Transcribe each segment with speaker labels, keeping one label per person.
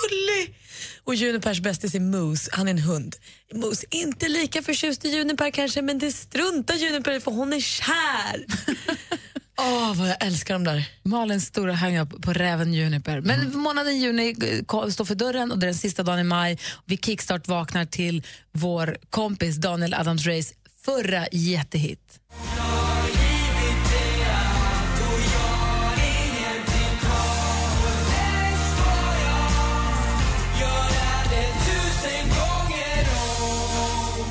Speaker 1: Gullig! Och Junipers bästis är Moose, han är en hund. Moose är inte lika förtjust i Juniper kanske, men det struntar Juniper i för hon är kär. Åh, vad jag älskar dem där. Mm.
Speaker 2: Malins stora hang-up på räven Juniper. Men månaden juni eh, ko- står för dörren och det är den sista dagen i maj. Vi kickstart vaknar till vår kompis Daniel Adams Rays förra jättehit.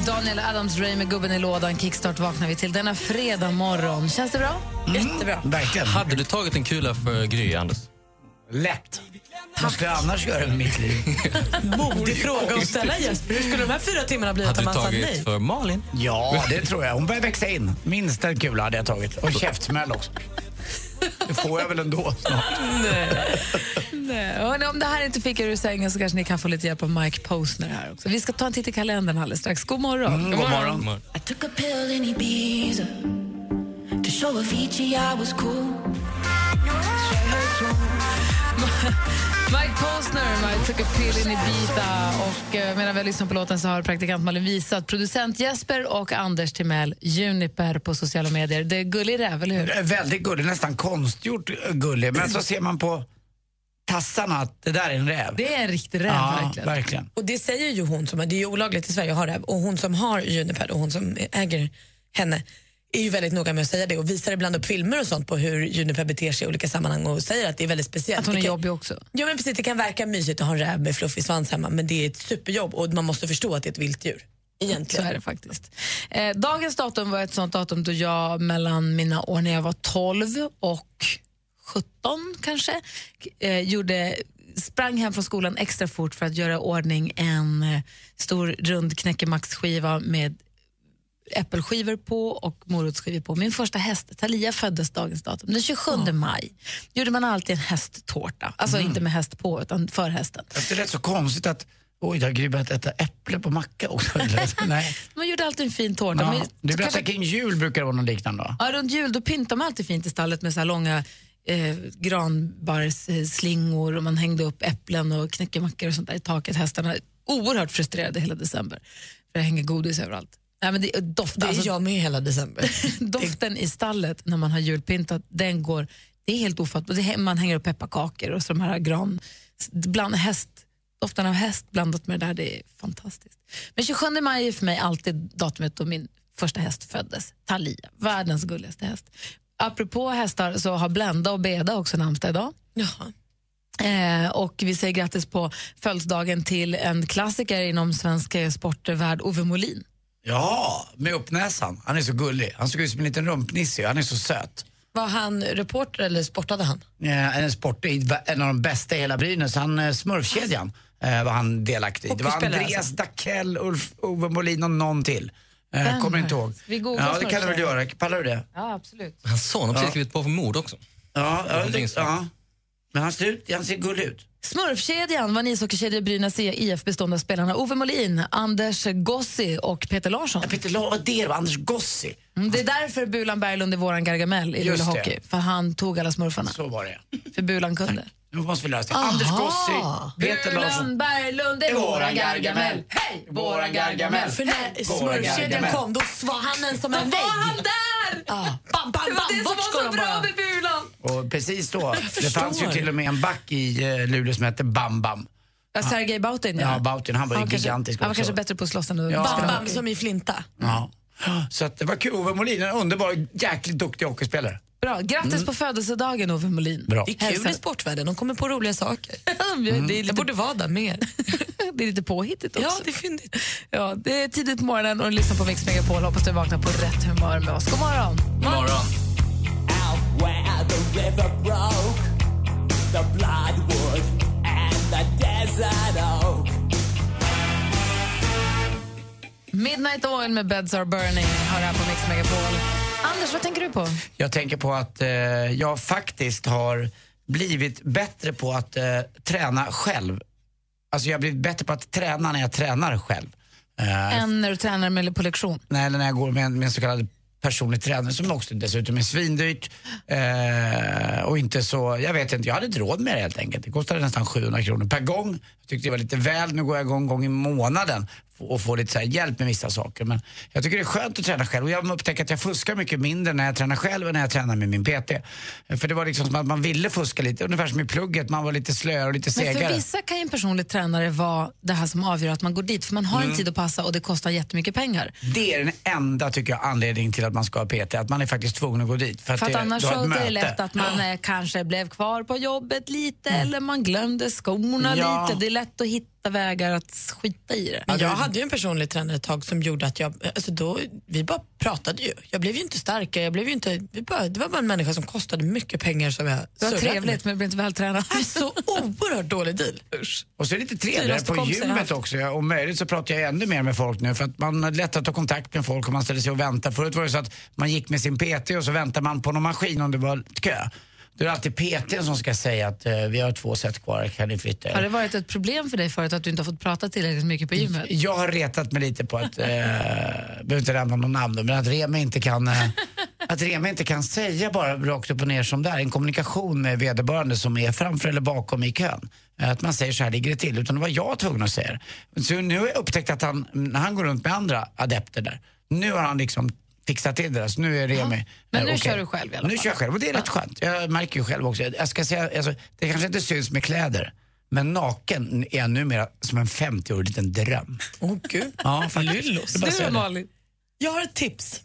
Speaker 2: Daniel Adams Ray med gubben i lådan. Kickstart vaknar vi till denna fredag morgon. Känns det bra?
Speaker 1: Jättebra.
Speaker 3: Mm, Verkligen.
Speaker 4: Hade du tagit en kula för Gry, Anders?
Speaker 3: Lätt. Vad ska jag annars göra med mitt liv?
Speaker 1: Modig fråga att ställa Jesper. Hur skulle de här fyra timmarna bli
Speaker 4: Hade
Speaker 1: utan
Speaker 4: du
Speaker 1: man sa
Speaker 4: tagit
Speaker 1: nej?
Speaker 4: för Malin?
Speaker 3: Ja, det tror jag. Hon börjar växa in. Minst en kula hade jag tagit. Och käftsmäll också. Det får jag väl ändå snart.
Speaker 2: Nej. Och om det här inte fick er ur sängen så kanske ni kan få lite hjälp av Mike Posner här också. Vi ska ta en titt i kalendern alldeles strax. God morgon.
Speaker 3: Mm, God morgon.
Speaker 5: I took a pill in Ibiza to show Avicii I was cool.
Speaker 2: Mike Posner, I took a pill in Ibiza. Och eh, medan vi lyssnar på låten så har praktikant Malin visat producent Jesper och Anders Timell Juniper på sociala medier. Det är gullig räv, eller hur?
Speaker 3: Eh, Väldigt gullig, nästan konstgjort eh, gullig. Men så ser man på tassarna att det där är en räv.
Speaker 2: Det är en riktig räv,
Speaker 3: ja,
Speaker 2: verkligen.
Speaker 3: verkligen.
Speaker 1: Och det säger ju hon, som, det är ju olagligt i Sverige att ha räv, och hon som har Juniper och hon som äger henne är ju väldigt noga med att säga det och visar ibland upp filmer och sånt på hur Juniper beter sig i olika sammanhang och säger att det är väldigt speciellt.
Speaker 2: Att hon är
Speaker 1: Det kan-
Speaker 2: jobbig också.
Speaker 1: Ja men precis, det kan verka mysigt att ha en räv med fluffig svans hemma men det är ett superjobb och man måste förstå att det är ett vilt djur.
Speaker 2: Så
Speaker 1: Egentligen.
Speaker 2: är det faktiskt. Eh, dagens datum var ett sånt datum då jag mellan mina år när jag var 12 och 17 kanske, eh, gjorde, sprang hem från skolan extra fort för att göra i ordning en eh, stor rund knäckemacksskiva med äppelskivor på och morotsskivor på. Min första häst, Talia, föddes dagens datum. Den 27 maj gjorde man alltid en hästtårta. Alltså inte med häst på, utan för hästen.
Speaker 3: Det är rätt så konstigt att Oj, det har Gry börjat äta äpple på macka också. Eller? Nej.
Speaker 2: Man gjorde alltid en fin tårta.
Speaker 3: Ja,
Speaker 2: Men-
Speaker 3: du berättade
Speaker 2: kanske-
Speaker 3: kring jul brukar det vara något liknande va?
Speaker 2: Ja, runt jul då pyntar man alltid fint i stallet med så här långa eh, granbarrsslingor och man hängde upp äpplen och knäckemackor och sånt där i taket. Hästarna är oerhört frustrerade hela december för det hänger godis överallt. Nej, men det, doft,
Speaker 1: Det är
Speaker 2: alltså,
Speaker 1: jag med hela december.
Speaker 2: doften i stallet när man har julpyntat, den går, det är helt ofattbart. Det hä- Man hänger upp pepparkakor och så de här gran, bland häst, doften av häst blandat med det där, det är fantastiskt. Men 27 maj är för mig alltid datumet då min första häst föddes, Talia, världens gulligaste häst. Apropå hästar så har Blenda och Beda också namnsdag idag.
Speaker 1: Jaha.
Speaker 2: Eh, och vi säger grattis på födelsedagen till en klassiker inom svenska sportvärld, Ove Molin.
Speaker 3: Ja, med uppnäsan. Han är så gullig. Han såg ut som en liten rumpnisse. Han är så söt.
Speaker 1: Var han reporter eller sportade han?
Speaker 3: Eh, En sport, en av de bästa i hela Brynäs. Han, eh, smurfkedjan eh, var han delaktig i. Det var
Speaker 1: Hockeyspelare
Speaker 3: Andreas
Speaker 1: alltså.
Speaker 3: Dackell, Ulf Ove Molin och någon till. Eh,
Speaker 2: Vem
Speaker 3: Kommer
Speaker 2: var
Speaker 3: inte
Speaker 2: det?
Speaker 3: ihåg.
Speaker 2: Vi googlar
Speaker 3: ja, det kan du väl
Speaker 2: smurfkedjan.
Speaker 3: göra. Pallar du det?
Speaker 2: Ja, absolut.
Speaker 4: Hans son har precis
Speaker 3: Ja.
Speaker 4: skrivit på för mord också.
Speaker 3: Ja, ja,
Speaker 4: det är
Speaker 3: det,
Speaker 4: så.
Speaker 3: ja. Men han ser, ut, han ser gullig ut.
Speaker 2: Smurfkedjan var en ishockeykedja i Brynäs IF bestående av spelarna Ove Molin, Anders Gossi och Peter Larsson.
Speaker 3: Peter La, det var Anders Gossi.
Speaker 2: Mm, Det är därför Bulan Berglund är våran Gargamel i
Speaker 3: Just
Speaker 2: Luleå Hockey. För han tog alla smurfarna.
Speaker 3: Så var det.
Speaker 2: För Bulan kunde.
Speaker 3: Nu måste vi lösa det. Anders Gossi, Peter Larsson.
Speaker 2: Lönnberg, Berglund, det är våran Gargamel. Hej! Våran Gargamel.
Speaker 1: För när
Speaker 3: Våra
Speaker 1: smörkedjan
Speaker 3: Gargamel.
Speaker 1: kom, då var han en som
Speaker 2: Var
Speaker 1: en vägg.
Speaker 2: han där?
Speaker 1: Ah, bam, bam,
Speaker 2: Det var det
Speaker 1: bam,
Speaker 2: som
Speaker 1: bort ska
Speaker 2: var så
Speaker 1: de
Speaker 2: bra
Speaker 1: bara.
Speaker 2: med Bulan.
Speaker 3: Och precis då, det
Speaker 1: förstår.
Speaker 3: fanns ju till och med en back i eh, Luleå som hette Bam Bam.
Speaker 2: Ja, Sergej Bautin,
Speaker 3: Ja, Bautin, han var ju gigantisk
Speaker 2: kanske, Han var
Speaker 3: också.
Speaker 2: kanske bättre på att slåss än att
Speaker 3: Ja.
Speaker 2: spela
Speaker 1: Bam, bam,
Speaker 2: hockey.
Speaker 1: som i flinta.
Speaker 3: Ja. Så att det var kul. Ove Molin, en underbar, jäkligt duktig hockeyspelare.
Speaker 2: Bra. Grattis på födelsedagen, Ove Molin.
Speaker 3: Bra.
Speaker 1: Det är kul i sportvärlden, de kommer på roliga saker.
Speaker 2: det, är
Speaker 1: Jag
Speaker 2: lite,
Speaker 1: borde vara där mer.
Speaker 2: det är lite påhittigt också.
Speaker 1: Ja, det är fyndigt.
Speaker 2: Ja, det är tidigt på morgonen och du lyssnar på Mix Megapol. Hoppas du vaknar på rätt humör med oss. God morgon!
Speaker 4: God morgon.
Speaker 2: Midnight Oil med Beds Are Burning hör här på Mix Megapol. Anders, vad tänker du på?
Speaker 3: Jag tänker på att eh, jag faktiskt har blivit bättre på att eh, träna själv. Alltså jag har blivit bättre på att träna när jag tränar själv. Eh,
Speaker 2: Än när du tränar med eller på lektion?
Speaker 3: Nej, eller när jag går med en, med en så kallad personlig tränare som också dessutom är svindyrt. Eh, och inte så, jag vet inte, jag hade inte råd med det helt enkelt. Det kostade nästan 700 kronor per gång. Jag tyckte det var lite väl, nu går jag igång en gång i månaden f- och får lite så här hjälp med vissa saker. Men jag tycker det är skönt att träna själv och jag upptäcker att jag fuskar mycket mindre när jag tränar själv än när jag tränar med min PT. Eh, För det var liksom som att man ville fuska lite, ungefär som i plugget, man var lite slöare och lite
Speaker 2: Men
Speaker 3: segare.
Speaker 2: för vissa kan ju en personlig tränare vara det här som avgör att man går dit, för man har en tid att passa och det kostar jättemycket pengar.
Speaker 3: Det är den enda tycker jag anledningen till att man ska ha PT, att man är faktiskt tvungen att gå dit.
Speaker 2: För att
Speaker 3: det-
Speaker 2: annars
Speaker 3: du har ett
Speaker 2: så det är
Speaker 3: möte.
Speaker 2: lätt att man eh, kanske blev kvar på jobbet lite eller man glömde skorna
Speaker 3: Ja.
Speaker 2: lite. Det är lätt att hitta vägar att skita i det.
Speaker 1: Men jag hade ju en personlig tränare ett tag som gjorde att jag, alltså då, vi bara pratade ju. Jag blev ju inte starkare, jag blev ju inte, vi bara, det var bara en människa som kostade mycket pengar som jag
Speaker 2: Det var
Speaker 1: surrade
Speaker 2: trevligt men jag blev inte vältränad.
Speaker 1: med. Så oerhört dålig deal.
Speaker 3: Och så är det lite trevligare
Speaker 1: Dyraste
Speaker 3: på
Speaker 1: kompisar jag
Speaker 3: gymmet
Speaker 1: haft.
Speaker 3: också. Ja, Om möjligt så pratar jag ännu mer med folk nu för att man har lätt att ta kontakt med folk och man ställer sig och väntar. Förut var det så att man gick med sin PT och så väntar man på någon maskin om det var kö. Då är det alltid PTn som ska säga att eh, vi har två set kvar, kan ni flytta er?
Speaker 2: Har det varit ett problem för dig förut att du inte har fått prata tillräckligt mycket
Speaker 3: Mm.
Speaker 2: på gymmet?
Speaker 3: Jag har retat mig lite på att, eh, behöver inte nämna någon namn då, men att Remi inte kan eh, att Remi inte kan säga bara rakt upp och ner som det är, en kommunikation med vederbörande som är framför eller bakom i kön. Eh, Att man säger så här ligger det till, utan det var jag tvungen att säga det. Så nu har jag upptäckt att han, när han går runt med andra adepter där, nu har han liksom fixat till det där, så nu är Remi...
Speaker 2: Men nu
Speaker 3: eh, okej.
Speaker 2: kör du själv i alla
Speaker 3: Nu
Speaker 2: fall.
Speaker 3: kör jag själv och det är rätt skönt. Jag märker ju själv också, jag ska säga, alltså, det kanske inte syns med kläder, men naken är jag numera som en 50-årig liten dröm.
Speaker 1: Åh gud.
Speaker 3: Ja, faktiskt. Det är bara att säga
Speaker 2: Du
Speaker 3: det.
Speaker 2: Malin,
Speaker 1: Jag har ett tips.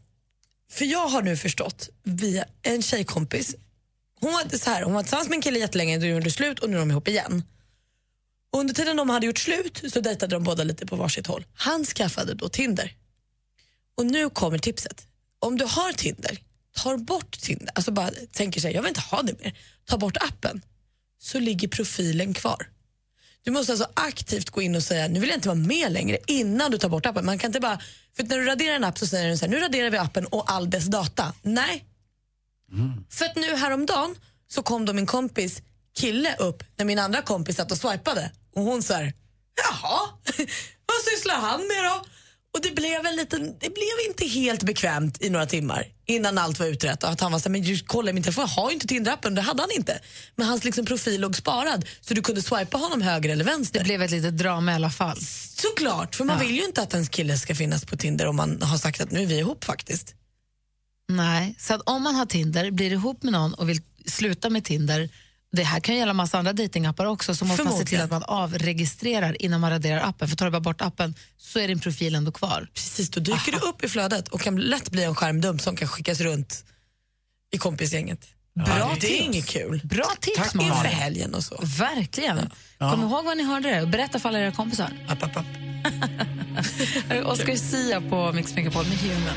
Speaker 1: För jag har nu förstått via en tjejkompis. Hon var, så här, hon var tillsammans med en kille jättelänge, då gjorde de slut och nu är de ihop igen. Och under tiden de hade gjort slut så dejtade de båda lite på varsitt håll. Han skaffade då Tinder. Och nu kommer tipset. Om du har Tinder, tar bort Tinder. Alltså bara tänker sig, jag vill inte ha det mer. Ta bort appen. Så ligger profilen kvar. Du måste alltså aktivt gå in och säga nu vill jag inte vara med längre innan du tar bort appen. Man kan inte bara, för att när du raderar en app så säger den så här, nu raderar vi appen och all dess data. Nej. För att nu häromdagen så kom då min kompis kille upp när min andra kompis satt och swipade och hon så här, jaha, vad sysslar han med då? Och det blev, en liten, det blev inte helt bekvämt i några timmar innan allt var utrett. Och att han var så här, men ju, kolla i min telefon, jag har ju inte Tinder-appen. Det hade han inte. Men hans liksom, profil låg sparad så du kunde swipa honom höger eller vänster.
Speaker 2: det blev ett litet drama i alla fall.
Speaker 1: Såklart, för man vill ju inte att ens kille ska finnas på Tinder om man har sagt att nu är vi ihop faktiskt.
Speaker 2: Nej, så att om man har Tinder, blir ihop med någon och vill sluta med Tinder, det här kan ju gälla massa andra datingappar också, så måste man se till
Speaker 1: Förmodligen.
Speaker 2: att man avregistrerar innan man raderar appen. För tar du bara bort appen så är din profil ändå kvar.
Speaker 1: Precis, då dyker du upp i flödet och kan lätt bli en skärmdump som kan skickas runt i kompisgänget. Bra det är inget kul.
Speaker 2: Bra tips
Speaker 3: Tack,
Speaker 2: Malin.
Speaker 1: Inför
Speaker 3: Malin.
Speaker 1: helgen och så.
Speaker 2: Verkligen. Kom ihåg vad ni hörde det och berätta för alla era kompisar.
Speaker 1: App, app, app.
Speaker 2: Här är Oscar Sia på Mix Megapol med Human.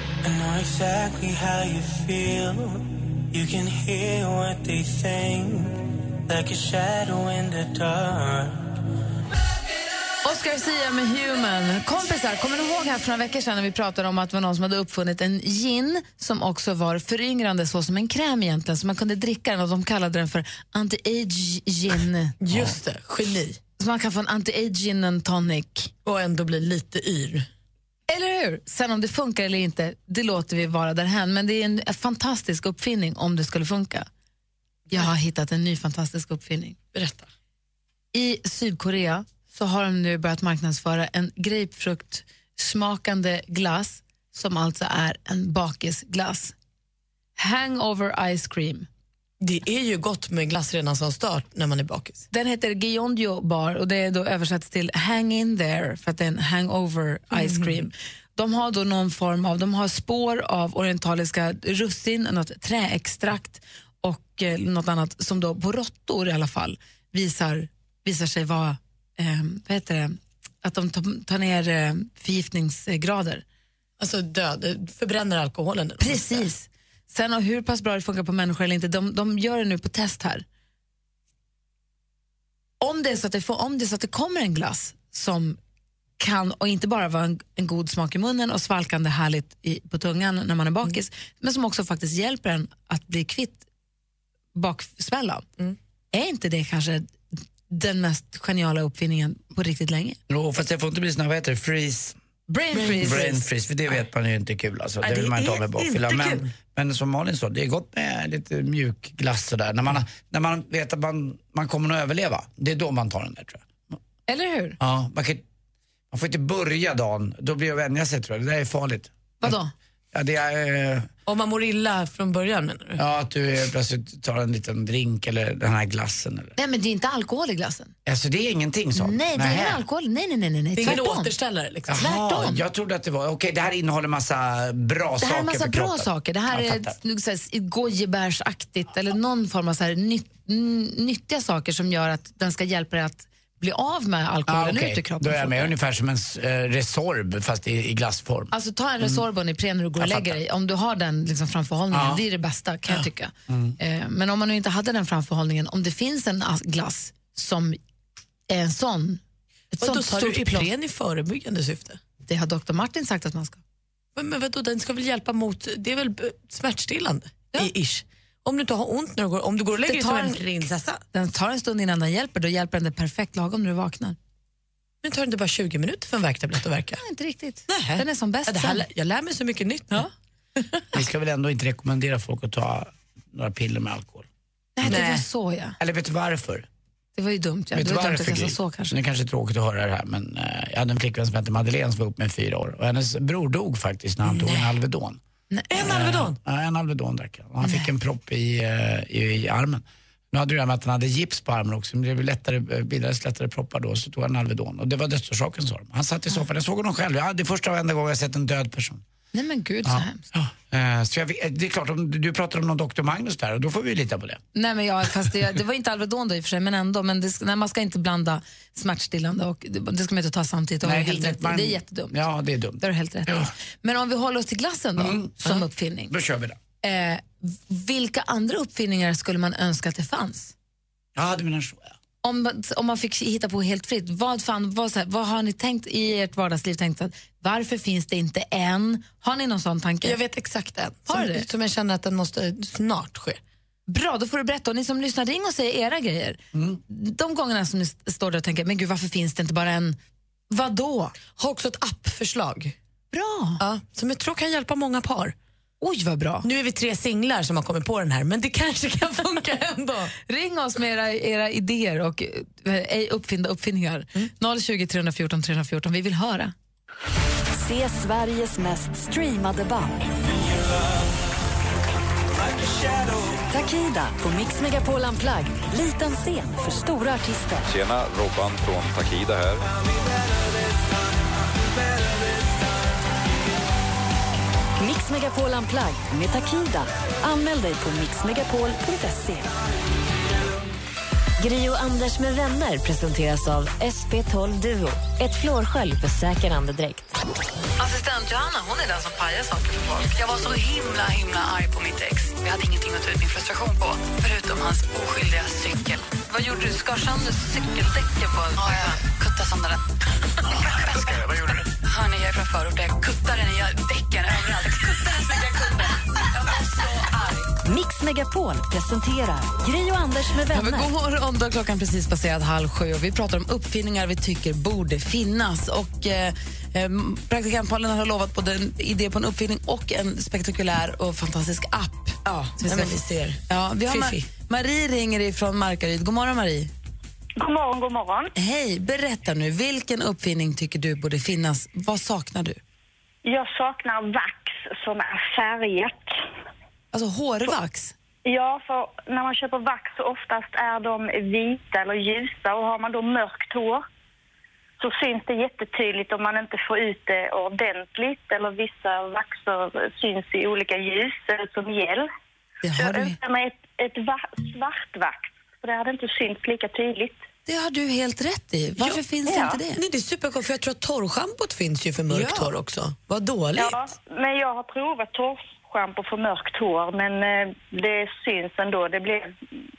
Speaker 2: Oscar Sia med Human. Kompisar, kommer ni ihåg här för några veckor sedan när vi pratade om att det var någon som hade uppfunnit en gin som också var föryngrande, så som en kräm egentligen, så man kunde dricka den och de kallade den för anti-age gin.
Speaker 1: Just det, geni.
Speaker 2: Så man kan få en anti-age gin and tonic.
Speaker 1: Och ändå bli lite yr.
Speaker 2: Eller hur? Sen om det funkar eller inte, det låter vi vara därhän. Men det är en fantastisk uppfinning om det skulle funka. Jag har hittat en ny fantastisk uppfinning.
Speaker 1: Berätta.
Speaker 2: I Sydkorea så har de nu börjat marknadsföra en grapefruktsmakande glass som alltså är en bakisglass. Hangover ice cream.
Speaker 1: Det är ju gott med glass redan som start när man är bakis.
Speaker 2: Den heter Gyeongju Bar och det är då översatt till Hang in there för att det är en hangover
Speaker 1: Mm.
Speaker 2: ice cream. De har då någon form av, de har spår av orientaliska russin, något träextrakt och eh, något annat som då på råttor i alla fall visar, visar sig vara, eh, vad heter det, att de tar- tar ner eh, förgiftningsgrader.
Speaker 1: Alltså död, förbränner alkoholen.
Speaker 2: Precis. Sen och hur pass bra det funkar på människor eller inte, de, de gör det nu på test här. Om det, är så att det får, om det är så att det kommer en glass som kan, och inte bara vara en, en god smak i munnen och svalkande härligt i, på tungan när man är bakis,
Speaker 1: Mm.
Speaker 2: men som också faktiskt hjälper en att bli kvitt baksmälla.
Speaker 1: Mm.
Speaker 2: Är inte det kanske den mest geniala uppfinningen på riktigt länge?
Speaker 3: Jo, fast det får inte bli såna, vad heter det, freeze
Speaker 2: Brain freeze.
Speaker 3: Brain freeze, för det vet man ju inte är kul alltså.
Speaker 1: Nej,
Speaker 3: det vill
Speaker 1: det
Speaker 3: man inte
Speaker 1: är
Speaker 3: ha med bakfylla.
Speaker 1: inte
Speaker 3: Men,
Speaker 1: kul.
Speaker 3: men som Malin sa, det är gott med lite mjuk glass sådär. När man, har- när man vet att man, man kommer att överleva, det är då man tar den där tror jag.
Speaker 2: Eller hur?
Speaker 3: Ja, man, kan, man får inte börja dagen, då blir det att vänja sig tror jag. Det där är farligt.
Speaker 2: Vadå?
Speaker 3: Ja, det är, eh,
Speaker 1: Om man mår illa från början menar du?
Speaker 3: ja, att du eh, plötsligt tar en liten drink eller den här glassen. Eller.
Speaker 2: Nej, men det är inte alkohol i glassen.
Speaker 3: Alltså det är ingenting sånt?
Speaker 2: Nej, det är
Speaker 3: Nähä.
Speaker 2: ingen alkohol. Nej, nej, nej. nej, nej.
Speaker 1: Det är ingen
Speaker 2: Tvärtom.
Speaker 1: återställare liksom.
Speaker 3: Jaha,
Speaker 2: Tvärtom.
Speaker 3: Jag trodde att det var, okej det här innehåller massa bra
Speaker 2: Det
Speaker 3: saker
Speaker 2: här är en massa
Speaker 3: för
Speaker 2: bra
Speaker 3: kroppen.
Speaker 2: saker. Det här
Speaker 3: Jag
Speaker 2: är
Speaker 3: fattar.
Speaker 2: nog så här gojibärsaktigt eller någon form av så här nytt, n- nyttiga saker som gör att den ska hjälpa dig att bli av med
Speaker 3: Ah,
Speaker 2: alkoholen
Speaker 3: okej.
Speaker 2: ut ur kroppen.
Speaker 3: Då är jag med.
Speaker 2: fortare.
Speaker 3: Ungefär som en eh, Resorb fast i, i glassform. Mm.
Speaker 2: Alltså ta en Resorb i Ipren när du går och
Speaker 3: Jag
Speaker 2: lägger
Speaker 3: fattar.
Speaker 2: dig. Om du har den liksom framförhållningen, det är det bästa kan jag tycka.
Speaker 3: Mm.
Speaker 2: Eh, men om man nu inte hade den framförhållningen, om det finns en as- glass som är en sån, ett
Speaker 1: Vadå,
Speaker 2: sånt
Speaker 1: tar du
Speaker 2: stort plåster.
Speaker 1: Ipren i förebyggande syfte?
Speaker 2: Det har doktor Martin sagt att man ska.
Speaker 1: Men, men vadå, den ska väl hjälpa mot, det är väl b- smärtstillande? I, ish. Om du inte har ont när du går, om du går och lägger
Speaker 2: Det
Speaker 1: dig
Speaker 2: tar
Speaker 1: som en
Speaker 2: en-
Speaker 1: prinsessa,
Speaker 2: Den tar en stund innan den hjälper, då hjälper den dig perfekt lagom när du vaknar.
Speaker 1: men tar det inte bara 20 minuter för en värktablett att värka?
Speaker 2: Nej, inte riktigt.
Speaker 1: Nähä.
Speaker 2: Den är som bäst
Speaker 1: Ja, det här,
Speaker 2: sen.
Speaker 1: lä- jag lär mig så mycket nytt nu.
Speaker 3: Vi ska väl ändå inte rekommendera folk att ta några piller med alkohol.
Speaker 2: Nej, det
Speaker 1: Nej.
Speaker 2: var så ja.
Speaker 3: Eller vet du varför?
Speaker 2: Det var ju dumt. Ja.
Speaker 3: vet
Speaker 2: Det
Speaker 3: du
Speaker 2: var dumt
Speaker 3: varför,
Speaker 2: att jag sa så
Speaker 3: Gry?
Speaker 2: kanske.
Speaker 3: Det är kanske är tråkigt att höra det här men eh, jag hade en flickvän som hette Madeleine som var ihop med i fyra år och hennes bror dog faktiskt när han tog en Alvedon. Eh,
Speaker 1: En Alvedon?
Speaker 3: Ja, en Alvedon drack han. Och Han fick en propp i, eh, i, i armen. Nu hade det ju det här med att han hade gips på armen också, men det blev lättare, eh, bildades lättare proppar då, så tog han Alvedon. Och det var dödsorsaken sa de. Han satt i soffan, jag såg honom själv, ja, det är första och enda gången jag sett en död person.
Speaker 2: Nej men gud så
Speaker 3: Ja.
Speaker 2: hemskt.
Speaker 3: Eh, Så jag, vet- det är klart, om du- du pratar om någon doktor Magnus där och då får vi ju lita på det.
Speaker 2: Nej, men jag, fast det, det var inte Alvedon då i och för sig, men ändå. Men det, ska- nej, man ska inte blanda smärtstillande och det, det ska man inte ta samtidigt. Och det, är helt rätt.
Speaker 3: man-
Speaker 2: det är jättedumt.
Speaker 3: Ja, det är dumt.
Speaker 2: Det har du helt rätt i. Men om vi håller oss till glassen då,
Speaker 3: Mm.
Speaker 2: som uppfinning.
Speaker 3: Då kör vi det.
Speaker 2: Eh, vilka andra uppfinningar skulle man önska att det fanns?
Speaker 3: Ja, du menar så ja.
Speaker 2: Om, man- om man fick hitta på helt fritt, vad, fan, vad, så här, vad har ni tänkt i ert vardagsliv? Tänkt att, varför finns det inte en? Har ni någon sån tanke?
Speaker 1: Jag vet exakt en.
Speaker 2: Har
Speaker 1: Som,
Speaker 2: du det?
Speaker 1: som jag känner att den måste snart ske.
Speaker 2: Bra, då får du berätta. Och ni som lyssnar, ring och säg era grejer. De gångerna som ni st- står där och tänker, men gud varför finns det inte bara en? Vadå?
Speaker 1: Har också ett appförslag.
Speaker 2: Bra!
Speaker 1: Ja, som jag tror kan hjälpa många par.
Speaker 2: Oj vad bra.
Speaker 1: Nu är vi tre singlar som har kommit på den här, men det kanske kan funka ändå.
Speaker 2: Ring oss med era, era idéer och eh, ej uppfinda uppfinningar.
Speaker 1: Mm.
Speaker 2: 020 314 314, vi vill höra.
Speaker 6: Se Sveriges mest streamade band. Takida på Mix Megapol Unplugged. Liten scen för stora artister.
Speaker 7: Tjena, Robban från Takida här.
Speaker 6: Mix Megapol Unplugged med Takida. Anmäl dig på mixmegapol.se. Gri och Anders med vänner presenteras av SP12 Duo. Ett flårskölj för säker andedräkt.
Speaker 2: Assistent Johanna hon är den som pajar saker för folk. Jag var så himla himla arg på mitt ex. Jag hade ingenting att ta ut min frustration på, förutom hans oskyldiga cykel. Vad gjorde du? Skar sönder cykeldäcken på Ja, jag kuttade sönder den. Vad gjorde du? Hörni, jag är från förorten. Jag kuttar den i däcken överallt. Jag kuttar den så mycket jag kunde. Jag var så arg.
Speaker 6: Mix Megapol presenterar Gri och Anders med
Speaker 2: Ja, men
Speaker 6: vänner.
Speaker 2: god morgon, då har klockan precis passerat halv sju och vi pratar om uppfinningar vi tycker borde finnas. Och, eh, Ehm, Praktikant Malin har lovat både en idé på en uppfinning och en spektakulär och fantastisk app. Ja,
Speaker 1: nej, men vi ser.
Speaker 2: Ja, vi har Ma-
Speaker 1: Fiffi.
Speaker 2: Marie ringer ifrån Markaryd. God morgon, Marie.
Speaker 8: God morgon, god morgon.
Speaker 2: Hej, berätta nu. Vilken uppfinning tycker du borde finnas? Vad saknar du?
Speaker 8: Jag saknar vax som är färgat.
Speaker 2: Alltså hårvax?
Speaker 8: Ja, för när man köper vax så oftast är de vita eller ljusa och har man då mörkt hår så syns det jättetydligt om man inte får ut det ordentligt eller vissa vaxer syns i olika ljus eller som gel. Så jag önskar mig ett, ett va- svart vax för det hade inte synts lika tydligt.
Speaker 2: Det har du helt rätt i. Varför finns det inte det?
Speaker 1: Nej, det är superkonstigt, för jag tror att torrschampot finns ju för mörkt
Speaker 8: Ja.
Speaker 1: hår också. Vad dåligt.
Speaker 8: Ja, men jag har provat torrschampo för mörkt hår, men eh, det syns ändå. Det blir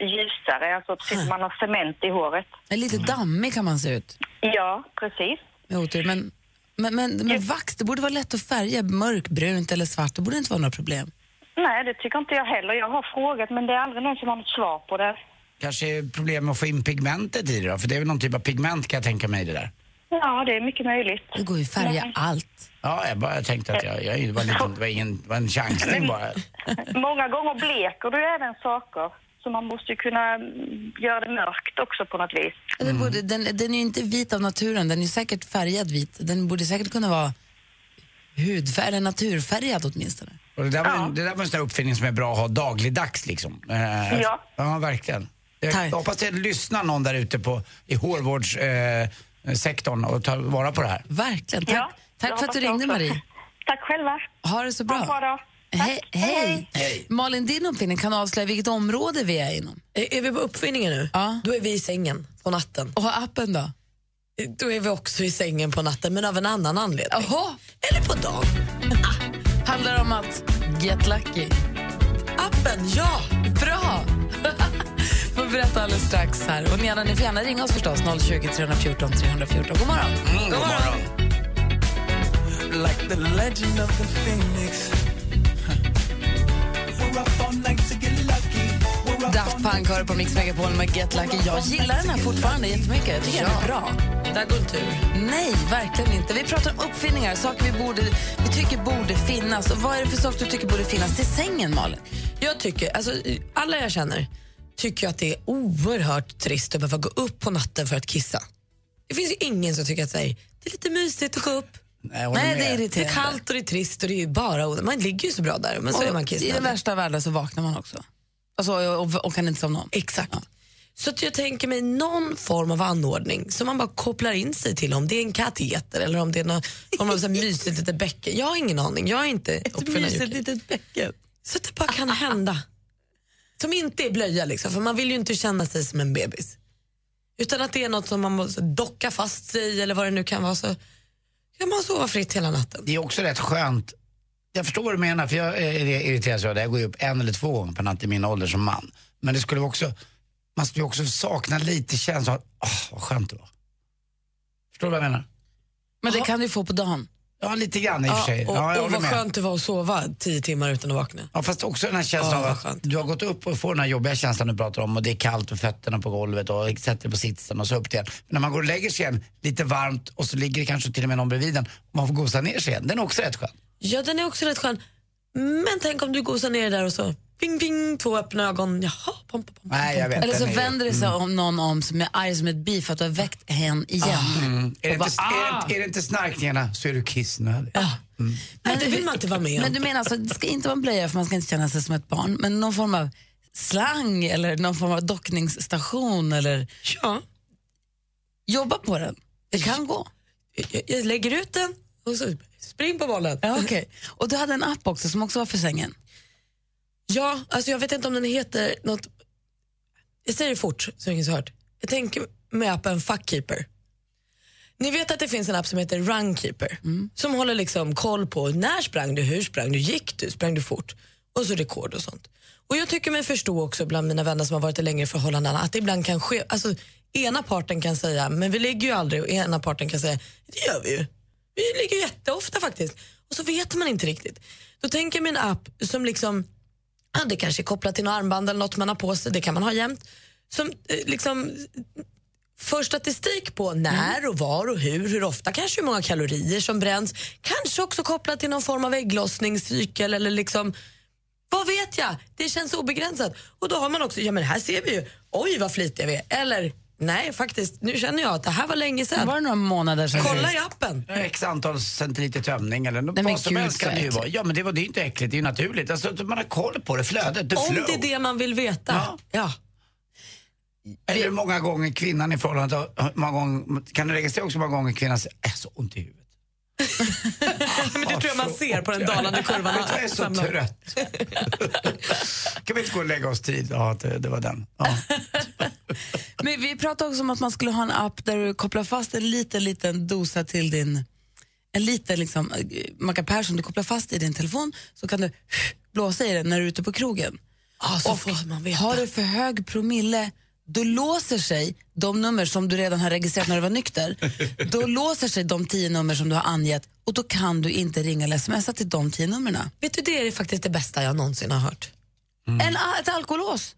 Speaker 8: ljusare, alltså precis som man har cement i håret.
Speaker 2: En lite dammig kan man se ut.
Speaker 8: Ja, Mm. precis.
Speaker 2: Med otur. Men, men, men, men vax, det borde vara lätt att färga mörkbrunt eller svart. Det borde inte vara några problem.
Speaker 8: Nej, det tycker inte jag heller. Jag har frågat, men det är aldrig någon som har något svar på det.
Speaker 3: Kanske är problem med att få in pigmentet i det då? För det är väl någon typ av pigment kan jag tänka mig i det där.
Speaker 8: Ja, det är mycket möjligt.
Speaker 2: Det går ju att färga allt.
Speaker 3: Ja, jag bara tänkte att jag, jag var lite, det var ingen, var en chansning bara.
Speaker 8: Många gånger bleker du även saker, så man måste ju kunna mm, göra det mörkt också på något vis.
Speaker 2: Den, borde, den, den är ju inte vit av naturen, den är ju säkert färgad vit. Den borde säkert kunna vara hudfärg, eller naturfärgad åtminstone.
Speaker 3: Och det, där var en, det där var en sån där uppfinning som är bra att ha dagligdags liksom. Eh,
Speaker 2: Ja.
Speaker 3: Ja, verkligen. Jag
Speaker 2: Tack.
Speaker 3: hoppas det lyssnar någon där ute på, i hårvårdssektorn eh, sektorn och tar vara på det här.
Speaker 2: Verkligen. Tack,
Speaker 8: jag
Speaker 2: tack för att du
Speaker 8: hoppas jag
Speaker 2: ringde,
Speaker 8: också.
Speaker 2: Marie.
Speaker 8: Tack själva.
Speaker 2: Ha det så bra.
Speaker 8: Ha en bra dag.
Speaker 2: Hej,
Speaker 8: Tack.
Speaker 2: hej. Malin, din uppfinning kan avslöja vilket område vi är inom.
Speaker 1: Är, är vi på uppfinningen nu? Ja. Då är vi i sängen på natten.
Speaker 2: Och appen då?
Speaker 1: Då är vi också i sängen på natten, men av en annan anledning.
Speaker 2: Jaha.
Speaker 1: Eller på dagen.
Speaker 2: Handlar det om att get lucky?
Speaker 1: Appen, ja!
Speaker 2: Bra! får berätta alldeles strax här. Och ni gärna, ni får gärna ringa oss förstås, 020 314 314. God morgon!
Speaker 9: Mm, god morgon. Like the legend of the phoenix. We're up all night to get lucky. We're up
Speaker 2: Daft Punk hör på Mix Megapol med Get Lucky. Jag gillar den här fortfarande jättemycket. Jag tycker den är bra.
Speaker 1: Där går tur.
Speaker 2: Nej, verkligen inte. Vi pratar om uppfinningar, saker vi, borde, vi tycker borde finnas. Och vad är det för saker du tycker borde finnas till sängen, Malin?
Speaker 1: Jag tycker, alltså, alla jag känner tycker att det är oerhört trist att behöva gå upp på natten för att kissa. Det finns ju ingen som tycker att så här, det är lite mysigt att gå upp.
Speaker 3: Nej, jag håller Nej, det är med.
Speaker 1: Det
Speaker 3: irriterande.
Speaker 1: är kallt och det är trist och det är ju bara onödigt. Man ligger ju så bra där, men så
Speaker 2: Och
Speaker 1: är man
Speaker 2: I den
Speaker 1: kissnödig.
Speaker 2: värsta av världar så vaknar man också. Alltså, och, och, och kan inte somna om.
Speaker 1: Exakt. Så att jag tänker mig någon form av anordning som man bara kopplar in sig till. Om det är en kateter eller om det är någon form av så här mysigt litet bäcken. Jag har ingen aning. Jag är inte uppfinnarjocke.
Speaker 2: litet bäcken.
Speaker 1: Så att det bara kan hända. Som inte är blöja, liksom, för man vill ju inte känna sig som en bebis. Utan att det är något som man måste docka fast sig i eller vad det nu kan vara. Så kan man sova fritt hela natten.
Speaker 3: Det är också rätt skönt. Jag förstår vad du menar, för jag är irriterad så jag går ju upp en eller två gånger per natt i min ålder som man. Men det skulle också, man skulle ju också sakna lite känslan av, åh vad skönt det var. Förstår du vad jag menar?
Speaker 2: Men det kan du få på dagen.
Speaker 3: Ja, lite grann i och för sig.
Speaker 1: och,
Speaker 3: Ja, jag
Speaker 1: och
Speaker 3: håller
Speaker 1: vad
Speaker 3: med.
Speaker 1: skönt det var att sova tio timmar utan att vakna.
Speaker 3: Ja, fast också den här känslan
Speaker 1: Ja,
Speaker 3: av
Speaker 1: vad
Speaker 3: att
Speaker 1: skönt.
Speaker 3: du har gått upp och får den här jobbiga känslan du pratar om och det är kallt och fötterna på golvet och sätter dig på sitsen och så upp det igen. Men när man går och lägger sig igen, lite varmt och så ligger det kanske till och med någon bredvid den och man får gosa ner sig igen. Den är också rätt skön.
Speaker 1: Ja, den är också rätt skön. Men tänk om du gosar ner där och så ping, ping, två öppna ögon. Jaha, pom, pom, pom.
Speaker 3: Nej, jag vet.
Speaker 2: Eller så
Speaker 3: den är ju-
Speaker 2: vänder det sig om någon om som är arg som ett bi för att du har väckt hen igen.
Speaker 3: Mm. Är, det
Speaker 2: Och
Speaker 3: inte,
Speaker 2: bara,
Speaker 3: är,
Speaker 1: ah!
Speaker 3: det, är det inte snarkningarna så är du kissnödig.
Speaker 1: Nej, det vill man inte vara med
Speaker 2: Men
Speaker 1: om.
Speaker 2: du menar alltså, det ska inte vara en blöja för man ska inte känna sig som ett barn, men någon form av slang eller någon form av dockningsstation eller
Speaker 1: Ja.
Speaker 2: jobba på den. Det kan gå.
Speaker 1: Jag, jag lägger ut den och så spring på bollen.
Speaker 2: Ja, okay. Och du hade en app också som också var för sängen.
Speaker 1: Ja, alltså jag vet inte om den heter något... Jag säger det fort så ingen har hört. Jag tänker med appen Fuckkeeper. Ni vet att det finns en app som heter Runkeeper
Speaker 2: Mm.
Speaker 1: som håller liksom koll på när sprang du, hur sprang du, gick du, sprang du fort och så rekord och sånt. Och jag tycker mig förstå också bland mina vänner som har varit i längre förhållanden att det ibland kan ske, alltså ena parten kan säga men vi ligger ju aldrig och ena parten kan säga det gör vi ju. Vi ligger jätteofta faktiskt. Och så vet man inte riktigt. Då tänker jag mig en app som liksom Ja, det kanske är kopplat till något armband eller något man har på sig, det kan man ha jämt. Som eh, liksom för statistik på när och var och hur, hur ofta, kanske hur många kalorier som bränns. Kanske också kopplat till någon form av ägglossningscykel eller liksom vad vet jag? Det känns obegränsat. Och då har man också, ja men här ser vi ju, oj vad flitiga vi är. Eller, nej faktiskt, nu känner jag att det här var länge sedan.
Speaker 2: Var det några månader sedan
Speaker 1: Kolla
Speaker 2: sist?
Speaker 1: i appen.
Speaker 3: X antal centiliter tömning eller något
Speaker 1: Nej, men
Speaker 3: vad som
Speaker 1: gud,
Speaker 3: helst kan
Speaker 1: så
Speaker 3: det ju
Speaker 1: äckligt.
Speaker 3: vara. Ja men det, var, det är ju inte äckligt, det är ju naturligt. Alltså att man har koll på det, flödet, the
Speaker 1: Om
Speaker 3: flow.
Speaker 1: det är det man vill veta. Ja.
Speaker 3: Eller hur många gånger kvinnan i förhållandet, har- hur många gånger, kan du registrera också hur många gånger kvinnan säger "Äh, så ont i huvudet?
Speaker 1: Men det tror jag man ser på den dalande kurvan.
Speaker 3: Vet du, Jag är så
Speaker 1: Samlar.
Speaker 3: trött. kan vi inte gå och lägga oss tid? Ja, det, det var den. Ja.
Speaker 2: Men vi pratade också om att man skulle ha en app där du kopplar fast en liten, liten dosa till din, en liten liksom, eh, mackapär som du kopplar fast i din telefon så kan du blåsa i den när du är ute på krogen.
Speaker 1: Ah, så får man veta.
Speaker 2: har du för hög promille då låser sig de nummer som du redan har registrerat när du var nykter. Då låser sig de tio nummer som du har angett och då kan du inte ringa eller smsa till de tio numren.
Speaker 1: Vet du, det är faktiskt det bästa jag någonsin har hört. Ah.
Speaker 2: En, a- ett alkolås.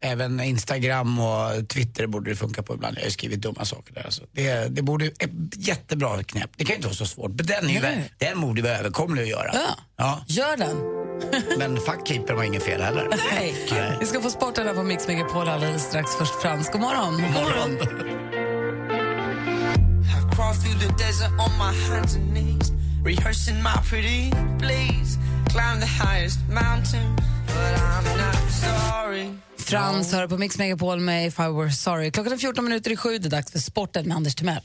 Speaker 3: Även Instagram och Twitter borde det funka på ibland. Jag har ju skrivit dumma saker där. Alltså. Det, det borde, ett jättebra knäpp. Det kan ju inte vara så svårt. Men den, är ju,
Speaker 2: Nej.
Speaker 3: den borde vara överkomlig att göra.
Speaker 2: Ja. Gör den.
Speaker 3: Men fuckkeeper var inget fel heller.
Speaker 2: Nej.
Speaker 3: Nej.
Speaker 2: Vi ska få sporten här på Mix Megapol alldeles strax. Först Frans, god morgon. God
Speaker 3: morgon.
Speaker 10: crawl through the desert on my hands and knees, rehearsing my pretty please. Climb the highest mountain, but I'm not sorry.
Speaker 2: Frans hör på Mix Megapol med If I Were Sorry. Klockan är 14 minuter i sju. Det är dags för sporten med Anders Timell.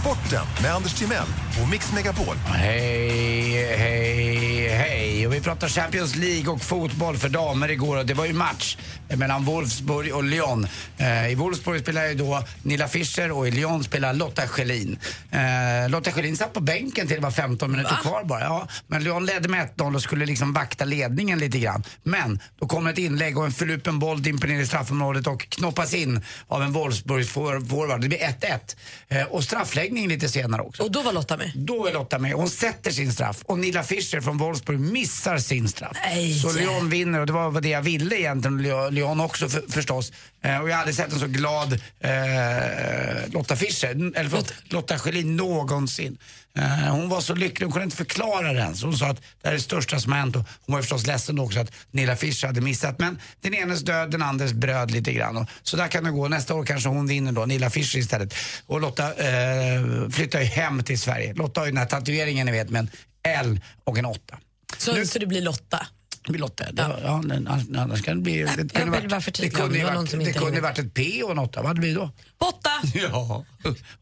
Speaker 11: Sporten med Anders Timell och Mix Megapol.
Speaker 3: Hej, hej, hej. Och vi pratar Champions League och fotboll för damer igår. Och det var ju match mellan Wolfsburg och Lyon. Eh, I Wolfsburg spelar ju då Nilla Fischer och i Lyon spelar Lotta Schelin. Eh, Lotta Schelin satt på bänken till det var 15 minuter kvar bara. Ja, men Lyon ledde med 1-0 och skulle liksom vakta ledningen lite grann. Men då kom ett inlägg och en förlupen boll dimper ner i straffområdet och knoppas in av en Wolfsburgs for- forward. Det blir 1-1. Eh, och straffläggning lite senare också.
Speaker 1: Och då var Lotta med?
Speaker 3: Då är Lotta med. Hon sätter sin straff och Nilla Fischer från Wolfsburg missar sin straff.
Speaker 1: Nej.
Speaker 3: Så Lyon vinner och det var vad det jag ville egentligen. Lyon- Lyon också för, förstås. Eh, och jag hade sett en så glad eh, Lotta Fischer, n- eller förlåt, Lotta Schelin någonsin. Eh, hon var så lycklig, hon kunde inte förklara det ens. Hon sa att det här är det största som har hänt och hon var förstås ledsen också att Nilla Fischer hade missat. Men den enes död, den andres bröd lite grann. Och så där kan det gå. Nästa år kanske hon vinner då, Nilla Fischer istället. Och Lotta eh, flyttar ju hem till Sverige. Lotta har ju den här tatueringen ni vet med en L och en åtta.
Speaker 1: Så, så det blir Lotta?
Speaker 3: Det blir Lotta. Det, var- ja. men annars- annars kan det bli... Det kunde
Speaker 1: vill
Speaker 3: varit-
Speaker 1: bara
Speaker 3: det
Speaker 1: förtydliga om
Speaker 3: kunde
Speaker 1: det
Speaker 3: ju
Speaker 1: var någon
Speaker 3: varit,
Speaker 1: som
Speaker 3: det
Speaker 1: inte
Speaker 3: kunde ju
Speaker 1: hängde
Speaker 3: varit ett P och en åtta. Vad hade det blivit då?
Speaker 1: Botta!
Speaker 3: Ja,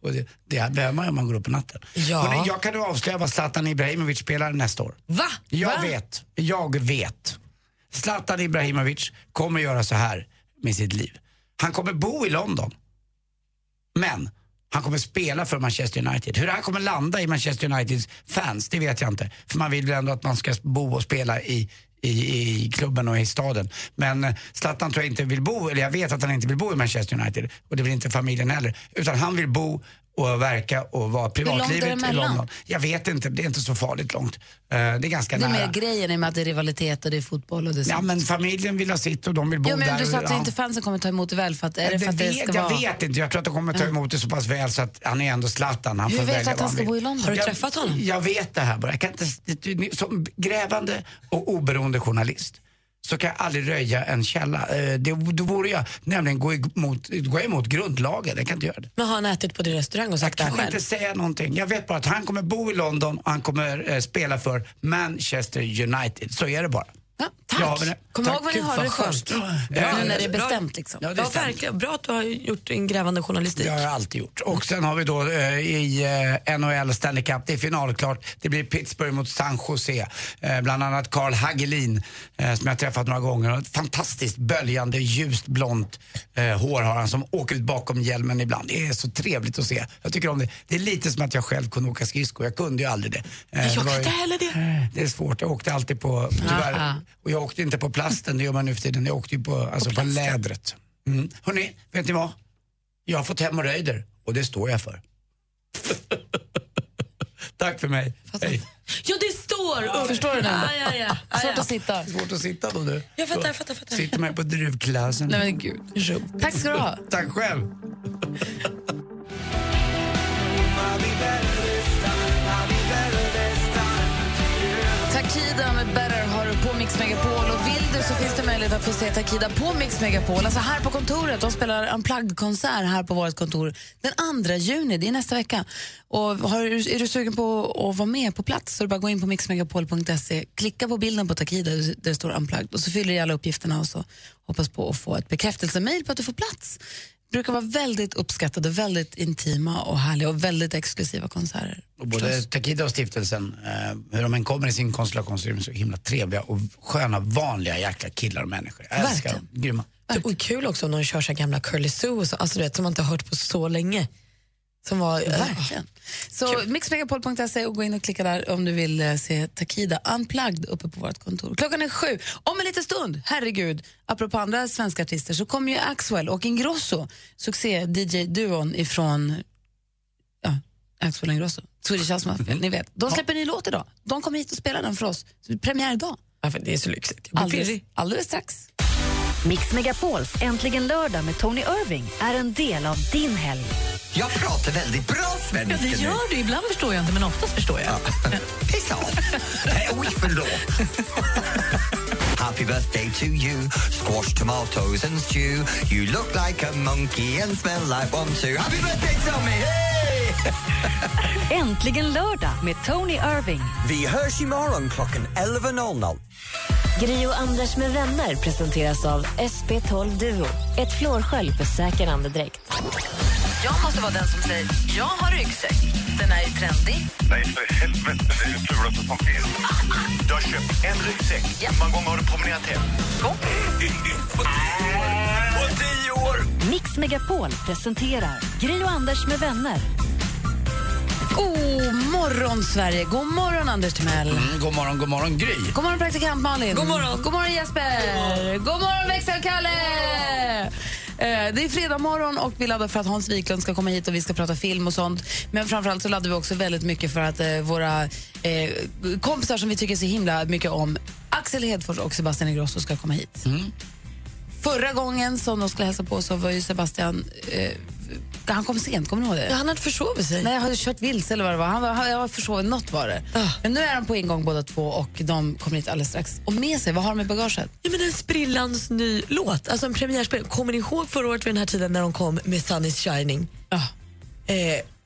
Speaker 3: och det, det här behöver man ju om man går upp på natten.
Speaker 1: Ja.
Speaker 3: Hörrni, jag kan nu avslöja vad Zlatan Ibrahimovic spelar nästa år.
Speaker 1: Va?
Speaker 3: Jag
Speaker 1: Va?
Speaker 3: vet. Jag vet. Zlatan Ibrahimovic kommer göra så här med sitt liv. Han kommer bo i London. Men han kommer spela för Manchester United. Hur han kommer landa i Manchester Uniteds fans, det vet jag inte. För man vill väl ändå att man ska bo och spela i, i, i klubben och i staden. Men eh, Zlatan tror jag inte vill bo, eller jag vet att han inte vill bo i Manchester United. Och det vill inte familjen heller. Utan han vill bo och verka och vara
Speaker 2: långt är
Speaker 3: privatlivet i
Speaker 2: däremellan?
Speaker 3: London. Jag vet inte, det är inte så farligt långt. Eh, Det är
Speaker 2: Det
Speaker 3: ganska
Speaker 2: är
Speaker 3: nära.
Speaker 2: mer grejen i och med att det är rivalitet och det är fotboll och det är
Speaker 3: Ja,
Speaker 2: sånt.
Speaker 3: men familjen vill ha sitt och de vill bo
Speaker 2: Jo, men
Speaker 3: där.
Speaker 2: du sa att
Speaker 3: ja.
Speaker 2: inte fansen kommer ta emot det väl för att, är det för att det
Speaker 3: vet,
Speaker 2: ska
Speaker 3: jag
Speaker 2: vara...
Speaker 3: vet inte, jag tror att de kommer ta emot det så pass väl så att han är ändå Zlatan. Han
Speaker 2: Hur
Speaker 3: får
Speaker 2: vet du
Speaker 3: välja
Speaker 2: att
Speaker 3: vad
Speaker 2: han ska
Speaker 3: vill.
Speaker 2: bo i London? Har du
Speaker 3: jag,
Speaker 2: träffat honom?
Speaker 3: Jag vet det här bara. Jag kan inte, det- det- som grävande och oberoende journalist så kan jag aldrig röja en källa. Eh, Det, då borde jag nämligen gå emot, gå emot grundlagen, jag kan inte göra det.
Speaker 1: Men har han ätit på din restaurang och sagt det
Speaker 3: Jag
Speaker 1: här
Speaker 3: kan
Speaker 1: själv?
Speaker 3: inte säga någonting. Jag vet bara att han kommer bo i London och han kommer eh, spela för Manchester United. Så är det bara.
Speaker 2: tack.
Speaker 3: Ja, men-
Speaker 2: Kom
Speaker 3: tack.
Speaker 2: ihåg vad ni
Speaker 3: Gud,
Speaker 2: hörde
Speaker 3: vad skönt.
Speaker 2: först.
Speaker 3: Ja,
Speaker 2: Bra
Speaker 3: eh,
Speaker 2: när det är
Speaker 3: bra.
Speaker 2: bestämt liksom.
Speaker 3: Ja, det
Speaker 1: Ja,
Speaker 3: stämmer.
Speaker 1: verkligen. Bra att du har gjort en grävande journalistik.
Speaker 3: Det har jag alltid gjort. Och sen har vi då eh, i eh, NHL Stanley Cup, det är finalklart. Det blir Pittsburgh mot San Jose. Eh, bland annat Carl Hagelin eh, som jag har träffat några gånger. Och Ett fantastiskt böljande ljust blont eh, hår har han som åker ut bakom hjälmen ibland. Det är så trevligt att se. Jag tycker om det. Det är lite som att jag själv kunde åka skridskor. Jag kunde ju aldrig det. Eh,
Speaker 1: jag
Speaker 3: det var
Speaker 1: kan
Speaker 3: ju-
Speaker 1: inte heller det.
Speaker 3: det är svårt. Jag åkte alltid på, tyvärr,
Speaker 1: Ah, ah.
Speaker 3: och jag åkte inte på plasten, det gör man nu för tiden. Jag åkte ju på, alltså, på, lädret. Mm. Hörrni, vet ni vad? Jag har fått hemorrojder och det står jag för. Tack för mig. Hej.
Speaker 1: Ja, det står upp.
Speaker 2: Förstår du den?
Speaker 1: Aj, aj, aj. Aj,
Speaker 2: Svårt
Speaker 1: aj.
Speaker 2: att sitta.
Speaker 3: Svårt att sitta då du.
Speaker 1: Jag fattar, jag fattar, jag fattar.
Speaker 3: Sitter man här på druvklasen.
Speaker 2: Nej, men gud.
Speaker 3: Rumpigt.
Speaker 2: Tack ska du ha.
Speaker 3: Tack själv.
Speaker 2: Takida med Better har du på Mix Megapol. Och vill du så finns det möjlighet att få se Takida på Mix Megapol. Alltså här på kontoret. De spelar en plaggkonsert här på vårt kontor den 2 juni. Det är nästa vecka. Och har, du- är du sugen på att vara med på plats så är det bara att gå in på mixmegapol.se. Klicka på bilden på Takida där det står unplugged. Och så fyller du i alla uppgifterna och så hoppas på att få ett bekräftelsemail på att du får plats. Brukar vara väldigt uppskattade, väldigt intima och härliga och väldigt exklusiva konserter.
Speaker 3: Och både Takida och stiftelsen, eh, hur de än kommer i sin konstellation så är de så himla trevliga och sköna, vanliga jäkla killar och människor. Jag älskar dem. Grymma.
Speaker 1: Och kul också om de kör så här gamla Curly Sue och så, alltså, du vet, som man inte har hört på så länge. Som var, eh,
Speaker 2: Verkligen. Så mixmegapol.se och gå in och klicka där om du vill eh, se Takida Unplugged uppe på vårt kontor. Klockan är sju. Om en liten stund, herregud, apropå andra svenska artister så kommer ju Axwell och Ingrosso, succé-DJ-duon ifrån ja, Axwell och Ingrosso, Swedish House Mafia, ni vet. De släpper en ny låt idag. De kommer hit och spelar den för oss. Så det är premiär idag.
Speaker 1: Ja, för det är så lyxigt.
Speaker 6: blir
Speaker 2: Alldeles,
Speaker 6: pirrig.
Speaker 2: alldeles strax.
Speaker 6: Mix Megapols Äntligen lördag med Tony Irving är en del av din helg.
Speaker 12: Jag pratar väldigt bra svenska
Speaker 6: Ja, det gör
Speaker 12: nu.
Speaker 6: du. Ibland
Speaker 12: förstår jag inte, men oftast förstår jag. Piss off! Nej, Oj, förlåt. Happy birthday to you Squash tomatoes and stew You look like a monkey and smell like one too Happy birthday, Tommy! Hey!
Speaker 6: Äntligen lördag med Tony Irving.
Speaker 12: Vi hörs imorgon klockan 11.00.
Speaker 13: Gri och Anders med vänner presenteras av SP12 Duo. Ett flårskölj för säker andedräkt.
Speaker 2: Jag måste vara den som säger, jag har ryggsäck. Den är ju trendig.
Speaker 14: Nej, för helvete. Det är det fulaste som finns. Du har köpt en ryggsäck. Hur många gånger har du promenerat hem?
Speaker 6: Två.
Speaker 14: På tio år. På tio år!
Speaker 6: Mix Megapol presenterar Gri och Anders med vänner.
Speaker 2: God morgon, Sverige. God morgon, Anders Timell.
Speaker 3: Mm, god morgon, god morgon Gry.
Speaker 2: God morgon, praktikant Malin.
Speaker 3: God morgon.
Speaker 2: God morgon, Jesper. God morgon, växelkalle. Eh, Det är fredag morgon och vi laddar för att Hans Wiklund ska komma hit och vi ska prata film och sånt. Men framförallt så laddar vi också väldigt mycket för att eh, våra eh, kompisar som vi tycker så himla mycket om, Axel Hedfors och Sebastian Ingrosso ska komma hit.
Speaker 3: Mm.
Speaker 2: Förra gången som de skulle hälsa på så var ju Sebastian eh, han kom sent, kommer ni ihåg det?
Speaker 1: Ja, han hade försovit sig.
Speaker 2: Nej, jag hade kört vilse eller vad det var. Han var, han- jag var försovit, något var det. Men nu är de på ingång båda två och de kommer hit alldeles strax. Och med sig, vad har de i bagaget?
Speaker 1: Ja, men en sprillans ny låt, alltså en premiärspel. Kommer ni ihåg förra året vid den här tiden när de kom med Sun is shining?
Speaker 2: Ja.
Speaker 1: Eh,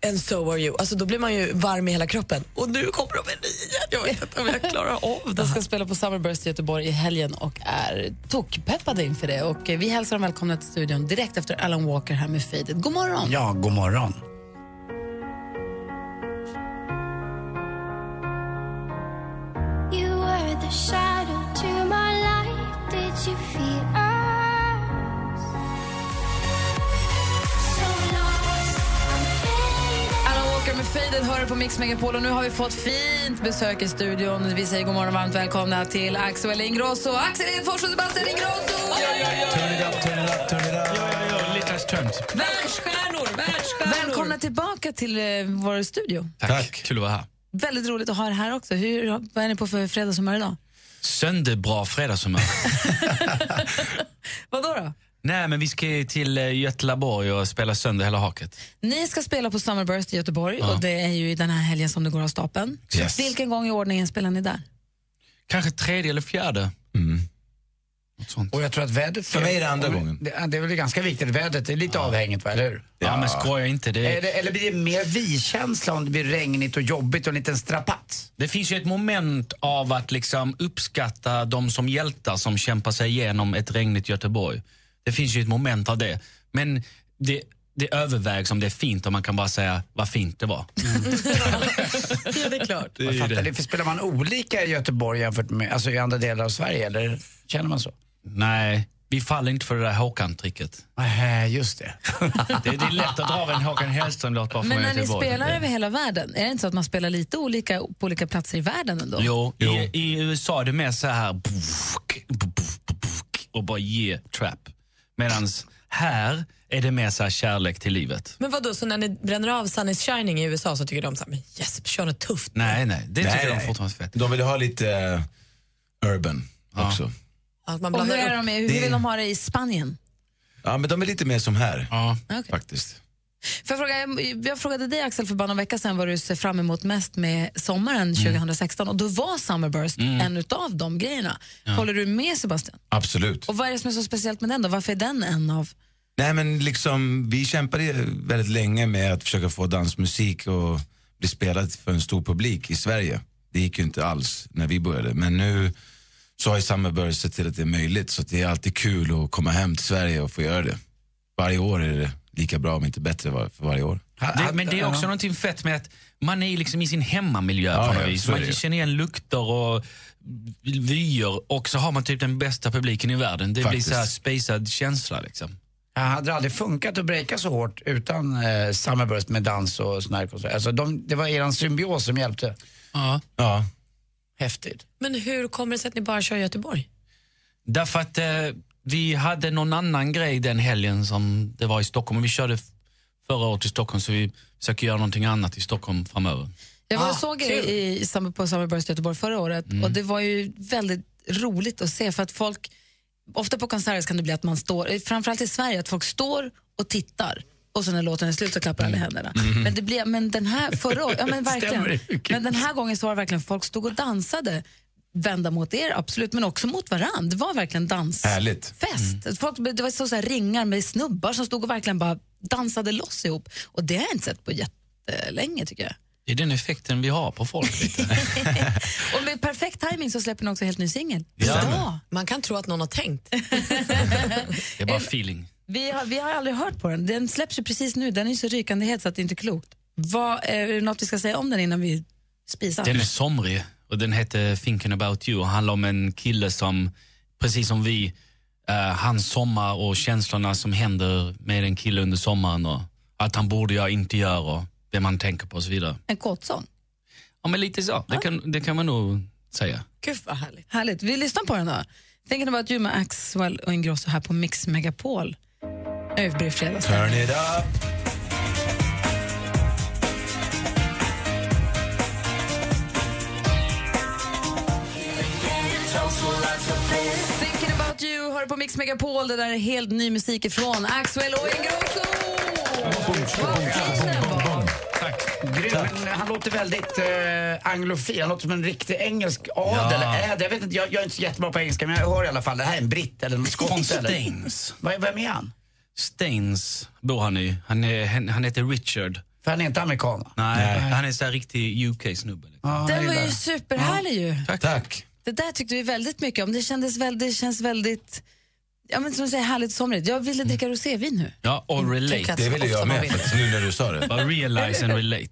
Speaker 1: and so are you. Alltså, då blir man ju varm i hela kroppen. Och nu kommer de med nya. Jag vet inte om jag klarar av det
Speaker 2: De
Speaker 1: här.
Speaker 2: ska spela på Summerburst i Göteborg i helgen och är tokpeppade inför det. Och eh, vi hälsar dem välkomna till studion direkt efter Alan Walker här med Faded. God morgon!
Speaker 3: Ja, god morgon.
Speaker 5: You were the shadow to my light. Did you feel us? So lost, I'm faded.
Speaker 2: Alan Walker med Faded hör på Mix Megapol och nu har vi fått fint besök i studion. Vi säger god morgon och varmt välkomna till Axel Ingrosso, Axel Hedfors och Sebastian Ingrosso!
Speaker 3: Turn it up, turn it up, turn it up. Ja, ja, ja. Lite tömt.
Speaker 2: Världsstjärnor, världsstjärnor! Välkomna tillbaka till eh, vår studio.
Speaker 4: Tack. Kul att vara här.
Speaker 2: Väldigt roligt att ha er här också. Hur, vad är ni på för fredagshumör idag?
Speaker 4: Sönderbra fredagshumör.
Speaker 2: Vad då, då?
Speaker 4: Nej, men vi ska ju till eh, Göteborg och spela sönder hela haket.
Speaker 2: Ni ska spela på Summerburst i Göteborg
Speaker 4: Ja.
Speaker 2: och det är ju i den här helgen som det går av stapeln.
Speaker 4: Yes.
Speaker 2: Vilken gång i ordningen spelar ni där?
Speaker 4: Kanske tredje eller fjärde.
Speaker 3: Och jag tror att vädret...
Speaker 4: För mig är det andra gången.
Speaker 3: Det, det är väl ganska viktigt. Vädret är lite avhängigt, va? eller hur?
Speaker 4: Ja, men skoja inte. Det,
Speaker 3: Eller, eller blir det mer vi-känsla om det blir regnigt och jobbigt och en liten strapats?
Speaker 4: Det finns ju ett moment av att liksom uppskatta de som hjältar som kämpar sig igenom ett regnigt Göteborg. Det finns ju ett moment av det. Men det, det övervägs om det är fint och man kan bara säga vad fint det var.
Speaker 1: Ja, det är klart.
Speaker 4: Det är
Speaker 3: Man
Speaker 4: ju
Speaker 3: fattar
Speaker 4: det.
Speaker 3: det. För spelar man olika i Göteborg jämfört med alltså i andra delar av Sverige? Eller känner man så?
Speaker 4: Nej, vi faller inte för det där Håkan-tricket.
Speaker 3: Nej, just det.
Speaker 4: det. Det är lätt att dra av en Håkan Hellström-låt bara för
Speaker 2: Men
Speaker 4: mig
Speaker 2: när ni
Speaker 4: Göteborg.
Speaker 2: spelar över hela världen, är det inte så att man spelar lite olika på olika platser i världen ändå?
Speaker 4: Jo, I, i USA är det mer så här och bara ge trap. Medan här är det mer så här kärlek till livet.
Speaker 1: Men vad då så när ni bränner av Sun is shining i USA så tycker de så här, men yes, kör något tufft.
Speaker 4: Nej, nej. Det
Speaker 15: Nej,
Speaker 4: tycker
Speaker 15: nej.
Speaker 4: de fortfarande är fett.
Speaker 15: De vill ha lite eh, urban också.
Speaker 1: Att man
Speaker 2: Och hur,
Speaker 1: blandar
Speaker 2: är de,
Speaker 1: upp.
Speaker 2: i- hur
Speaker 15: Det-
Speaker 2: vill de ha det i Spanien?
Speaker 15: Ja, men de är lite mer som här
Speaker 2: Okej.
Speaker 15: faktiskt.
Speaker 2: För jag, fråga, jag frågade dig Axel för bara någon vecka sedan vad du ser fram emot mest med sommaren 2016 och då var Summerburst
Speaker 15: Mm.
Speaker 2: en utav de grejerna.
Speaker 15: Ja.
Speaker 2: Håller du med Sebastian?
Speaker 15: Absolut.
Speaker 2: Och vad är det som är så speciellt med den då? Varför är den en av?
Speaker 15: Nej, men liksom, vi kämpade väldigt länge med att försöka få dansmusik och bli spelad för en stor publik i Sverige. Det gick ju inte alls när vi började, men nu så har ju Summerburst sett till att det är möjligt så att det är alltid kul att komma hem till Sverige och få göra det. Varje år är det lika bra om inte bättre var- för varje år.
Speaker 4: Det, men det är också någonting fett med att man är liksom i sin hemmamiljö
Speaker 15: Ja,
Speaker 4: på
Speaker 15: ja,
Speaker 4: något vis.
Speaker 15: så är det
Speaker 4: Man
Speaker 15: ju.
Speaker 4: känner igen lukter och vyer och så har man typ den bästa publiken i världen. Det
Speaker 3: Faktiskt.
Speaker 4: blir så här spacad känsla liksom.
Speaker 3: Jag hade aldrig funkat att breaka så hårt utan eh, Summerburst med dans och sån här konserter. Alltså de, det var eran symbios som hjälpte.
Speaker 4: Ja.
Speaker 15: ja.
Speaker 3: Häftigt.
Speaker 1: Men hur kommer det sig att ni bara kör Göteborg?
Speaker 4: Därför att eh, vi hade någon annan grej den helgen som det var i Stockholm. Och vi körde f- förra året i Stockholm så vi försöker göra någonting annat i Stockholm framöver.
Speaker 2: Jag var och såg er i, i, summer- på Summerburst i Göteborg förra året och det var ju väldigt roligt att se för att folk, ofta på konserter kan det bli att man står, eh, framförallt i Sverige, att folk står och tittar och sen när låten är slut så klappar alla händerna.
Speaker 1: Mhm.
Speaker 2: Men, det blev, men den här förra året, ja men verkligen.
Speaker 1: Stämmer,
Speaker 2: Men den här gången så var det verkligen folk stod och dansade, vända mot er absolut, men också mot varandra. Det var verkligen dans.
Speaker 15: Härligt.
Speaker 2: Fest. Folk, det var så, så här ringar med snubbar som stod och verkligen bara dansade loss ihop. Och det har jag inte sett på jättelänge tycker jag.
Speaker 4: Det är den effekten vi har på folk. lite.
Speaker 2: Och med perfekt timing så släpper ni också helt ny singel.
Speaker 4: Ja.
Speaker 2: Idag.
Speaker 1: Man kan tro att någon har tänkt.
Speaker 4: Det är bara feeling.
Speaker 2: Vi har, vi har aldrig hört på den. Den släpps ju precis nu. Den är ju så rykande het så att det inte är klokt. Vad, eh, är det något vi ska säga om den innan vi spisar?
Speaker 4: Den är somrig och den heter Thinking about you och handlar om en kille som, precis som vi, eh, hans sommar och känslorna som händer med en kille under sommaren och att han borde göra, inte göra och det man tänker på och så vidare.
Speaker 2: En kåtsång.
Speaker 4: Ja, men lite så. Det kan, det kan man nog säga.
Speaker 1: Gud vad härligt.
Speaker 2: Härligt. Vi lyssnar på den då. Thinking about you med Axwell och Ingrosso här på Mix Megapol. Nu blir det fredags.
Speaker 15: Turn it up!
Speaker 2: Thinking about you hör på Mix Megapol. Det där är helt ny musik ifrån Axwell och Ingrosso.
Speaker 3: Grym. men Han låter väldigt eh, anglofil. Han låter som en riktig engelsk adel.
Speaker 4: Ja.
Speaker 3: Ädel. Jag, vet inte, jag, jag är inte så jättebra på engelska men jag hör i alla fall. Det här är en britt eller en
Speaker 4: Från
Speaker 3: skott. Eller.
Speaker 4: Staines.
Speaker 3: Vad- Vem är han?
Speaker 4: Staines bor han i. Han, är, han, han heter Richard.
Speaker 3: För han är inte amerikan.
Speaker 4: Nej, han är så här riktig UK-snubbe.
Speaker 2: Den var ju superhärlig ju.
Speaker 4: Tack.
Speaker 2: Det där tyckte vi väldigt mycket om. Det, kändes väl, det känns väldigt ja, men som du säger, härligt somrigt. Jag
Speaker 4: Mm.
Speaker 2: ville dricka rosévin nu.
Speaker 4: Ja, och relate.
Speaker 2: Mm, Tycker att Det ville så jag ofta med, man vill. faktiskt,
Speaker 15: nu när du sa det.
Speaker 4: Bara realize and relate.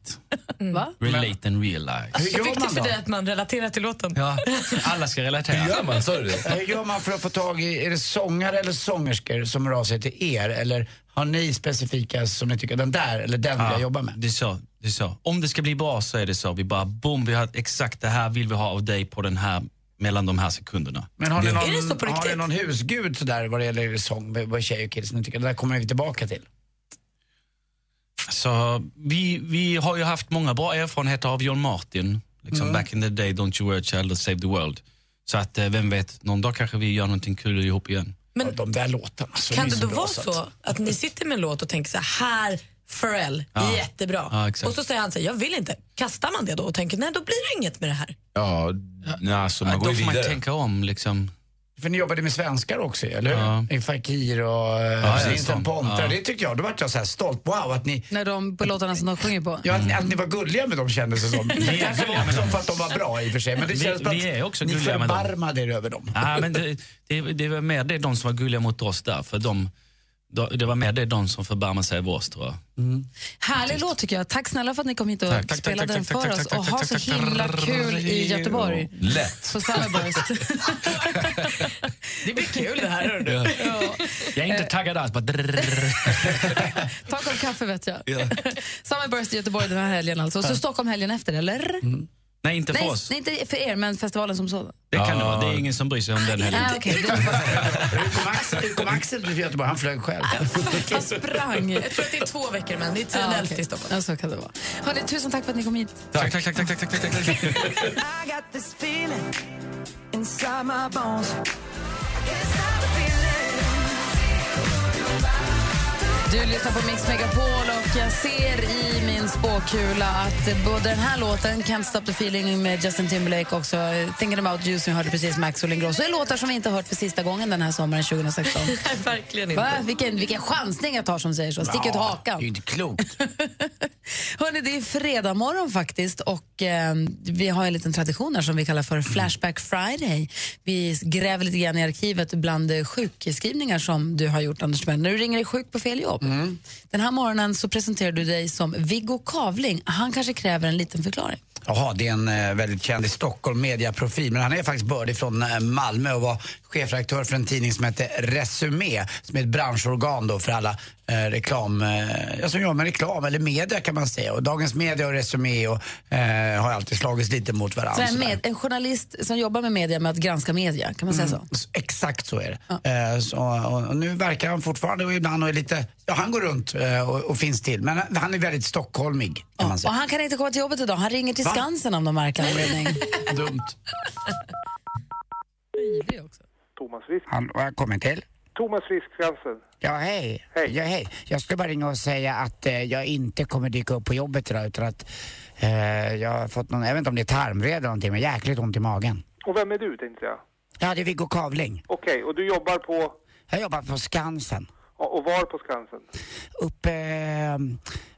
Speaker 4: Mm.
Speaker 2: Va?
Speaker 4: Relate and realize.
Speaker 1: Alltså, det är
Speaker 2: typ
Speaker 1: viktigt för dig att man relaterar till låten.
Speaker 4: Ja, alla ska relatera.
Speaker 3: Eh, Hur gör man för att få tag i, är det sångare eller sångerskor som hör av sig till er? Eller har ni specifika som ni tycker, den där eller den vill jag jobba med?
Speaker 4: Det är, så, det är så. Om det ska bli bra så är det så. Vi bara, boom, vi har exakt det här vill vi ha av dig på den här, mellan de här sekunderna.
Speaker 3: Men har ni någon, har ni någon husgud sådär vad det gäller sång med med tjejer och killar som ni tycker, det där kommer vi tillbaka till?
Speaker 4: Så vi, vi har ju haft många bra erfarenheter av John Martin. Liksom
Speaker 3: Mm.
Speaker 4: Back in the day, Don't you worry child, let's save the world. Så att eh, vem vet, någon dag kanske vi gör någonting kul ihop igen.
Speaker 1: Men
Speaker 3: ja, de där låtarna.
Speaker 1: kan det då vara så att ni sitter med en låt och tänker så här, här Pharrell,
Speaker 4: Ja.
Speaker 1: jättebra.
Speaker 4: Ja, exakt.
Speaker 1: och så säger han så här, jag vill inte. Kastar man det då och tänker, nej då blir det inget med det här.
Speaker 15: Ja, nej, alltså man
Speaker 4: Ja,
Speaker 15: går
Speaker 4: då
Speaker 15: ju
Speaker 4: får man
Speaker 15: vidare.
Speaker 4: tänka om liksom.
Speaker 3: För ni jobbade med svenskar också eller
Speaker 4: Ja.
Speaker 3: hur? I Fakir och eh,
Speaker 4: ja,
Speaker 3: ja,
Speaker 4: det är sant.
Speaker 3: Pontare.
Speaker 4: Ja.
Speaker 3: Det tyckte jag, då vart jag så här stolt. Wow, att ni
Speaker 2: När de, på låtarna som de sjunger på.
Speaker 3: Ja, att, att ni var gulliga med dem kändes det som. Det kanske var med dem för att de var bra i och för sig. Men det
Speaker 4: Mm. Vi-
Speaker 3: kändes bara
Speaker 4: vi
Speaker 3: att
Speaker 4: är också
Speaker 3: ni
Speaker 4: gulliga med dem.
Speaker 3: förbarmade er över dem.
Speaker 4: Ja, men det, det, det var mer det de som var gulliga mot oss där. För de, de- det var mer det de som förbarmade sig över oss tror jag.
Speaker 2: Härlig låt tycker jag. Tack snälla för att ni kom hit och
Speaker 4: Tack, tack,
Speaker 2: spelade
Speaker 4: tack,
Speaker 2: den
Speaker 4: tack,
Speaker 2: för
Speaker 4: tack,
Speaker 2: oss.
Speaker 4: tack,
Speaker 2: och
Speaker 4: tack,
Speaker 2: ha
Speaker 4: tack,
Speaker 2: så
Speaker 4: tack,
Speaker 2: himla kul i Göteborg.
Speaker 15: Lätt.
Speaker 2: På Summerburst.
Speaker 1: Det blir kul det här. hörru.
Speaker 4: Ja. Jag är inte taggad alls. Bara drrrr.
Speaker 2: Ta en kopp kaffe vet jag.
Speaker 4: Ja.
Speaker 2: Summerburst i Göteborg den här helgen alltså. Och så Stockholm helgen efter, eller?
Speaker 4: Nej, inte för
Speaker 2: nej,
Speaker 4: oss.
Speaker 2: nej, inte för er, men festivalen som sådan.
Speaker 4: Det kan det vara. Det är ingen som bryr sig om den heller.
Speaker 2: Ah, okej.
Speaker 3: Hur kom Axel till Göteborg? Han flög själv.
Speaker 2: Han sprang.
Speaker 1: Jag tror att det är två veckor, men det är 10 11 i Stockholm.
Speaker 2: Ja, så kan det vara. Hörrni, tusen tack för att ni kom hit.
Speaker 4: Tack, tack, tack, tack, tack, tack, tack.
Speaker 10: I got this feeling inside my bones.
Speaker 2: Du lyssnar på Mix Megapol och jag ser i min spåkula att både den här låten, Can't stop the feeling med Justin Timberlake också, eh, Thinking about you som jag hörde precis med Axel Ingrosso, är låtar som vi inte har hört för sista gången den här sommaren 2016.
Speaker 1: Verkligen
Speaker 2: Va? Vilken, vilken chansning jag tar som säger så. Stick ut hakan.
Speaker 3: Det är ju inte klokt.
Speaker 2: Hörrni, det är fredag morgon faktiskt och eh, vi har en liten tradition här som vi kallar för Flashback Friday. Vi gräver lite grann i arkivet bland eh, sjukskrivningar som du har gjort Anders Timell. När du ringer dig sjuk på fel jobb.
Speaker 3: Mm.
Speaker 2: Den här morgonen så presenterar du dig som Viggo Kavling. Han kanske kräver en liten förklaring.
Speaker 3: Jaha, det är en eh, väldigt känd i Stockholm mediaprofil, men han är faktiskt bördig från eh, Malmö och var chefredaktör för en tidning som heter Resumé, som är ett branschorgan då för alla eh, reklam, eh, ja, som jobbar med reklam eller media kan man säga. Och Dagens Media och Resumé och, eh, har alltid slagits lite mot
Speaker 2: Så
Speaker 3: varandra.
Speaker 2: en,
Speaker 3: sådär.
Speaker 2: med, en journalist som jobbar med media med att granska media, kan man säga så?
Speaker 3: Mm. S- Exakt så är det. Eh, så, och, och nu verkar han fortfarande och ibland och är lite, ja han går runt eh, och, och finns till. Men han- han är väldigt stockholmig kan man
Speaker 2: Och
Speaker 3: säga.
Speaker 2: han kan inte komma till jobbet idag. Han ringer till
Speaker 3: Va?
Speaker 2: Skansen av någon märklig anledning.
Speaker 3: Dumt.
Speaker 16: Thomas Frisk.
Speaker 3: Han, och jag kommer till.
Speaker 16: Thomas Frisk, Skansen.
Speaker 3: Ja, hej. Ja, hej. Jag skulle bara ringa och säga att eh, jag inte kommer dyka upp på jobbet idag utan att eh, jag har fått någon, jag vet inte om det är tarmvred eller någonting, men jäkligt ont i magen.
Speaker 16: Och vem är du, tänkte jag?
Speaker 3: Ja, det är Viggo Kavling.
Speaker 16: Okej, och du jobbar på...
Speaker 3: Jag jobbar på Skansen.
Speaker 16: ja, Och var på Skansen?
Speaker 3: Uppe... Eh,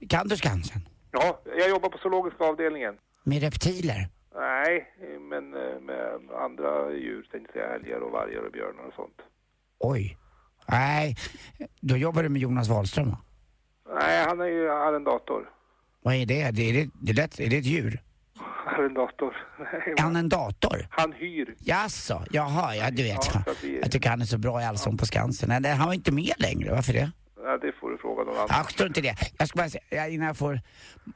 Speaker 3: kan du Skansen?
Speaker 16: Ja, jag jobbar på zoologiska avdelningen.
Speaker 3: Med reptiler?
Speaker 16: Nej, men eh, med andra djur, tänkte jag. Älgar och vargar och björnar och sånt.
Speaker 3: Oj. Nej, då jobbar du med Jonas Wahlström va?
Speaker 16: Nej, han är ju arrendator.
Speaker 3: Vad är det? det är, det, det är, lätt, är det ett djur?
Speaker 16: Arrendator. Nej,
Speaker 3: Är han en dator?
Speaker 16: Han hyr.
Speaker 3: Jaså, jaha, ja du vet.
Speaker 16: Ja, så att vi-
Speaker 3: Jag tycker han är så bra i Allsång på Skansen. Nej, nej, han var inte med längre, varför det?
Speaker 16: Ja, det får du fråga någon annan.
Speaker 3: Ja, strunt i det. Jag ska bara säga, ja, innan jag får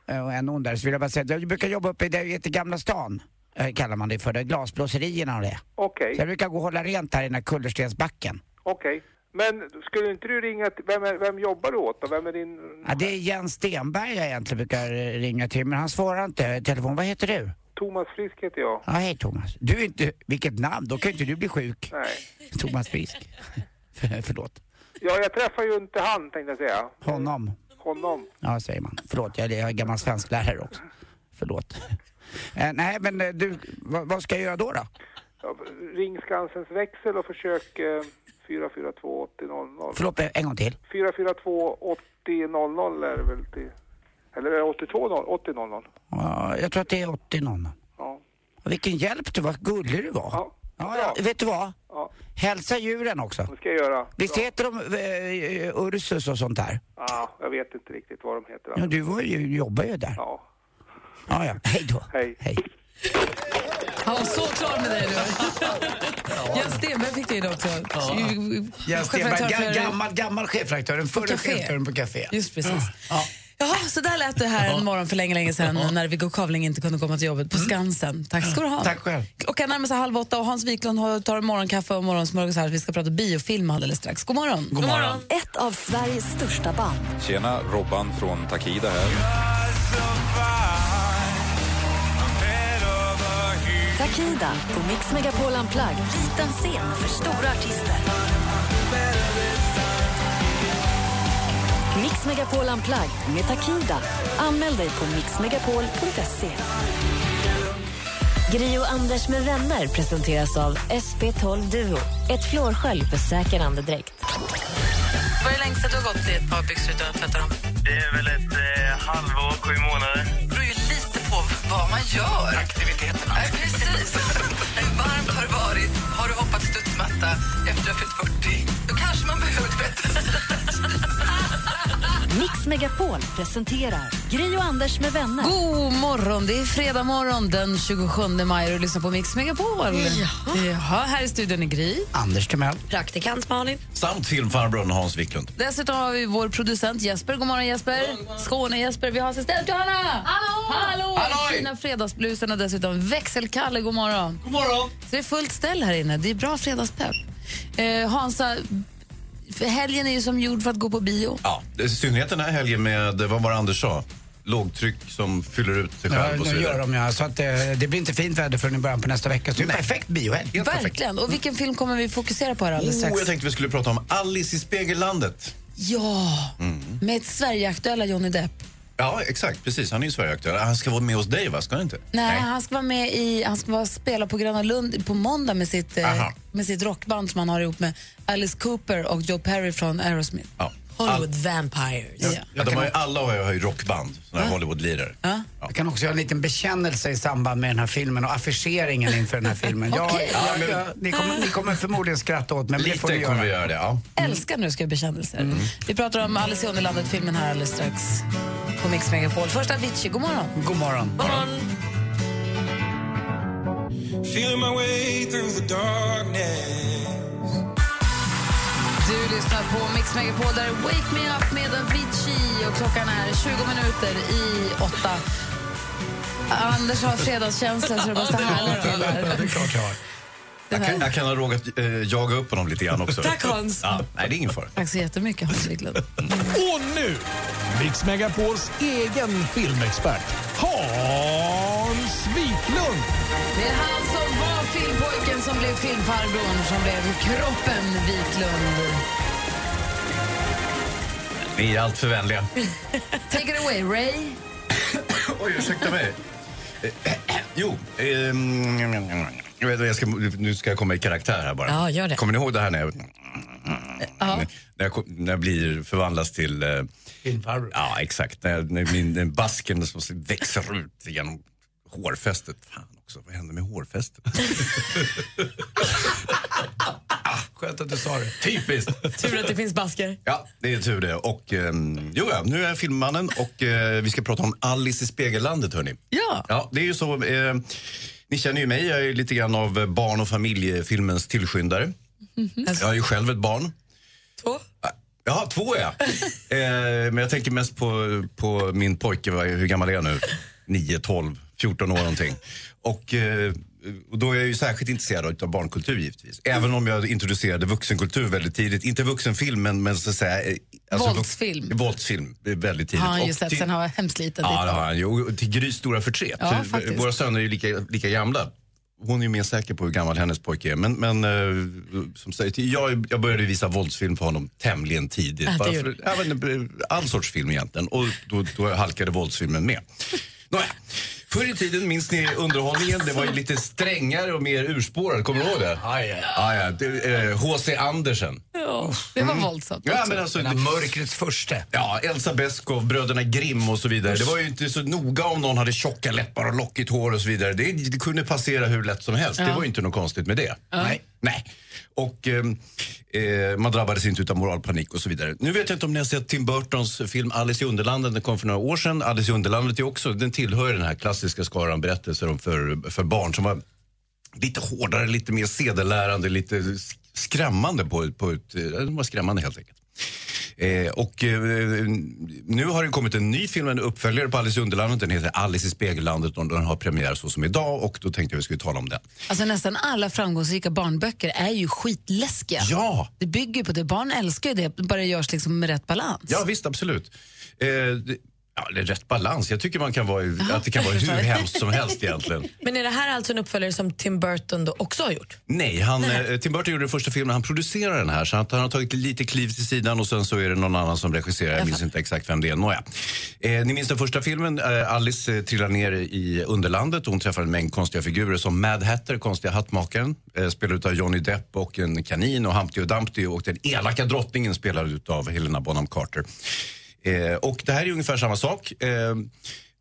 Speaker 3: äh, en ond där så vill jag bara säga att jag brukar jobba uppe i det som heter Gamla stan. eh, Kallar man det för, det är glasblåserierna och det.
Speaker 16: Okej,
Speaker 3: Så jag brukar gå och hålla rent här i den här kullerstensbacken.
Speaker 16: okej. Men skulle inte du ringa... till- Vem, är, vem jobbar du åt då? Vem är din...
Speaker 3: Ja, det är Jens Stenberg jag egentligen brukar eh, ringa till, men han svarar inte i telefon. Vad heter du?
Speaker 16: Thomas Frisk heter jag.
Speaker 3: Ja, hej Thomas. Du är inte, vilket namn, då kan ju inte du bli sjuk.
Speaker 16: Nej.
Speaker 3: Thomas Frisk. För, förlåt.
Speaker 16: Ja, jag träffar ju inte han, tänkte jag säga.
Speaker 3: Honom.
Speaker 16: Honom.
Speaker 3: Ja, säger man. Förlåt, jag är, jag är gammal svensklärare också. Förlåt. Eh, nej, men eh, du, vad, vad ska jag göra då? då?
Speaker 16: Ja, ring Skansens växel och försök eh, 442 80 00.
Speaker 3: Förlåt, eh, en gång till.
Speaker 16: 442 80 00 är det väl till... Eller är det 82 0, 80 00?
Speaker 3: Ja, jag tror att det är 80 någon.
Speaker 16: Ja.
Speaker 3: Vilken hjälp du var, gullig du var. Ja, ja, vet du vad?
Speaker 16: Ja.
Speaker 3: Hälsa djuren också.
Speaker 16: Det ska jag göra.
Speaker 3: Visst heter de eh, Ursus och sånt där?
Speaker 16: Ja, jag vet inte riktigt vad de heter.
Speaker 3: Ja, du var ju, jobbar ju där.
Speaker 16: Ja.
Speaker 3: Ja, ja. Hej då.
Speaker 16: Hej.
Speaker 3: Hej.
Speaker 2: Han var så klar med dig nu. Jens Stenberg fick det idag också.
Speaker 3: Jens Stenberg, ga- gammal, gammal chefredaktör. Den förre
Speaker 2: café.
Speaker 3: chefredaktören på café. Mm.
Speaker 2: Just precis.
Speaker 3: Ja.
Speaker 2: Jaha, så där lät det här en morgon för länge, länge sedan när Viggo Kavling inte kunde komma till jobbet på Skansen. Tack ska du ha.
Speaker 3: Tack själv.
Speaker 2: Klockan närmar sig halv åtta och Hans Wiklund har- tar morgonkaffe och morgonsmörgås här. Vi ska prata biofilm alldeles strax. God morgon.
Speaker 7: God morgon.
Speaker 2: Ett av Sveriges största band.
Speaker 7: Tjena, Robban från Takida här.
Speaker 6: Takida på Mix Megapol Unplugged. Liten scen för stora artister. Mix Megapol Unplugged med Takida. Anmäl dig på mixmegapol.se.
Speaker 13: E. Gri och Anders med vänner presenteras av SP12 Duo. Ett flårskölj för säker andedräkt.
Speaker 2: Vad är det längsta du har gått i ett par byxor utan att tvätta dem?
Speaker 17: Det är väl ett eh, halvår, sju månader.
Speaker 2: Det beror ju lite på vad man gör.
Speaker 3: Aktiviteterna.
Speaker 2: Nej, precis. Hur varmt har det varit? Har du hoppat studsmatta efter att ha fyllt 40? Då kanske man behöver tvätta
Speaker 6: Mix Megapol presenterar Gri och Anders med vänner.
Speaker 2: God morgon, det är fredag morgon den 27 maj och du lyssnar på Mix Megapol.
Speaker 1: Ja.
Speaker 2: Jaha, här i studion är Gry.
Speaker 3: Anders Timell.
Speaker 1: Praktikant Malin.
Speaker 18: Samt filmfarbrorn Hans Wiklund.
Speaker 2: Dessutom har vi vår producent Jesper. God morgon Jesper. Skåne-Jesper. Vi har assistent Johanna. Hallå! Hallå!
Speaker 9: Halloj!
Speaker 2: Fina fredagsblusen och dessutom växelkalle. God morgon.
Speaker 9: God morgon.
Speaker 2: Så det är fullt ställ här inne. Det är bra fredagspepp. Eh, Hansa, för helgen är ju som gjord för att gå på bio.
Speaker 18: Ja, i synnerhet den här helgen med, vad var det Anders sa? Lågtryck som fyller ut sig
Speaker 3: Ja,
Speaker 18: själv och så
Speaker 3: nu gör
Speaker 18: vidare.
Speaker 3: de ja. Så att, eh, det blir inte fint väder förrän i början på nästa vecka. Så det är en perfekt biohelg.
Speaker 2: Verkligen. Och vilken film kommer vi fokusera på här alldeles
Speaker 18: Oh,
Speaker 2: strax?
Speaker 18: jag tänkte vi skulle prata om Alice i Spegellandet. Mm.
Speaker 2: Ja, med ett Sverigeaktuella Johnny Depp.
Speaker 18: Ja, exakt. Precis. Han är ju Sverigeaktuell. Han ska vara med hos dig, va? Ska han inte?
Speaker 2: Nej, han ska vara med i, han ska vara spela på Gröna Lund på måndag med sitt, eh,
Speaker 18: Aha.
Speaker 2: med sitt rockband som han har ihop med Alice Cooper och Joe Perry från Aerosmith.
Speaker 18: Ja.
Speaker 1: Hollywood Vampires.
Speaker 2: Ja.
Speaker 18: Ja, de har ju, alla har ju- har ju rockband, såna här Hollywood-lirare.
Speaker 3: Jag kan också göra en liten bekännelse i samband med den här filmen och affischeringen inför den här filmen. Jag,
Speaker 2: Okej.
Speaker 3: jag,
Speaker 2: Ja, men-
Speaker 3: jag, ni, kommer, ni kommer förmodligen skratta åt mig, men det får ni
Speaker 18: Lite
Speaker 3: göra.
Speaker 18: kommer vi göra det, ja.
Speaker 2: Älskar nu ska jag bekännelser.
Speaker 18: Mm.
Speaker 2: Vi pratar om Alice i Underlandet-filmen här alldeles strax på Mix Megapol. Först Avicii, god morgon.
Speaker 3: God morgon.
Speaker 9: Feeling my way through the darkness.
Speaker 2: Du lyssnar på Mix Megapol där Wake Me Up med Avicii och klockan är 20 minuter i åtta. Anders har fredagskänsla så det måste härligt.
Speaker 18: det är klart jag har. Jag kan, jag kan ha rågat eh, jaga upp honom lite grann också.
Speaker 2: Tack, Hans.
Speaker 18: Ja, nej, det är ingen fara.
Speaker 2: Tack så jättemycket, Hans Wiklund.
Speaker 19: Mm. Och nu, Mix Megapols egen filmexpert Hans Wiklund.
Speaker 2: Det är han som var filmpojken som blev filmfarbrorn som blev kroppen Wiklund.
Speaker 18: Ni är allt för vänliga.
Speaker 2: Take it away, Ray.
Speaker 18: Oj, ursäkta mig. Eh, jo, ehm, jag vet, jag ska, nu ska jag komma i karaktär här bara.
Speaker 1: Ja, gör det.
Speaker 18: Kommer ni ihåg det här när jag,
Speaker 2: Ja.
Speaker 18: när jag, kom- när jag blir, förvandlas till... eh,
Speaker 3: Filmfarbror.
Speaker 18: Ja, exakt. När, jag- när min den basken som växer ut genom hårfästet. Fan också, vad hände med hårfästet?
Speaker 3: Ah, Skönt att du sa det.
Speaker 18: Typiskt!
Speaker 1: Tur att det finns basker.
Speaker 18: Ja, det är tur det. Och, ehm, jo, ja, nu är jag filmmannen och eh, vi ska prata om Alice i Spegellandet, hörni.
Speaker 2: Ja.
Speaker 18: Ja, det är ju så. Eh, ni känner ju mig. Jag är lite grann av eh, barn och familjefilmens tillskyndare.
Speaker 1: Mm-hmm.
Speaker 18: Jag är ju själv ett barn.
Speaker 1: Två?
Speaker 18: Ja, två är jag. eh, men jag tänker mest på, på min pojke. va? Hur gammal är jag nu? 9, 12, 14 år någonting. Och, eh, och då är jag ju särskilt intresserad av barnkultur givetvis.
Speaker 2: Mm.
Speaker 18: Även om jag introducerade vuxenkultur väldigt tidigt. Inte vuxenfilm, men, men så att säga... eh, vux-
Speaker 2: Våldsfilm.
Speaker 18: Våldsfilm, eh, väldigt tidigt.
Speaker 2: Har han ju
Speaker 18: Och
Speaker 2: sett
Speaker 18: till-
Speaker 2: sen han var hemskt liten.
Speaker 18: Ja, det har han ju. Och Till Grys stora förtret.
Speaker 2: Ja,
Speaker 18: Så
Speaker 2: faktiskt.
Speaker 18: Våra söner är ju lika, lika gamla. Hon är ju mer säker på hur gammal hennes pojke är. Men, men eh, som sagt, jag, jag började visa våldsfilm för honom tämligen tidigt.
Speaker 9: Ja, det
Speaker 18: Bara
Speaker 9: gjorde
Speaker 18: för, ja, men, eh, all sorts film egentligen. Och då, då halkade våldsfilmen med. Nåja, förr i tiden, minns ni underhållningen? Det var ju lite strängare och mer urspårad. Kommer du ihåg det? Ja, ja. Det, eh, H.C. Andersen.
Speaker 2: Ja, det var
Speaker 18: Mm.
Speaker 2: våldsamt.
Speaker 18: Ja,
Speaker 2: också.
Speaker 18: men alltså,
Speaker 3: Den här mörkrets första.
Speaker 18: Ja, Elsa Beskow, bröderna Grimm och så vidare. Det var ju inte så noga om någon hade tjocka läppar och lockigt hår och så vidare. Det, det kunde passera hur lätt som helst. Det
Speaker 9: Ja.
Speaker 18: var ju inte något konstigt med det.
Speaker 9: Ja. Nej.
Speaker 18: Nej. Och ehm, eh, man drabbades inte av moralpanik och så vidare. Nu vet jag inte om ni har sett Tim Burtons film Alice i Underlandet. Den kom för några år sedan. Alice i Underlandet är också, den tillhör den här klassiska skaran berättelser om för, för barn som var lite hårdare, lite mer sedelärande, lite sk- skrämmande på, ett- på ett... eh, Den var skrämmande helt enkelt. Eh, och eh, nu har det kommit en ny film, en uppföljare på Alice i Underlandet. Den heter Alice i Spegellandet och den har premiär så som idag och då tänkte jag vi skulle tala om den.
Speaker 2: Alltså nästan alla framgångsrika barnböcker är ju skitläskiga.
Speaker 18: Ja!
Speaker 2: Det bygger på det. Barn älskar ju det, bara det görs liksom med rätt balans.
Speaker 18: Ja, visst, absolut. Eh, det, ja, det är rätt balans. Jag tycker man kan vara, i- att det kan vara hur hemskt som helst egentligen.
Speaker 1: Men är det här alltså en uppföljare som Tim Burton då också har gjort?
Speaker 18: Nej, han, eh, Tim Burton gjorde den första filmen, han producerar den här så att han har tagit lite kliv till sidan och sen så är det någon annan som regisserar, jag minns inte exakt vem det är. Nåja. Eh, ni minns den första filmen, eh, Alice eh, trillar ner i underlandet och hon träffar en mängd konstiga figurer som Mad Hatter, konstiga hattmakaren, eh, spelad av Johnny Depp och en kanin och Humpty och Dumpty och den elaka drottningen spelad av Helena Bonham Carter. Eh, och det här är ungefär samma sak. Eh,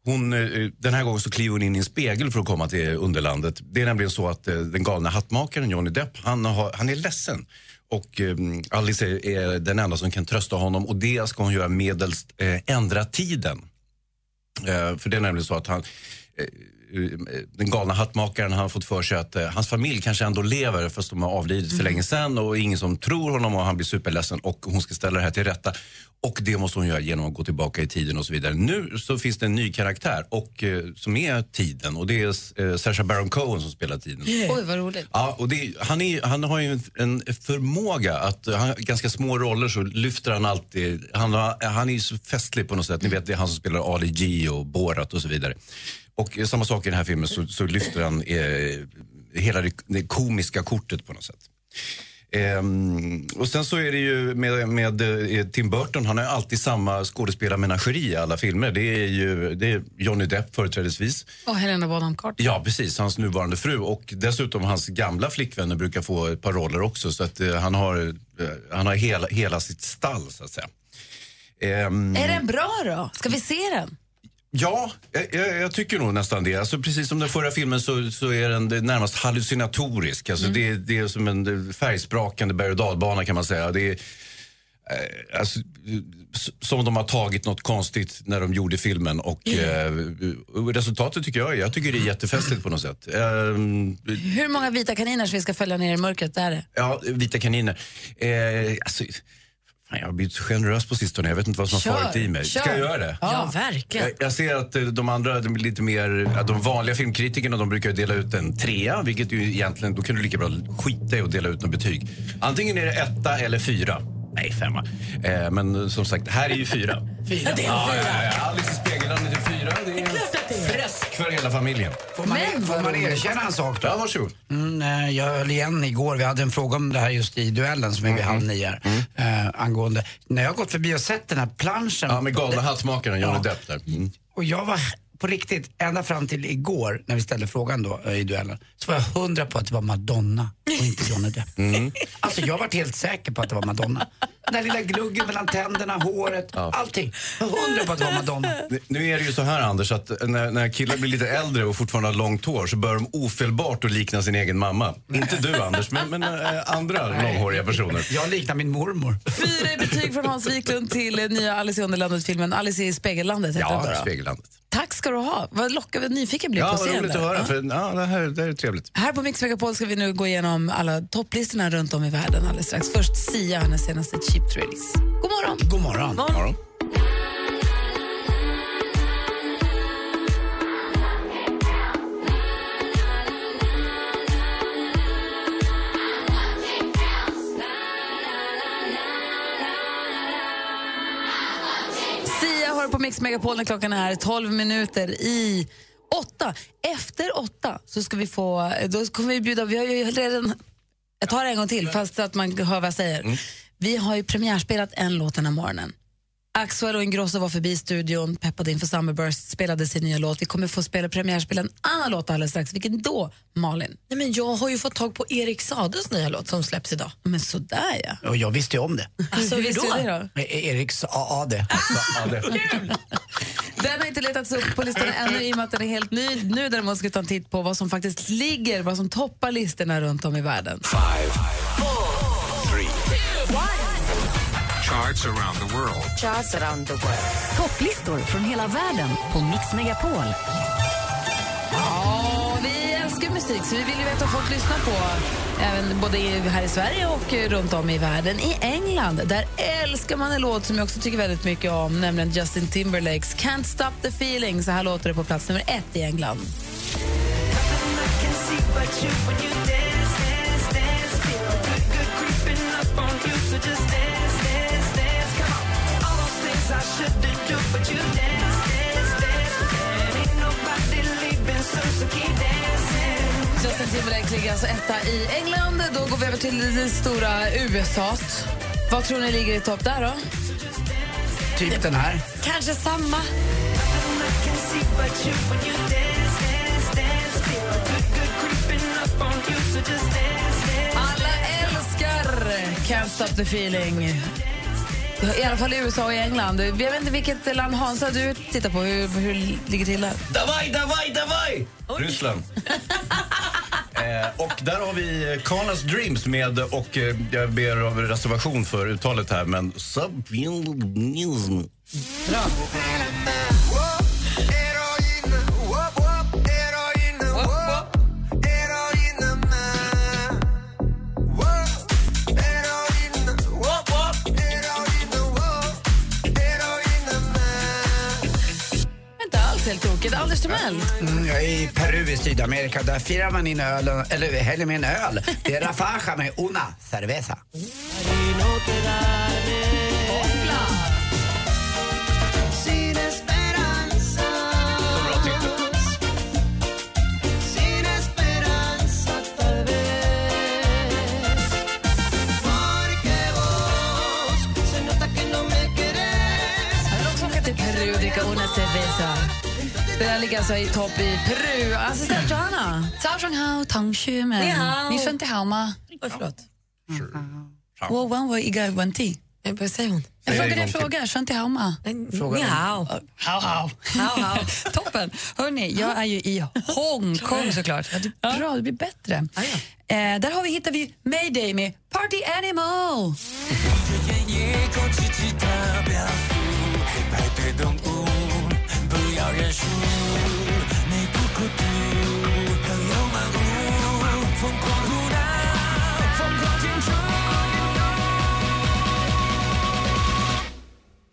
Speaker 18: hon, eh, den här gången så kliver hon in i en spegel för att komma till underlandet. Det är nämligen så att eh, den galna hattmakaren Johnny Depp, han, har, han är ledsen. Och eh, Alice är, är den enda som kan trösta honom och det ska hon göra medelst eh, ändra tiden. Eh, för det är nämligen så att han, eh, eh, den galna hattmakaren han har fått för sig att eh, hans familj kanske ändå lever fast de har avlidit för länge sedan och ingen som tror honom och han blir superledsen och hon ska ställa det här till rätta. Och det måste hon göra genom att gå tillbaka i tiden och så vidare. Nu så finns det en ny karaktär och, eh, som är tiden och det är eh, Sacha Baron Cohen som spelar tiden.
Speaker 2: Oj, vad roligt.
Speaker 18: Ja, och det, han, är, han har ju en, en förmåga att, eh, han, ganska små roller så lyfter han alltid, han, har- han är ju så festlig på något sätt. Ni vet, det är han som spelar Ali G och Borat och så vidare. Och eh, samma sak i den här filmen så, så lyfter han eh, hela det, det komiska kortet på något sätt. Ehm, och sen så är det ju med, med eh, Tim Burton, han har ju alltid samma skådespelarmenageri i alla filmer. Det är ju det är Johnny Depp företrädesvis.
Speaker 2: Och Helena Bonham Carter.
Speaker 18: Ja, precis. Hans nuvarande fru. Och dessutom hans gamla flickvänner brukar få ett par roller också. Så att eh, han har, eh, han har hela, hela sitt stall, så att säga. Ehm,
Speaker 2: Är den bra då? Ska vi se den?
Speaker 18: Ja, jag, jag, jag tycker nog nästan det. Alltså, precis som den förra filmen så, så är den det- närmast hallucinatorisk. Alltså, det, är- det är som en färgsprakande berg och dalbana kan man säga. Det är, eh, alltså, s- som de har tagit något konstigt när de gjorde filmen. Och, eh, och resultatet tycker jag, är- jag tycker det är jättefestligt på något sätt. Ehm,
Speaker 2: Hur många vita kaniner som vi ska följa ner i mörkret där är?
Speaker 18: ja, vita kaniner. Eh, alltså, fan, jag har blivit så generös på sistone. Jag vet inte vad som har
Speaker 2: Kör,
Speaker 18: farit i mig. Ska
Speaker 2: kör.
Speaker 18: jag göra det?
Speaker 1: Ja, verkligen.
Speaker 18: Jag, jag ser att eh, de andra, de, är lite mer, att de vanliga filmkritikerna de brukar ju dela ut en trea, vilket ju egentligen, då kan du lika bra skita i att dela ut något betyg. Antingen är det etta eller fyra. Nej, femma. Eh, men eh, som sagt, här är ju fyra.
Speaker 1: Fyra. Ja, det är en
Speaker 18: ja,
Speaker 1: fyra.
Speaker 18: ja, ja. Alice i Spegellandet är fyra. Det är en fläsk för hela familjen.
Speaker 3: Får man, får man erkänna en sak då?
Speaker 18: Ja, varsågod.
Speaker 3: Mm, eh, jag höll igen igår, vi hade en fråga om det här just i duellen som är
Speaker 18: Mhm.
Speaker 3: vid halv nio här, eh, angående, när jag har gått förbi och sett den här planschen.
Speaker 18: Mm. Ja, med galna hattmakaren Johnny
Speaker 3: Ja.
Speaker 18: Depp där. Mm.
Speaker 3: Och jag var på riktigt, ända fram till igår när vi ställde frågan då eh, i duellen, så var jag hundra på att det var Madonna och inte Johnny Depp.
Speaker 18: Mm.
Speaker 3: Alltså jag var helt säker på att det var Madonna. Den där lilla gluggen mellan tänderna, håret, allting. Jag var hundra på att det var Madonna.
Speaker 18: Nu- Nu är det ju så här Anders, att när, när killar blir lite äldre och fortfarande har långt hår så börjar de ofelbart att likna sin egen mamma. Inte du Anders, men, men eh, andra långhåriga personer.
Speaker 3: Jag liknar min mormor.
Speaker 2: Fyra i betyg från Hans Wiklund till eh, nya Alice i Underlandet-filmen Alice i Spegellandet. heter den då,
Speaker 18: Ja,
Speaker 2: då.
Speaker 18: Spegellandet.
Speaker 2: Tack ska du ha. Vad lockad och nyfiken blev
Speaker 18: Ja,
Speaker 2: på
Speaker 18: vad
Speaker 2: scenen.
Speaker 18: roligt att
Speaker 2: där.
Speaker 18: höra.
Speaker 2: Ja.
Speaker 18: För, ja, det, här, det här är trevligt.
Speaker 2: Här på Mix Megapol ska vi nu gå igenom alla topplistorna runt om i världen alldeles strax. Först Sia och hennes senaste Cheap Thrills. God morgon!
Speaker 3: God morgon.
Speaker 2: God morgon. Sia hör på Mix Megapol när klockan är 12 minuter i åtta. Efter åtta så ska vi få, eh, då kommer vi bjuda, vi har ju redan, jag tar det en gång till fast så att man hör vad jag säger.
Speaker 18: Mm.
Speaker 2: Vi har ju premiärspelat en låt den här morgonen. Axwell och Ingrosso var förbi studion, peppade inför Summerburst, spelade sin nya låt. Vi kommer få spela premiärspela en annan låt alldeles strax. Vilken då, Malin?
Speaker 1: Nej, men jag har ju fått tag på Erik Sades nya låt som släpps idag.
Speaker 2: Men sådär ja.
Speaker 3: Och jag visste ju om det. Eh,
Speaker 1: Alltså, hur
Speaker 2: Visste
Speaker 1: då?
Speaker 2: du det då?
Speaker 3: Med Eriks AAD.
Speaker 2: Den har inte letats upp på listan ännu i och med att den är helt ny. Nu däremot ska vi ta en titt på vad som faktiskt ligger, vad som toppar listorna runt om i världen.
Speaker 14: Five, four, three. Charts around the world.
Speaker 13: Topplistor från hela världen på Mix Megapol.
Speaker 2: Ja, vi älskar musik så vi vill ju veta vad folk lyssnar på. Även både i- här i Sverige och eh, runt om i världen. I England, där älskar man en låt som jag också tycker väldigt mycket om, nämligen Justin Timberlakes Can't Stop the Feeling. Så här låter det på plats nummer ett i England. Justin Timberlake ligger alltså etta i England. Då går vi över till det stora USA. Vad tror ni ligger i topp där då?
Speaker 3: Typ den här.
Speaker 2: Kanske samma. Alla älskar Can't Stop the Feeling. I alla fall i USA och i England. Jag vet inte vilket land Hansa du tittar på. Hur, hur ligger det till där?
Speaker 18: Davaj, davaj, davaj! Ryssland. eh, Eh, och där har vi Kanas Dreams med, och eh, jag ber om reservation för uttalet här, men Subvinism.
Speaker 10: oh, oh,
Speaker 2: Inte alls helt tokigt. Anders Timell.
Speaker 3: Mm, jag är i Peru i Sydamerika. Där firar man in öl, eller häller med en öl. Det är rafaja med una cerveza.
Speaker 10: Sin esperanza. Sin esperanza, tal vez. Porque vos se nota que no me querés.
Speaker 2: Jag vill också åka till Peru och dricka una cerveza. Det där ligger alltså i topp i Peru. Assistent Johanna. Zhao Zhonghao, Tang Xue Men.
Speaker 1: Ni hao.
Speaker 2: Ni shun te hao ma.
Speaker 1: Oj, förlåt. Mm-hmm.
Speaker 2: Wo wan wo iga wan ti.
Speaker 1: Vad säger hon?
Speaker 2: Jag
Speaker 1: Säg
Speaker 2: frågade
Speaker 1: det
Speaker 2: en
Speaker 1: en gång
Speaker 2: fråga, shun te hao ma.
Speaker 1: Fråga ni den. hao.
Speaker 2: Hao hao. Hao hao. Toppen. Hörni, jag är ju i Hongkong såklart. Ja, det är bra, det blir bättre. Eh, där har vi, hittar vi Mayday med Party Animal.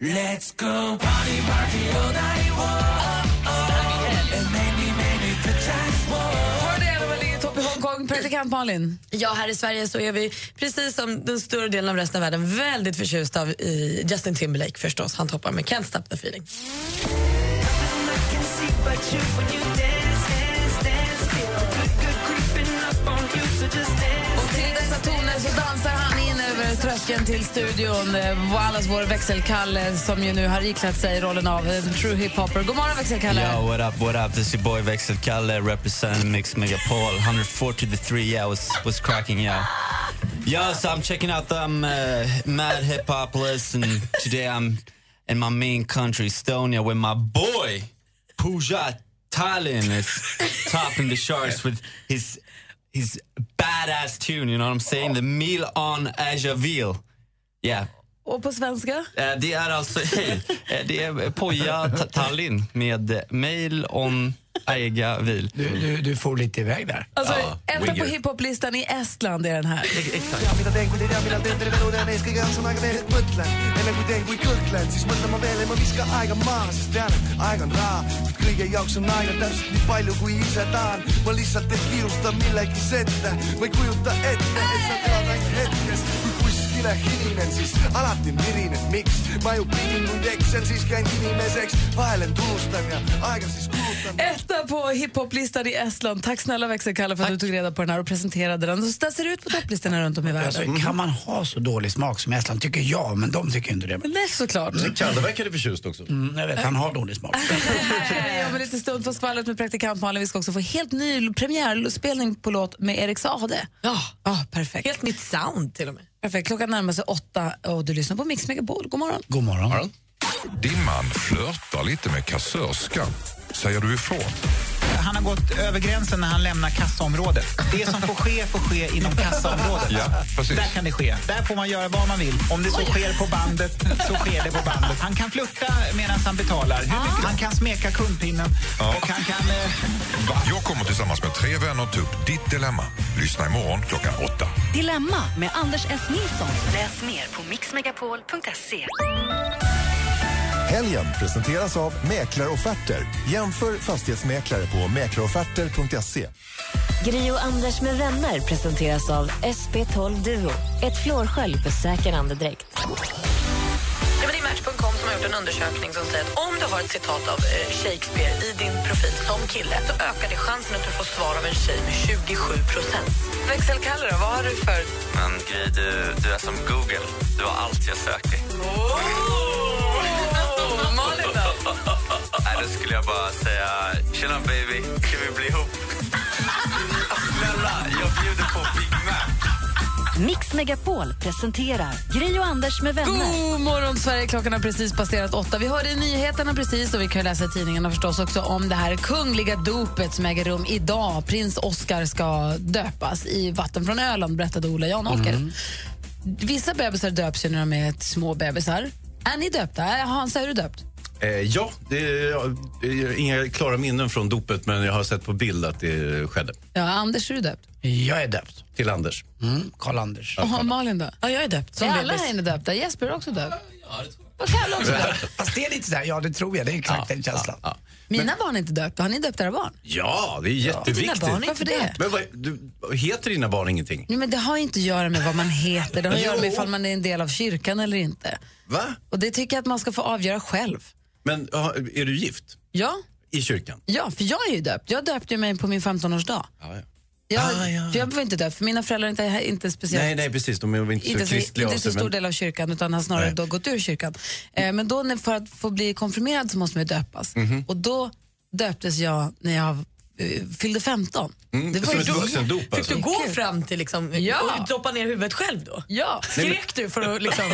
Speaker 10: Let's go party, party all night long. And maybe, maybe the just
Speaker 2: Har det även ligger i topp i Hongkong? Praktikant Malin.
Speaker 1: Ja, här i Sverige så är vi, precis som den större delen av resten av världen, väldigt förtjusta av i Justin Timberlake förstås. Han toppar med Can't stop the feeling.
Speaker 10: can see but you when you dance, dance, dance. Feel the good, good creeping up on you, so just dance.
Speaker 2: Och till dessa toner så dansar han in över tröskeln till studion. Eh, och Allas vår växelkalle som ju nu har iklätt sig rollen av en true hiphopper. God morgon växelkalle.
Speaker 20: Yo, what up, what up? This is your boy Växelkalle representing Mix Megapol. 104 to the 3, yeah, was, was cracking, yeah. Yo, so I'm checking out them uh, mad hip hop list, and today I'm in my main country, Estonia, with my boy Pooja Talin is topping the charts with his his badass tune, you know what I'm saying? The Meal on Ajavil. Yeah.
Speaker 2: Och på svenska?
Speaker 20: Eh, Det är alltså, hej, eh, det är Poja Ta- Tallinn med eh, mail om Aiga Vil.
Speaker 3: Du, du, du får lite iväg där.
Speaker 2: Alltså, etta på hiphoplistan i Estland är den här.
Speaker 21: Mina tängu teid ja mina teen terve luude on ees kõige on aega teised mõtlen enne kui teen kui kõhklen siis mõtlen ma veel ja ma viskan aega maha sest tean et aeg on raha et kõige jaoks on aega täpselt nii palju kui ise tahan ma lihtsalt ei kiirusta millegis ette ma ei kujuta ette et sa tead ainult hetkest kui kuskile hilinen siis alati mirin et miks ma ju pidin kuid eksen siis käin inimeseks vahel end unustan ja aega siis kulutan
Speaker 2: Etta på hiphoplistan i Estland. Tack snälla växelkalle för att du tog reda på den här och presenterade den. Så där ser det ut på topplistorna runt om i
Speaker 3: Alltså,
Speaker 2: världen.
Speaker 3: kan man ha så dålig smak som Estland? Tycker jag, men de tycker inte det.
Speaker 2: Nej, såklart.
Speaker 18: Kalle verkade förtjust också.
Speaker 3: Mm, jag vet, han har dålig smak.
Speaker 2: Nej, Om en liten stund får skvallret med praktikant Malin. Vi ska också få helt ny premiärspelning på låt med Erik Saade. Ja, perfekt. Helt nytt sound till och med. Perfekt. Klockan närmar sig åtta och du lyssnar på Mix Megapol. God morgon.
Speaker 3: God morgon.
Speaker 14: Din man flörtar lite med kassörskan. Säger du ifrån?
Speaker 22: Han har gått över gränsen när han lämnar kassaområdet. Det som får ske får ske inom kassaområdet.
Speaker 14: Ja, precis.
Speaker 22: Där kan det ske. Där får man göra vad man vill. Om det så sker på bandet, så sker det på bandet. Han kan flirta medan han betalar. Hur
Speaker 1: Ah.
Speaker 22: mycket? Han kan smeka kundpinnen.
Speaker 14: Ja.
Speaker 22: Och han kan... Eh,
Speaker 14: Jag kommer tillsammans med tre vänner ta upp ditt dilemma. Lyssna imorgon klockan åtta.
Speaker 6: Dilemma med Anders S. Nilsson. Läs mer på mixmegapol.se.
Speaker 11: Helgen presenteras av Mäklarofferter. Jämför fastighetsmäklare på mäklarofferter.se.
Speaker 13: Gri och Anders med vänner presenteras av SP12 Duo. Ett flårskölj för säker andedräkt.
Speaker 1: Ja, men det är Match.com som har gjort en undersökning som säger att om du har ett citat av eh, Shakespeare i din profil som kille så ökar det chansen att du får svar av en tjej med 27 procent. Växelkalle då, vad har du för...
Speaker 23: Men Gry, du, du är som Google. Du har allt jag söker.
Speaker 1: Malin då?
Speaker 23: Nej, då skulle jag bara säga Tjena baby, kan vi bli ihop? Snälla, jag bjuder på Big Mac.
Speaker 6: Mix Megapol presenterar Gri och Anders med vänner.
Speaker 2: God morgon, Sverige. Klockan har precis passerat åtta. Vi hörde i nyheterna precis och vi kan ju läsa i tidningarna förstås också om det här kungliga dopet som äger rum idag. Prins Oscar ska döpas i vatten från Öland, berättade Ola Janåker.
Speaker 1: Mm.
Speaker 2: Vissa bebisar döps ju när de är små bebisar. Är ni döpta? Är- Hans, är du döpt?
Speaker 18: Eh, ja, det, jag, jag har inga klara minnen från dopet men jag har sett på bild att det skedde.
Speaker 2: Ja, Anders, är du döpt?
Speaker 18: Jag är döpt. Mm, Till Anders.
Speaker 3: Karl-Anders.
Speaker 2: Och Malin då?
Speaker 1: Ja, jag är döpt.
Speaker 2: Är alla här inne döpta? Jesper är också döpt.
Speaker 3: Fast det är lite sådär, ja det tror jag, det är exakt den känslan.
Speaker 2: Mina barn är inte döpta. Har ni döpt era barn?
Speaker 18: Ja, det är
Speaker 2: Dina
Speaker 18: jätteviktigt.
Speaker 2: barn är inte Varför det? döpt.
Speaker 18: Men vad, du, heter dina barn ingenting?
Speaker 2: Nej, men det har ju inte att göra med vad man heter. Det har att göra med
Speaker 18: Jo.
Speaker 2: ifall man är en del av kyrkan eller inte.
Speaker 18: Va?
Speaker 2: Och det tycker jag att man ska få avgöra själv.
Speaker 18: Men ha- är du gift
Speaker 2: Ja,
Speaker 18: i kyrkan?
Speaker 2: ja för jag är ju döpt. Jag döpte ju mig på min 15-årsdag.
Speaker 18: Ja, Ah, ja.
Speaker 2: Jag, för jag var inte döpt, för mina föräldrar är inte, inte speciellt...
Speaker 18: Nej, nej, precis. De är väl inte,
Speaker 2: inte
Speaker 18: så
Speaker 2: så,
Speaker 18: kristliga
Speaker 2: inte
Speaker 18: av
Speaker 2: så
Speaker 18: sig,
Speaker 2: stor
Speaker 18: men-
Speaker 2: del av kyrkan, utan har snarare
Speaker 18: Nej.
Speaker 2: då gått ur kyrkan. Eh, men då när, för att få bli konfirmerad så måste man ju döpas.
Speaker 18: Mhm.
Speaker 2: Och då döptes jag när jag eh, fyllde 15.
Speaker 18: Mm, som ett vuxendop, Fick alltså. du gå
Speaker 2: fram till liksom,
Speaker 1: Ja. Och droppa ner huvudet själv då?
Speaker 2: Ja.
Speaker 18: Nej, men-
Speaker 1: Skrek du för att liksom...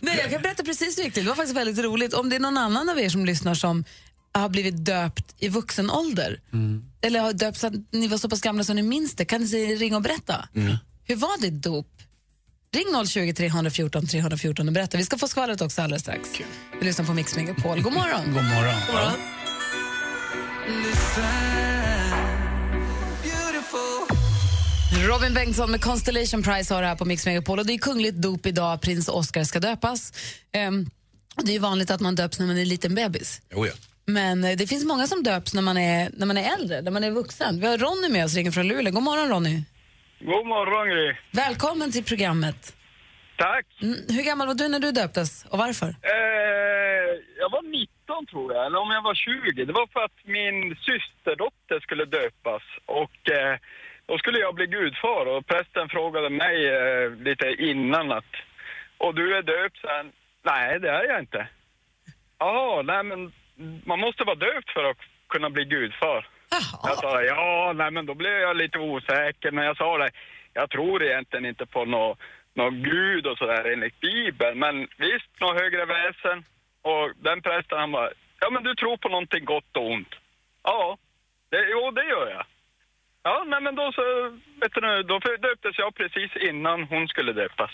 Speaker 2: Nej, jag kan berätta precis hur det gick till. Det var faktiskt väldigt roligt. Om det är någon annan av er som lyssnar som har blivit döpt i vuxen ålder eller har döpt så att ni var så pass gamla så ni minns det, kan ni säga- ringa och berätta? Hur var ditt dop? Ring 020 314 314 och berätta. Vi ska få skvallret också alldeles strax. Vi lyssnar på Mix Megapol. God morgon!
Speaker 3: God morgon.
Speaker 2: God morgon. Robin Bengtsson med Constellation Prize har det här på Mix Megapol. Och det är kungligt dop idag. Prins Oscar ska döpas. Ehm, och det är ju vanligt att man döps när man är liten bebis.
Speaker 18: Jo, ja.
Speaker 2: Men eh, det finns många som döps när man är, när man är äldre, när man är vuxen. Vi har Ronny med oss, ringer från Luleå. God morgon Ronny.
Speaker 17: God morgon, Gry.
Speaker 2: Välkommen till programmet.
Speaker 17: Tack.
Speaker 2: Mm, hur gammal var du när du döptes och varför?
Speaker 17: Eh, jag var 19 tror jag, eller om jag var 20. Det var för att min systerdotter skulle döpas och eh, då skulle jag bli gudfar och prästen frågade mig eh, lite innan att och du är döpt sen? Nej, det är jag inte. Jaha, nej men man måste vara döpt för att kunna bli gudfar. Jag sa ja, nej men då blev jag lite osäker men jag sa det. Jag tror egentligen inte på någon nå gud och sådär enligt bibeln men visst, något högre väsen. Och den prästen han bara, ja men du tror på någonting gott och ont. Ja, det, jo det gör jag. Ja, nej men då så, vet du nu, då döptes jag precis innan hon skulle döpas.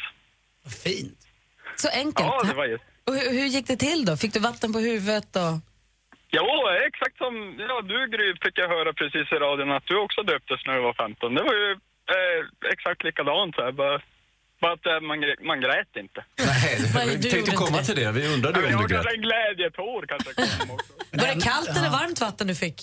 Speaker 2: Så enkelt.
Speaker 17: Ja, det var ju...
Speaker 2: Och hur, hur gick det till då? Fick du vatten på huvudet? Och...
Speaker 17: Ja, exakt som ja, du Gry fick jag höra precis i radion att du också döptes när du var 15. Det var ju eh, exakt likadant så här. Bara, bara att eh, man, gre- man grät inte.
Speaker 18: Nej,
Speaker 1: du
Speaker 18: jag tänkte
Speaker 1: gjorde
Speaker 18: komma
Speaker 3: typ?
Speaker 1: inte
Speaker 18: till det. Vi undrade
Speaker 17: Jag
Speaker 18: om du
Speaker 17: har
Speaker 18: grät.
Speaker 17: kanske en glädjetår kanske. kom också.
Speaker 1: Var det kallt eller varmt vatten du fick?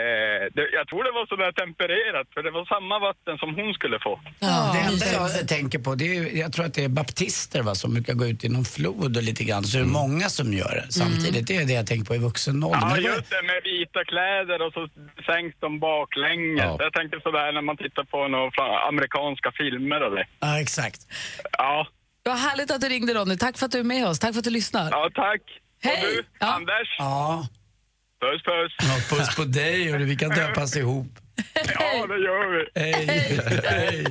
Speaker 17: Eh, det, jag tror det var sådär tempererat för det var samma vatten som hon skulle få.
Speaker 3: det enda jag tänker på, det är, ju- jag tror att det är baptister va, som brukar gå ut i någon flod och lite grann, så är det många som gör det samtidigt. Det är det jag tänker på i vuxen ålder.
Speaker 17: Mm. Ja,
Speaker 3: Men det var-
Speaker 17: just det, med vita kläder och så sänks de baklänges.
Speaker 3: Ja.
Speaker 17: Jag tänker sådär när man tittar på några amerikanska filmer och det.
Speaker 3: ja, exakt.
Speaker 17: Ja,
Speaker 2: Vad härligt att du ringde Ronny. Tack för att du är med oss. Tack för att du lyssnar.
Speaker 17: ja tack.
Speaker 2: Hej!
Speaker 17: Och du, Anders?
Speaker 3: Ja.
Speaker 17: Puss, puss.
Speaker 3: Ja, puss på dig och vi kan döpas ihop.
Speaker 17: Ja, det gör vi.
Speaker 3: Hej. Hej.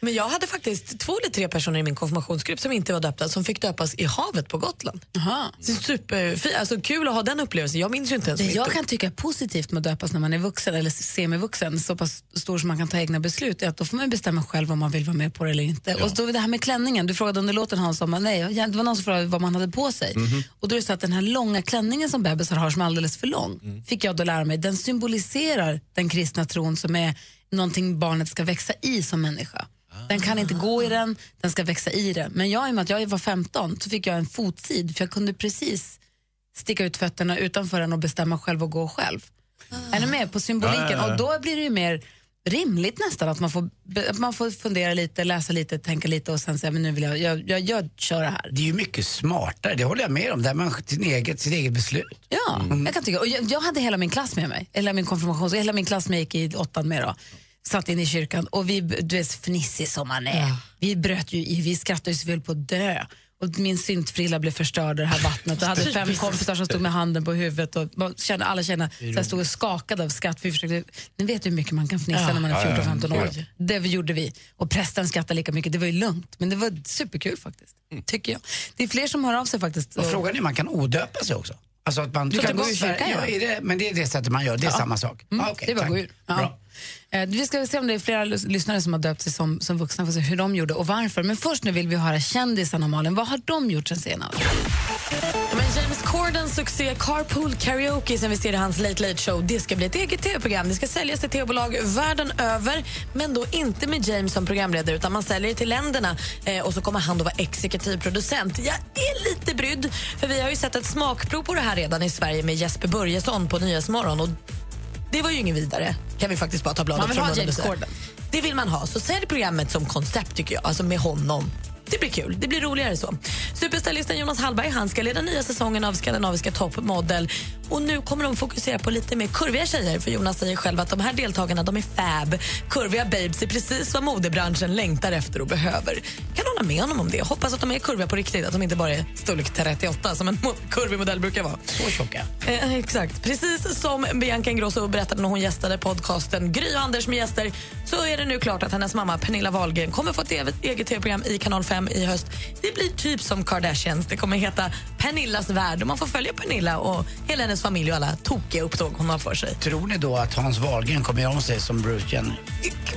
Speaker 1: Men jag hade faktiskt två eller tre personer i min konfirmationsgrupp som inte var döpta som fick döpas i havet på Gotland.
Speaker 2: Aha.
Speaker 1: Så superfint, alltså kul att ha den upplevelsen. Jag minns ju inte ens
Speaker 2: Det
Speaker 1: mitt
Speaker 2: jag
Speaker 1: dop.
Speaker 2: kan tycka är positivt med att döpas när man är vuxen eller semivuxen, så pass stor som man kan ta egna beslut, är att då får man bestämma själv om man vill vara med på det eller inte. Och då är det här med klänningen, du frågade under låten Hans om, nej, jag- det var någon som frågade vad man hade på
Speaker 1: Mhm.
Speaker 2: sig.
Speaker 1: Mm-hmm.
Speaker 9: Mhm.
Speaker 2: Och då är det så att den här långa klänningen som bebisar har som är alldeles för lång,
Speaker 9: Mm.
Speaker 2: fick jag då lära mig, den symboliserar den kristna tron som är någonting barnet ska växa i som människa. Den kan inte gå i den, den ska växa i den. Men jag, i och med att jag var 15 så fick jag en fotsid för jag kunde precis sticka ut fötterna utanför den och bestämma själv och gå själv. Är ni med på symboliken?
Speaker 9: Ja, ja, ja.
Speaker 2: Och då blir det ju mer rimligt nästan att man får, be- att man får fundera lite, läsa lite, tänka lite och sen säga men nu vill jag, jag, jag, jag kör det här.
Speaker 3: Det är ju mycket smartare, det håller jag med om. Där man sin eget, sitt eget beslut. Mm.
Speaker 2: Ja,
Speaker 1: Mm.
Speaker 2: jag kan tycka. Och jag, jag hade hela min klass med mig, eller min konfirmation, så hela min klass som jag gick i åttan med då. Satt in i kyrkan och vi, du vet fnissig som man är, vi bröt ju i, vi skrattade ju så vi höll på att dö. Och min syntfrilla blev förstörd av det här vattnet. Jag hade fem
Speaker 1: Typiskt.
Speaker 2: kompisar som stod med handen på huvudet. Och man kände, alla tjejerna så här stod och skakade av skratt. Vi försökte, ni vet hur mycket man kan fnissa
Speaker 1: Ja.
Speaker 2: när man
Speaker 1: Ja, ja,
Speaker 2: är
Speaker 1: ja.
Speaker 2: 14-15 år.
Speaker 1: Ja, ja.
Speaker 2: Det vi gjorde vi. Och prästen skrattade lika mycket. Det var ju lugnt. Men det var superkul faktiskt.
Speaker 1: Mm.
Speaker 2: Tycker jag. Det är fler som hör av sig faktiskt.
Speaker 3: Och frågan är om man kan odöpa sig också. Alltså att man...
Speaker 2: Du kan gå i
Speaker 3: så här-
Speaker 2: kyrkan, ja.
Speaker 3: är det, men det är det sättet man gör, det är samma sak.
Speaker 2: Mm,
Speaker 3: Ah, okej,
Speaker 2: det är bara att
Speaker 3: tack.
Speaker 2: gå ur. Ja.
Speaker 3: Bra.
Speaker 2: Eh, Vi ska se om det är flera lys- lyssnare som har döpt sig som, som vuxna för att se hur de gjorde och varför. Men först nu vill vi höra kändisarna, Malin. Vad har de gjort sen senast?
Speaker 1: Ja, Men James Cordens succé Carpool Karaoke som vi ser i hans Late Late Show det ska bli ett eget tv-program. Det ska säljas till tv-bolag världen över men då inte med James som programledare utan man säljer det till länderna eh, och så kommer han då vara exekutiv producent. Jag är lite brydd för vi har ju sett ett smakprov på det här redan i Sverige med Jesper Börjesson på Nyhetsmorgon och det var ju ingen vidare. Kan vi faktiskt bara ta bladet
Speaker 2: Man vill
Speaker 1: från
Speaker 2: ha
Speaker 1: munnen och
Speaker 2: James
Speaker 1: säga.
Speaker 2: Corden.
Speaker 1: Det vill man ha. Så sälj programmet som koncept tycker jag, alltså med honom. Det blir kul, det blir roligare så. Superstylisten Jonas Hallberg han ska leda nya säsongen av Skandinaviska toppmodell. Och nu kommer de fokusera på lite mer kurviga tjejer för Jonas säger själv att de här deltagarna de är fab. Kurviga babes är precis vad modebranschen längtar efter och behöver. Kan hålla med honom om det. Hoppas att de är kurviga på riktigt, att de inte bara är storlek 38 som en mo- kurvig modell brukar vara.
Speaker 3: Så tjocka.
Speaker 1: Eh, exakt. Precis som Bianca Ingrosso berättade när hon gästade podcasten Gry och Anders med gäster så är det nu klart att hennes mamma Pernilla Wahlgren kommer få ett ev- eget tv-program i Kanal 5 i höst. Det blir typ som Kardashians. Det kommer heta Pernillas värld och man får följa Pernilla och hela hennes familj och alla tokiga upptåg hon har för sig.
Speaker 3: Tror ni då att Hans Wahlgren kommer göra om sig som Bruce Jenner?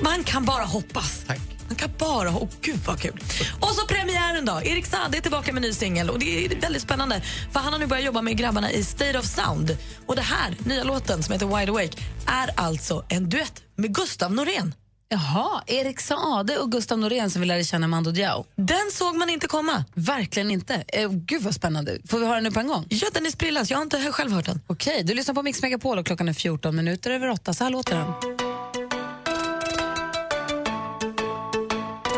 Speaker 1: Man kan bara hoppas. Man kan bara... Åh, gud vad kul. Och så premiären då. Erik Saade är tillbaka med en ny singel och det är väldigt spännande för han har nu börjat jobba med grabbarna i State of Sound. Och det här, nya låten som heter Wide Awake, är alltså en duett med Gustav Norén.
Speaker 2: Jaha, Erik Saade och Gustav Norén som vi lärde känna Mando Diao.
Speaker 1: Den såg man inte komma.
Speaker 2: Verkligen inte. Eh, gud vad spännande. Får vi höra den nu på en gång?
Speaker 1: Ja, den är sprillans. Jag har inte själv hört den.
Speaker 2: Okej, du lyssnar på Mix Megapol och klockan är 14 minuter över 8. Så här låter den.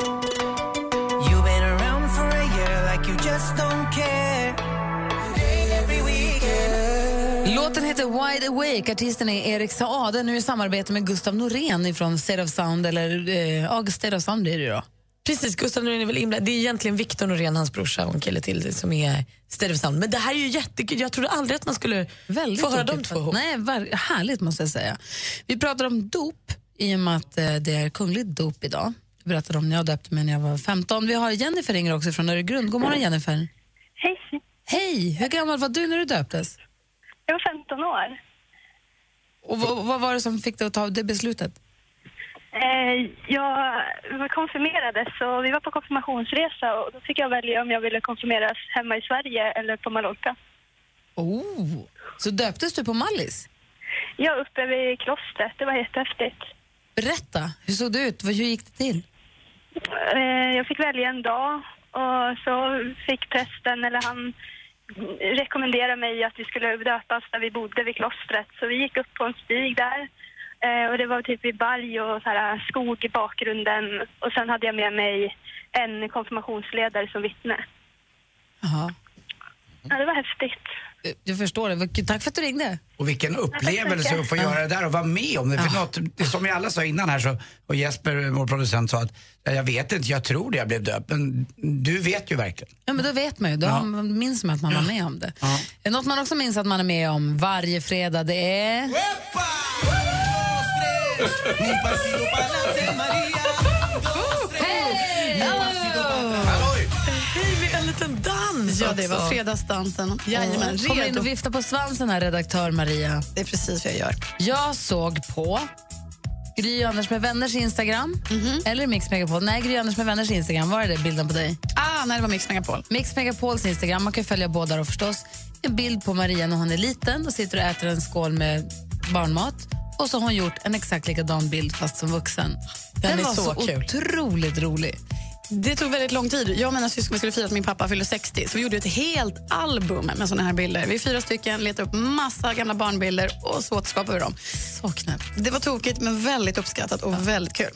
Speaker 10: You've been around for a year like you just don't care. Day every weekend.
Speaker 2: Låten heter Wide Awake. Artisten är Erik Saade. Nu i samarbete med Gustav Norén från State of Sound. Eller, eh, ja, State of Sound är det ju då.
Speaker 1: Precis, Gustav Norén är väl inblandad. Det är egentligen Victor Norén, hans brorsa och en kille till som är State of Sound. Men det här är ju jättekul. Jag trodde aldrig att man skulle få höra de
Speaker 2: tokigt,
Speaker 1: två
Speaker 2: för-
Speaker 1: ihop.
Speaker 2: Nej, var, härligt måste jag säga. Vi pratar om dop i och med att eh, det är kungligt dop idag. Jag berättade om när jag döpte mig när jag var 15. Vi har Jennifer ringer också från Öregrund. God morgon Jennifer.
Speaker 24: Hej.
Speaker 2: Hej, hur gammal var du när du döptes?
Speaker 24: Jag var 15 år.
Speaker 2: Och vad, vad var det som fick dig att ta det beslutet?
Speaker 24: Eh, Jag var konfirmerade så vi var på konfirmationsresa och då fick jag välja om jag ville konfirmeras hemma i Sverige eller på Mallorca.
Speaker 2: Oh, så döptes du på Mallis?
Speaker 24: Jag var uppe vid klostret, det var jättehäftigt.
Speaker 2: Berätta, hur såg det ut? Vad- Hur gick det till?
Speaker 24: Eh, Jag fick välja en dag och så fick prästen, eller han rekommenderade mig att vi skulle döpas där vi bodde vid klostret. Så vi gick upp på en stig där eh, och det var typ vid berg och så här skog i bakgrunden. Och sen hade jag med mig en konfirmationsledare som vittne.
Speaker 2: Jaha.
Speaker 24: Ja, det var häftigt.
Speaker 2: Eh, Jag förstår det. Vad- Tack för att du ringde.
Speaker 3: Och vilken
Speaker 24: Tack så
Speaker 3: upplevelse
Speaker 24: mycket.
Speaker 3: att få göra det där och vara med om det. För något, det som vi alla sa innan här, så, och Jesper, vår producent, sa att "Ja, jag vet inte, jag tror det jag blev döpt. Men du vet ju verkligen.
Speaker 2: Ja, men då vet man ju. Då
Speaker 3: Ja.
Speaker 2: har- minns man att man var med om det. Eh, Något man också minns att man är med om varje fredag, det är...
Speaker 10: Un pasito pa'lante, Maria. Dos, tres. Un pasito pa'lante. Halloj!
Speaker 1: En liten dans
Speaker 5: Ja, det var
Speaker 2: också.
Speaker 5: fredagsdansen. Jajamän,
Speaker 2: Kom Eh, in
Speaker 5: redo.
Speaker 2: och vifta på svansen här, redaktör Maria.
Speaker 5: Det är precis vad jag gör.
Speaker 2: Jag såg på Gry och Anders med vänners Instagram,
Speaker 5: Mhm.
Speaker 2: eller Mix Megapol. Nej, Gry och Anders med vänners Instagram. Var är det bilden på dig?
Speaker 5: Ah, nej, det var Mix Megapol.
Speaker 2: Mix Megapols Instagram, man kan följa båda då förstås. En bild på Maria när hon är liten och sitter och äter en skål med barnmat. Och så har hon gjort en exakt likadan bild fast som vuxen.
Speaker 5: Den är
Speaker 2: var
Speaker 5: så
Speaker 2: så
Speaker 5: kul.
Speaker 2: otroligt rolig.
Speaker 5: Det tog väldigt lång tid. Jag och mina syskon skulle fira att min pappa fyllde 60 så vi gjorde ett helt album med såna här bilder. Vi är fyra stycken, letade upp massa gamla barnbilder och så återskapade vi dem.
Speaker 2: Så knäppt.
Speaker 5: Det var tokigt men väldigt uppskattat och väldigt kul.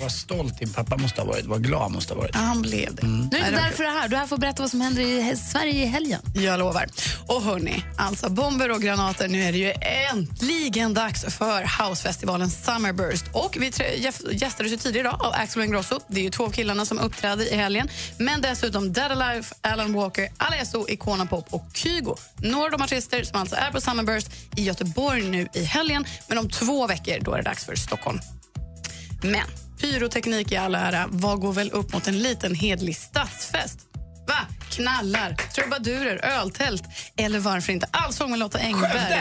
Speaker 3: Vad stolt din pappa måste ha varit, vad glad han måste ha varit.
Speaker 5: Ja, han blev det.
Speaker 3: Mm.
Speaker 5: Nu är det
Speaker 3: Nej,
Speaker 5: därför du är här. Du är här för att berätta vad som händer i he- Sverige i helgen. Jag lovar. Och hörni, alltså bomber och granater. Nu är det ju äntligen dags för housefestivalen Summerburst. Och vi trä- gäf- gästades ju tidigare idag av Axel Ingrosso. Det är ju två av killarna som uppträder i helgen. Men dessutom Dead Alive, Alan Walker, Alesso, Icona Pop och Kygo. Några av de artister som alltså är på Summerburst i Göteborg nu i helgen. Men om två veckor då är det dags för Stockholm. Men pyroteknik i all ära, vad går väl upp mot en liten hedlig stadsfest? Va? Knallar, trubadurer, öltält eller varför inte allsång med Lotta Engberg?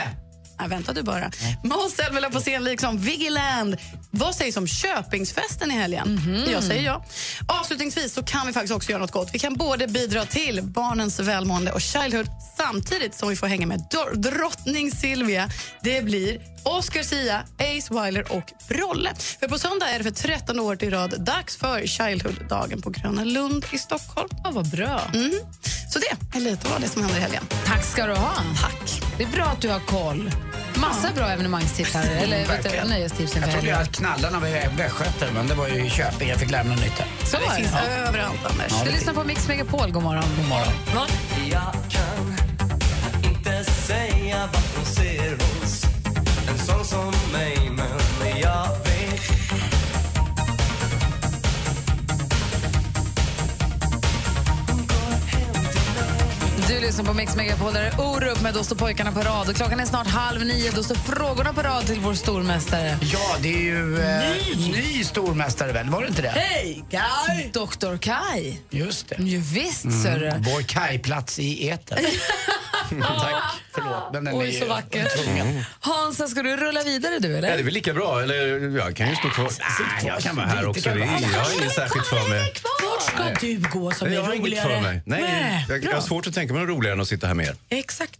Speaker 5: Ja, vänta du bara. Måns Zelmerlöw på scen liksom Vigiland. Vad sägs om Köpingsfesten i helgen?
Speaker 2: Mhm.
Speaker 5: Jag säger ja. Avslutningsvis så kan vi faktiskt också göra något gott. Vi kan både bidra till barnens välmående och Childhood samtidigt som vi får hänga med dor- drottning Silvia. Det blir Oscar Sia, Ace Wilder och Brolle. För på söndag är det för 13 år i rad dags för Childhood-dagen på Gröna Lund i Stockholm.
Speaker 2: Ja, vad bra.
Speaker 5: Mm. Så det är lite vad det som händer i helgen.
Speaker 2: Tack ska du ha. Tack. Det är bra att du har koll. Massa bra evenemangstips här, eller vet du,
Speaker 3: Verkligen.
Speaker 2: nöjestips inför
Speaker 3: Jag trodde ju
Speaker 2: helgen.
Speaker 3: att knallarna var i västgöte, men det var ju i Köping. Jag fick lämna nytt här.
Speaker 2: Så var det. Ja.
Speaker 3: Ja,
Speaker 2: Du
Speaker 3: det
Speaker 2: lyssnar på Mix Megapol. God morgon.
Speaker 3: God morgon.
Speaker 10: Jag kan inte säga vart hon ser oss En sån som mig, men jag vet
Speaker 2: Du lyssnar på Mix Megapol, där är Orup med Då står pojkarna på rad. Och klockan är snart halv nio, då står frågorna på rad till vår stormästare.
Speaker 3: Ja, det är ju eh, ny. stormästare väl? Var det inte det?
Speaker 2: Hej, Kai! Doktor Kai.
Speaker 3: Just det. Mm.
Speaker 2: Jo, visst, sörre.
Speaker 3: Vår kajplats i etern. Tack. Förlåt, men den
Speaker 2: Oj,
Speaker 3: är ju
Speaker 2: så vackert.
Speaker 3: tvungen.
Speaker 2: Hansa, ska du rulla vidare du, eller?
Speaker 18: Ja, det Mm. är väl lika bra, eller jag kan ju stå kvar. Nej, jag kan vara här också. Det är, jag har inget särskilt för mig.
Speaker 1: Vart ska
Speaker 18: Nej.
Speaker 1: du gå som
Speaker 18: Jag
Speaker 1: är
Speaker 18: har inget för mig.
Speaker 1: roligare?
Speaker 18: Nej, jag, jag har svårt att tänka mig något roligare än att sitta här med er.
Speaker 1: Exakt.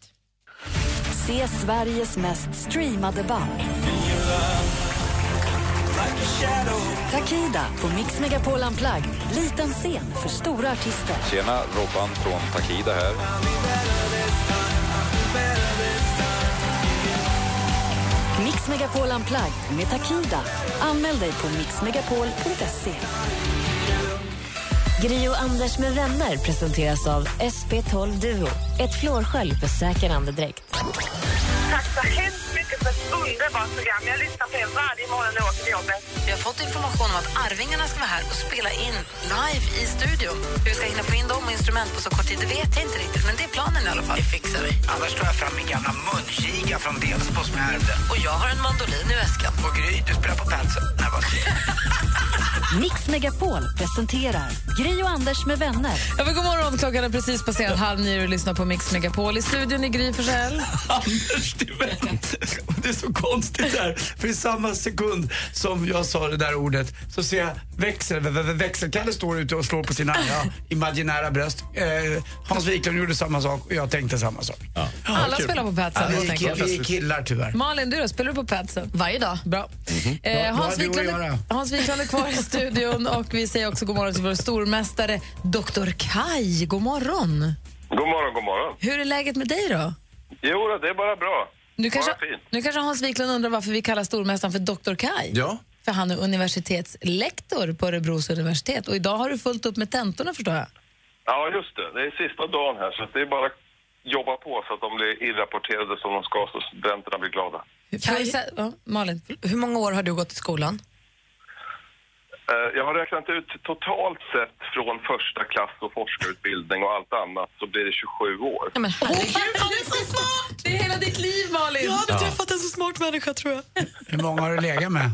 Speaker 6: Se Sveriges mest streamade band. Takida på Mix Megapol Unplugged. Liten scen för stora artister.
Speaker 7: Tjena, Robban från Takida här.
Speaker 6: Mix Megapol Unplugged med Takida. Anmäl dig på mixmegapol.se.
Speaker 13: Gri och Anders med vänner presenteras av SP12 Duo. Ett flårskölj för säker andedräkt.
Speaker 4: Tack så hemskt mycket för ett underbart program. Jag lyssnar på er varje morgon när jag åker till jobbet.
Speaker 2: Vi har fått information om att Arvingarna ska vara här och spela in live i studion. Hur vi ska hinna få in dem och instrument på så kort tid det vet jag inte riktigt, men det är planen i alla fall. Det fixar vi.
Speaker 8: Annars tar jag fram min gamla munkiga från Delsbo som jag ärvde.
Speaker 2: Och jag har en mandolin i väskan.
Speaker 8: Och Gry, du spelar på Patsy. Nej, vad
Speaker 6: Mix Megapol presenterar Gri och Anders med vänner.
Speaker 2: Ja, men god morgon, klockan är precis passerat halv nio och lyssnar på Mix Megapol. I studion i Gry Forssell.
Speaker 3: Anders, du vet, det är så konstigt där. För i samma sekund som jag sa det där ordet så ser jag växel, vä- vä- växelkalle står ute och slår på sina ja, imaginära bröst. Eh, Hans Wiklund gjorde samma sak och jag tänkte samma sak.
Speaker 2: Alla spelar på Padsen, helt
Speaker 3: vi, är
Speaker 2: enkelt.
Speaker 3: ki- vi är killar tyvärr.
Speaker 2: Malin, du då? Spelar du på padsen? Varje dag. Bra. Eh,
Speaker 3: Vad- vad
Speaker 2: Hans,
Speaker 3: har du att
Speaker 2: Wiklund,
Speaker 3: göra?
Speaker 2: Hans Wiklund är kvar i studion och vi säger också god morgon till vår stormästare Dr. Kai. God morgon.
Speaker 12: God morgon, god morgon.
Speaker 2: Hur är läget med dig då?
Speaker 12: Jo, då, det är bara bra.
Speaker 2: Nu kanske,
Speaker 12: Bara fint.
Speaker 2: nu kanske Hans Wiklund undrar varför vi kallar stormästaren för Dr. Kai.
Speaker 12: Ja.
Speaker 2: För han är universitetslektor på Örebros universitet och idag har du fullt upp med tentorna förstår jag.
Speaker 12: Ja, just det. Det är sista dagen här, så att det är bara att jobba på så att de blir inrapporterade som de ska, så studenterna blir glada.
Speaker 1: Kaj,
Speaker 2: ja, Malin.
Speaker 1: Hur många år har du gått i skolan?
Speaker 12: Eh, Jag har räknat ut totalt sett från första klass och forskarutbildning och allt annat så blir det 27 år.
Speaker 1: Ja, men herregud, han är så smart!
Speaker 2: Det är hela ditt liv, Malin.
Speaker 1: Jag hade
Speaker 12: Ja.
Speaker 1: träffat en så smart människa, tror jag.
Speaker 3: Hur många har du legat med?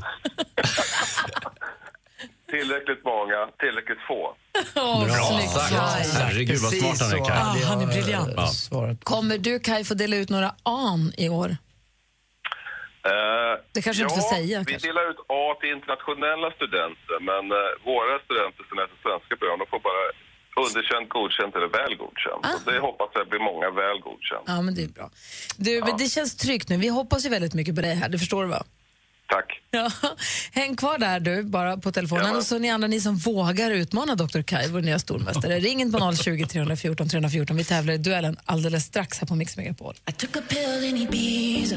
Speaker 12: Tillräckligt många, tillräckligt få.
Speaker 2: snyggt, Kaj.
Speaker 18: Herregud, vad smart han är, Kaj.
Speaker 2: Precis så. Ja, Ah, han är
Speaker 12: briljant.
Speaker 18: Ja.
Speaker 2: Kommer du Kai få dela ut några an i år?
Speaker 12: Eh,
Speaker 2: Det kanske du
Speaker 12: ja,
Speaker 2: inte får säga,
Speaker 12: Vi delar ut A till internationella studenter, men eh, våra studenter som läser svenska program, de får bara underkänt, godkänt eller väl godkänt. Och det hoppas jag blir många väl godkänt.
Speaker 2: Ah. Ja, men det är bra. Du, men det känns tryggt nu. Vi hoppas ju väldigt mycket på dig här, det förstår du va?
Speaker 12: Tack.
Speaker 2: Ja. Häng kvar där du, bara på telefonen.
Speaker 12: Jajamän.
Speaker 2: Och så ni andra ni som vågar utmana Dr. Kai, vår nya stormästare. Ring in på 020 314 314. Vi tävlar i duellen alldeles strax här på Mix Megapol.
Speaker 10: Took a pill in Ibiza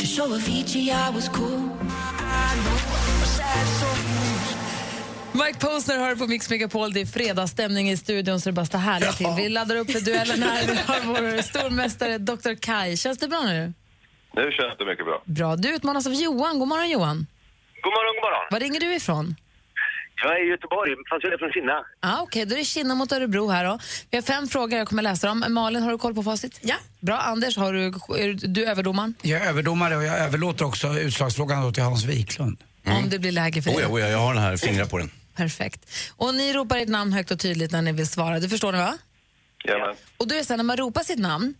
Speaker 10: to show Avicii I was cool. I know a sad soul.
Speaker 2: Mike Posner hör på Mix Megapol. Det är fredagsstämning i studion så det bara står härliga till. Vi laddar upp för duellen här. Vi har vår stormästare Dr. Kai. Känns det bra nu?
Speaker 12: Nu känns det mycket bra.
Speaker 2: Bra. Du utmanas av Johan. God morgon Johan.
Speaker 20: God morgon, god morgon.
Speaker 2: Var ringer du ifrån?
Speaker 20: Jag är i Göteborg, fast jag är från Kinna.
Speaker 2: Ah, Okej, då är det Kinna mot Örebro här då. Vi har fem frågor, jag kommer läsa dem. Malin, har du koll på facit? Ja. Bra. Anders, har du, är du överdomaren?
Speaker 3: Jag är överdomare och jag överlåter också utslagsfrågan då till Hans Wiklund.
Speaker 2: Om det blir läge för
Speaker 18: Oh
Speaker 2: dig.
Speaker 18: ja, oh ja, jag har den här, fingrar på den.
Speaker 2: Perfekt. Och ni ropar ert namn högt och tydligt när ni vill svara. Det förstår ni va?
Speaker 12: Jajamän.
Speaker 2: Och då är det så här, när man ropar sitt namn,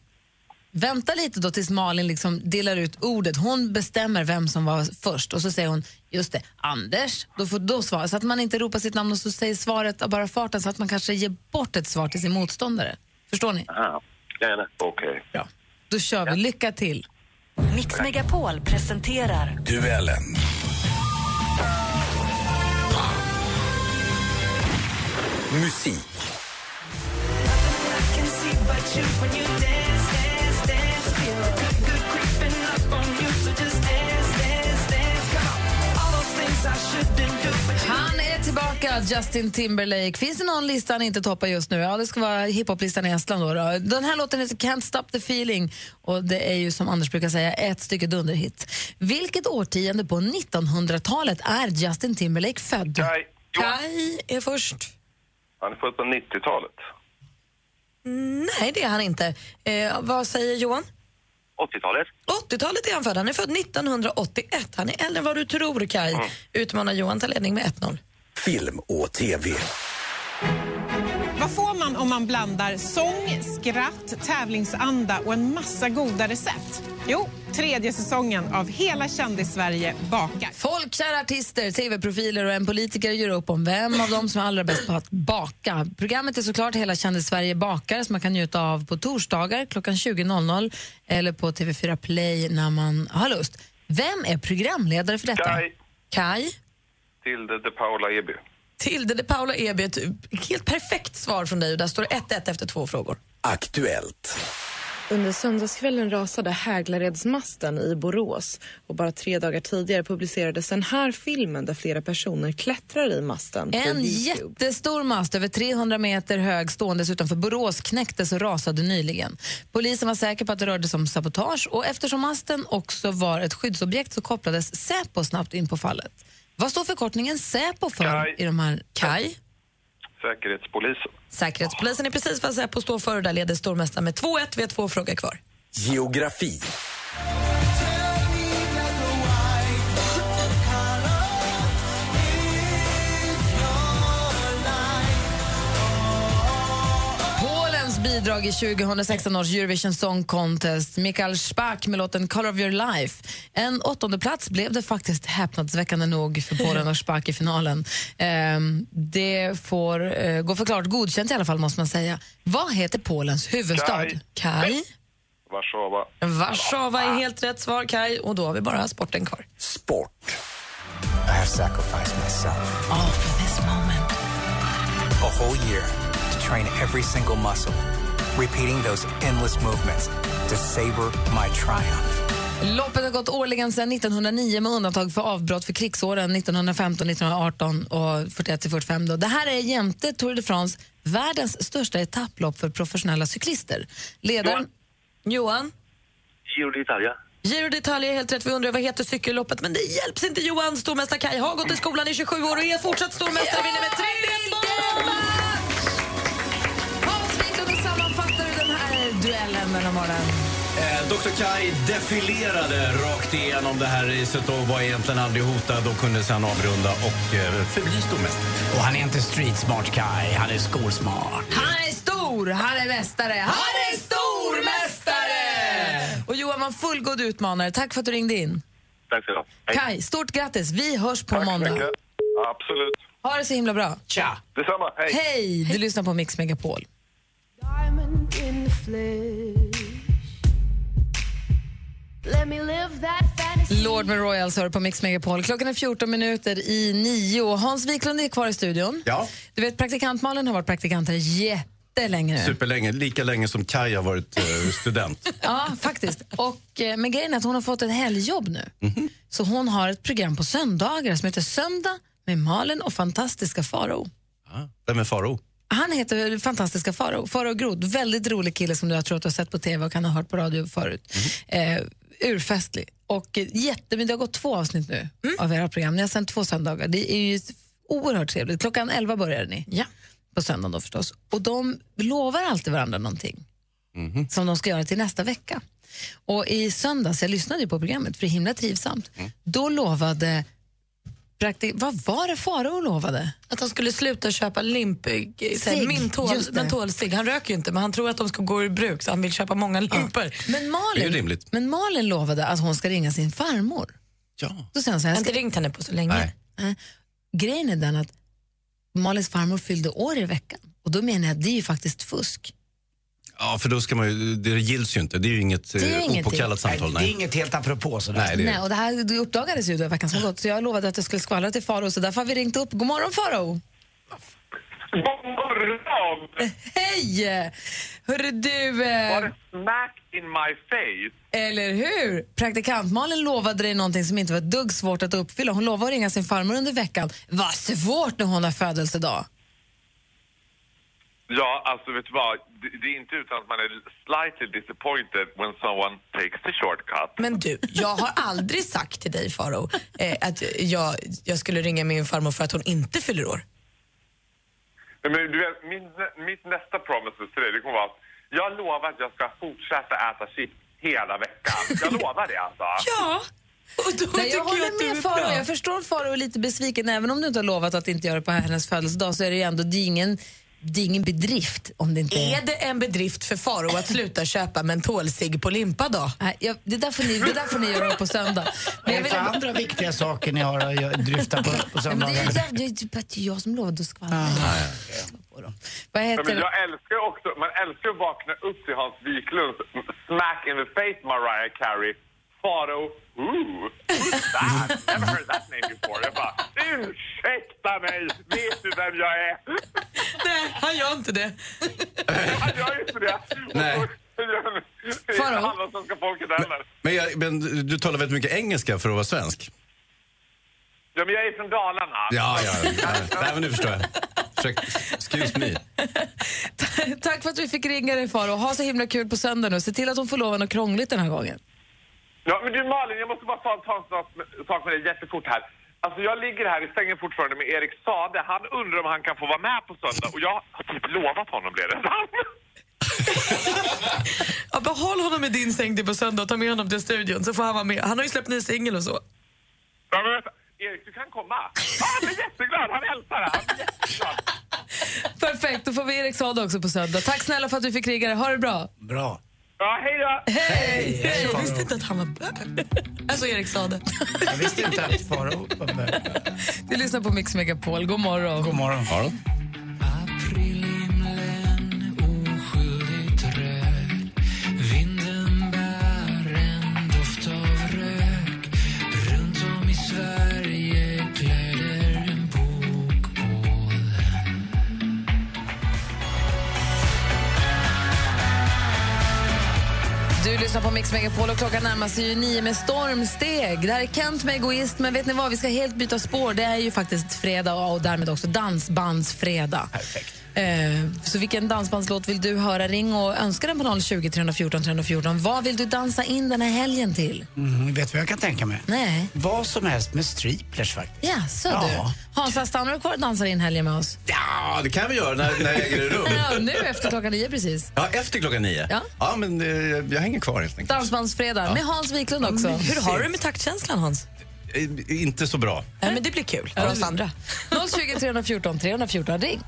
Speaker 2: vänta lite då tills Malin liksom delar ut ordet. Hon bestämmer vem som var först och så säger hon, just det, Anders. Då får då svara. Så att man inte ropar sitt namn och så säger svaret av bara farten så att man kanske ger bort ett svar till sin motståndare. Förstår ni?
Speaker 20: Aha. Okej. Okay.
Speaker 3: Ja.
Speaker 2: Då kör vi. Lycka till.
Speaker 6: Mix Megapol presenterar
Speaker 11: Duellen. Musik.
Speaker 2: Han är tillbaka, Justin Timberlake. Finns det någon lista han inte toppar just nu? Ja, det ska vara hiphoplistan i Estland. Då, då. Den här låten heter Can't Stop the Feeling och det är ju som Anders brukar säga ett stycke dunderhit. Vilket årtionde på 1900-talet är Justin Timberlake född? Kai. Kai är först.
Speaker 12: Han är född på 90-talet.
Speaker 1: Nej, det är han inte. Eh, vad säger Johan?
Speaker 20: 80-talet.
Speaker 1: 80-talet är han född. Han är född 1981. Han är äldre än vad du tror, Kai. Utmanar Johan till ledning med 1-0.
Speaker 11: Film och TV.
Speaker 15: Vad får man om man blandar sång, skratt, tävlingsanda och en massa goda recept? Jo, tredje säsongen av Hela kändis-Sverige bakar.
Speaker 2: Folkkära artister, tv-profiler och en politiker gör upp om vem av dem som är allra bäst på att baka. Programmet är såklart Hela kändis-Sverige bakar som man kan njuta av på torsdagar klockan 20.00 eller på TV4 Play när man har lust. Vem är programledare för detta?
Speaker 12: Kai.
Speaker 2: Kai.
Speaker 12: Till det, det Paula Eby.
Speaker 1: Tilde de Paula Eby, ett helt perfekt svar från dig. Där står det 1-1 efter två frågor.
Speaker 11: Aktuellt.
Speaker 16: Under söndagskvällen rasade Häglaredsmasten i Borås och bara tre dagar tidigare publicerades den här filmen där flera personer klättrar i masten. på
Speaker 2: En
Speaker 16: Youtube.
Speaker 2: jättestor mast, över 300 meter hög, ståendes utanför Borås knäcktes och rasade nyligen. Polisen var säker på att det rörde sig om sabotage och eftersom masten också var ett skyddsobjekt så kopplades Säpo snabbt in på fallet. Vad står förkortningen Säpo för i de här... Kaj?
Speaker 12: Säkerhetspolisen.
Speaker 1: Säkerhetspolisen är precis vad Säpo står för och där leder stormästaren med 2-1. Vi har två frågor kvar.
Speaker 11: Geografi.
Speaker 2: Polens bidrag i 2016 års Eurovision Song Contest, Mikael Spack med låten Color of your life. En åttonde plats blev det faktiskt häpnadsväckande nog för Polen och Spack i finalen. Ehm, det får eh, gå förklart godkänt i alla fall måste man säga. Vad heter Polens huvudstad?
Speaker 12: Kaj.
Speaker 2: Kaj.
Speaker 12: Warszawa.
Speaker 1: Warszawa är helt rätt svar, Kai. Och då har vi bara sporten kvar.
Speaker 11: Sport. I have sacrificed myself.
Speaker 1: All for this moment.
Speaker 8: A whole year to train every single muscle. Repeating those endless movements to savor my triumph.
Speaker 2: Loppet har gått årligen sedan 1909 med undantag för avbrott för krigsåren 1915, 1918 och 41 till 45. Då. Det här är jämte Tour de France världens största etapplopp för professionella cyklister. Ledaren...
Speaker 1: Johan?
Speaker 20: Giro d'Italia.
Speaker 1: Giro d'Italia är helt rätt. Vi undrar vad heter cykelloppet, men det hjälps inte Johan. Stormästare Kai har gått i skolan i 27 år och är fortsatt stormästare. Vinner med 3-1
Speaker 2: Hans Wiklund, hur sammanfattar du den här duellen denna morgon?
Speaker 18: Eh, Dr. Kai defilerade rakt igenom det här racet och var egentligen aldrig hotad och kunde sedan avrunda och eh, förbli stormästare.
Speaker 3: Och han är inte street smart Kai, han är skolsmart.
Speaker 2: Han är stor, han är mästare, han är stormästare! Och Johan var en fullgod utmanare. Tack för att du ringde in.
Speaker 12: Tack ska du ha.
Speaker 2: Kai, stort grattis. Vi hörs på måndag.
Speaker 12: Mycket. Absolut.
Speaker 2: Ha det så himla bra.
Speaker 3: Tja.
Speaker 12: Detsamma. Hej.
Speaker 2: Hej. Du lyssnar på Mix Megapol.
Speaker 19: Diamond in the flesh. Let me live that fantasy.
Speaker 2: Lord med Royals hör på Mix Megapol. Klockan är 14 minuter i nio. Och Hans Wiklund är kvar i studion.
Speaker 18: Ja.
Speaker 2: Du vet, praktikant Malin har varit praktikant här jättelänge nu.
Speaker 18: Superlänge, lika länge som Kai har varit eh, student.
Speaker 2: Ja, faktiskt. Och, eh, men grejen är att hon har fått ett helgjobb nu. Så hon har ett program på söndagar som heter Söndag med Malin och fantastiska Faro.
Speaker 18: Vem är Faro?
Speaker 2: Han heter fantastiska Faro, Faro Groth. Väldigt rolig kille som du jag tror att du har sett på tv och kan ha hört på radio förut. Eh, urfestlig. Och eh, jätte, men det har gått två avsnitt nu av era program. Ni har sänt två söndagar. Det är ju oerhört trevligt. Klockan 11 börjar ni. Ja. På söndagen då förstås. Och de lovar alltid varandra någonting som de ska göra till nästa vecka. Och i söndags, jag lyssnade ju på programmet för det är himla trivsamt, då lovade praktik... Vad var det Farao lovade?
Speaker 1: Att han skulle sluta köpa limp, eh, så här,
Speaker 2: Cigg,
Speaker 1: mentol,
Speaker 2: just det.
Speaker 1: mentolcigg. Han röker ju inte, men han tror att de ska gå i bruk så han vill köpa många limpor.
Speaker 2: Men Malin, Men Malin lovade att hon ska ringa sin farmor.
Speaker 18: Ja.
Speaker 2: Då säger hon så här,
Speaker 1: Jag har
Speaker 2: ska...
Speaker 1: inte ringt henne på så länge.
Speaker 2: Nej. Nej. Grejen är den att Malins farmor fyllde år i veckan. Och då menar jag att det är ju faktiskt fusk.
Speaker 18: Ja, för då ska man ju, det gills ju inte. Det är ju inget
Speaker 2: är
Speaker 18: eh,
Speaker 2: ingenting.
Speaker 18: opåkallat samtal.
Speaker 3: Nej, det är inget helt apropå sådär.
Speaker 18: Nej, det är...
Speaker 2: Nej, och det här det uppdagades ju då i veckan som gått, så jag lovade att jag skulle skvallra till Faro så därför har vi ringt upp. God morgon Faro! Hej! Hörru du, eh,
Speaker 14: Smack in my face.
Speaker 2: eller hur? Praktikant Malin lovade dig någonting som inte var ett dugg svårt att uppfylla. Hon lovade att ringa sin farmor under veckan. Vad svårt när hon har födelsedag.
Speaker 14: Ja, alltså vet du vad? Det, det är inte utan att man är slightly disappointed when someone takes the shortcut.
Speaker 1: Men du, jag har aldrig sagt till dig Faro eh, att jag, jag skulle ringa min farmor för att hon inte fyller år.
Speaker 14: Men du vet, min, mitt nästa promise till dig, det kommer vara att jag lovar att jag ska fortsätta äta chips hela veckan. Jag lovar det alltså.
Speaker 1: Ja.
Speaker 2: Nej, jag
Speaker 14: tycker jag att
Speaker 2: håller
Speaker 14: du är
Speaker 2: med Farao.
Speaker 14: bra.
Speaker 2: Jag förstår Farao är lite besviken. Även om du inte har lovat att inte göra det på hennes födelsedag så är det ju ändå det är ingen, det är ingen bedrift om det inte
Speaker 1: Är det en bedrift för Faro att sluta köpa mentolcigg på limpa då?
Speaker 2: Nej, jag, det, där får ni, det där får ni göra på söndag.
Speaker 3: Vad är det för andra viktiga saker ni har att gö- dryfta på, på
Speaker 2: Men det är ju
Speaker 3: söndagar?
Speaker 2: där- det är ju bara att jag som lovade att skvallra. Vad
Speaker 14: Ja,
Speaker 2: heter
Speaker 14: Men
Speaker 2: det?
Speaker 14: jag älskar ju också, man älskar ju att vakna upp till Hans Wiklunds smack in the face Mariah Carey. Faro, ooh, who's that? Never heard that name before. Jag bara, ursäkta mig, vet du vem jag är?
Speaker 1: Nej, han gör inte det.
Speaker 14: Han gör inte det.
Speaker 18: Nej.
Speaker 14: Det är inte halva svenska folket heller.
Speaker 18: Men, jag, men du talar väldigt mycket engelska för att vara svensk.
Speaker 14: Ja, men jag är från Dalarna.
Speaker 18: Ja, ja. ja. Nej, men nu förstår jag. Ursäkta. Excuse me.
Speaker 2: Tack för att vi fick ringa dig Farao. Ha så himla kul på söndag nu. Se till att hon får lova något krångligt den här gången.
Speaker 14: Ja, men du Malin, jag måste bara ta, ta en sak med- sak med dig jättefort här. Alltså jag ligger här i sängen fortfarande med Erik Sade. Han undrar om han kan få vara med på söndag och jag har typ lovat honom det redan.
Speaker 1: Ja, behåll honom i din säng till på söndag och ta med honom till studion så får han vara med. Han har ju släppt ny singel och så.
Speaker 14: Ja, men vänta. Erik, du kan komma. Ja, han är jätteglad, han älskar det. Han är jätteglad.
Speaker 2: Perfekt, då får vi Erik Saade också på söndag. Tack snälla för att vi fick ringa dig. Ha det bra.
Speaker 3: Bra.
Speaker 14: Ja, hej då!
Speaker 2: Hej!
Speaker 1: Hej, jag visste inte att han var bög. Alltså Erik Sade.
Speaker 3: Jag visste inte att Farao var med.
Speaker 2: Du lyssnar på Mix Megapol. God morgon. God
Speaker 3: morgon.
Speaker 2: Du lyssnar på Mix Megapol och klockan närmar sig ju nio med stormsteg. Det här är Kent med Egoist, men vet ni vad? Vi ska helt byta spår. Det är ju faktiskt fredag och därmed också dansbandsfredag. Perfekt. Eh, så vilken dansbandslåt vill du höra? Ring och önska den på 020 314 314. Vad vill du dansa in den här helgen till?
Speaker 3: Mm, vet du vad jag kan tänka mig?
Speaker 2: Nej.
Speaker 3: Vad som helst med striplers faktiskt.
Speaker 2: Ja, så
Speaker 3: Ja.
Speaker 2: du. Hansa, stannar du kvar och dansar in helgen med oss?
Speaker 18: Ja, det kan vi göra när, när jag äger ett rum.
Speaker 2: Ja, nu efter klockan nio precis.
Speaker 18: Ja, efter klockan nio.
Speaker 2: Ja.
Speaker 18: men eh, jag hänger kvar helt enkelt.
Speaker 2: Dansbandsfredag
Speaker 18: Ja.
Speaker 2: med Hans Wiklund också.
Speaker 18: Hur har du med
Speaker 2: taktkänslan, Hans?
Speaker 18: Eh, Inte så bra.
Speaker 1: Nej, men det blir kul.
Speaker 2: Ja. 020 314 314, ring.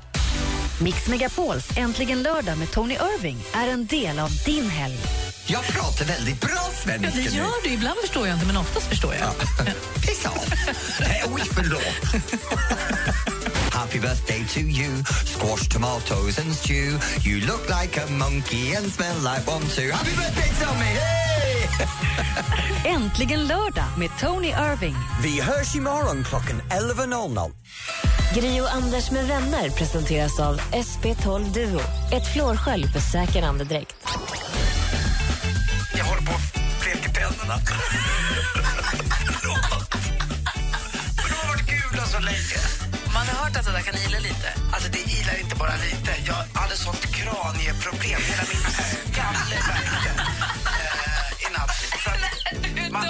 Speaker 6: Mix Megapols Äntligen lördag med Tony Irving är en del av din helg.
Speaker 21: Jag pratar väldigt bra svenska
Speaker 6: Ja, det gör
Speaker 21: nu.
Speaker 6: du. Ibland
Speaker 21: förstår jag inte, men oftast förstår jag. Piss off! Nej, oj, förlåt. Happy birthday to you Squash, tomatoes and stew You look like a monkey and smell like one too Happy birthday, Tommy! Hey!
Speaker 6: Äntligen lördag med Tony Irving.
Speaker 21: Vi hörs imorgon klockan 11.00.
Speaker 13: Gri och Anders med vänner presenteras av SP12 Duo. Ett flårskölj för säker andedräkt.
Speaker 21: Jag håller på att bleka tänderna. Förlåt. Men de har varit gula så länge.
Speaker 25: Har ni hört att det där kan ila lite? Alltså det ilar inte bara lite. Jag hade sånt kranieproblem. Hela min skalle värkte eh, i natt. Så att man-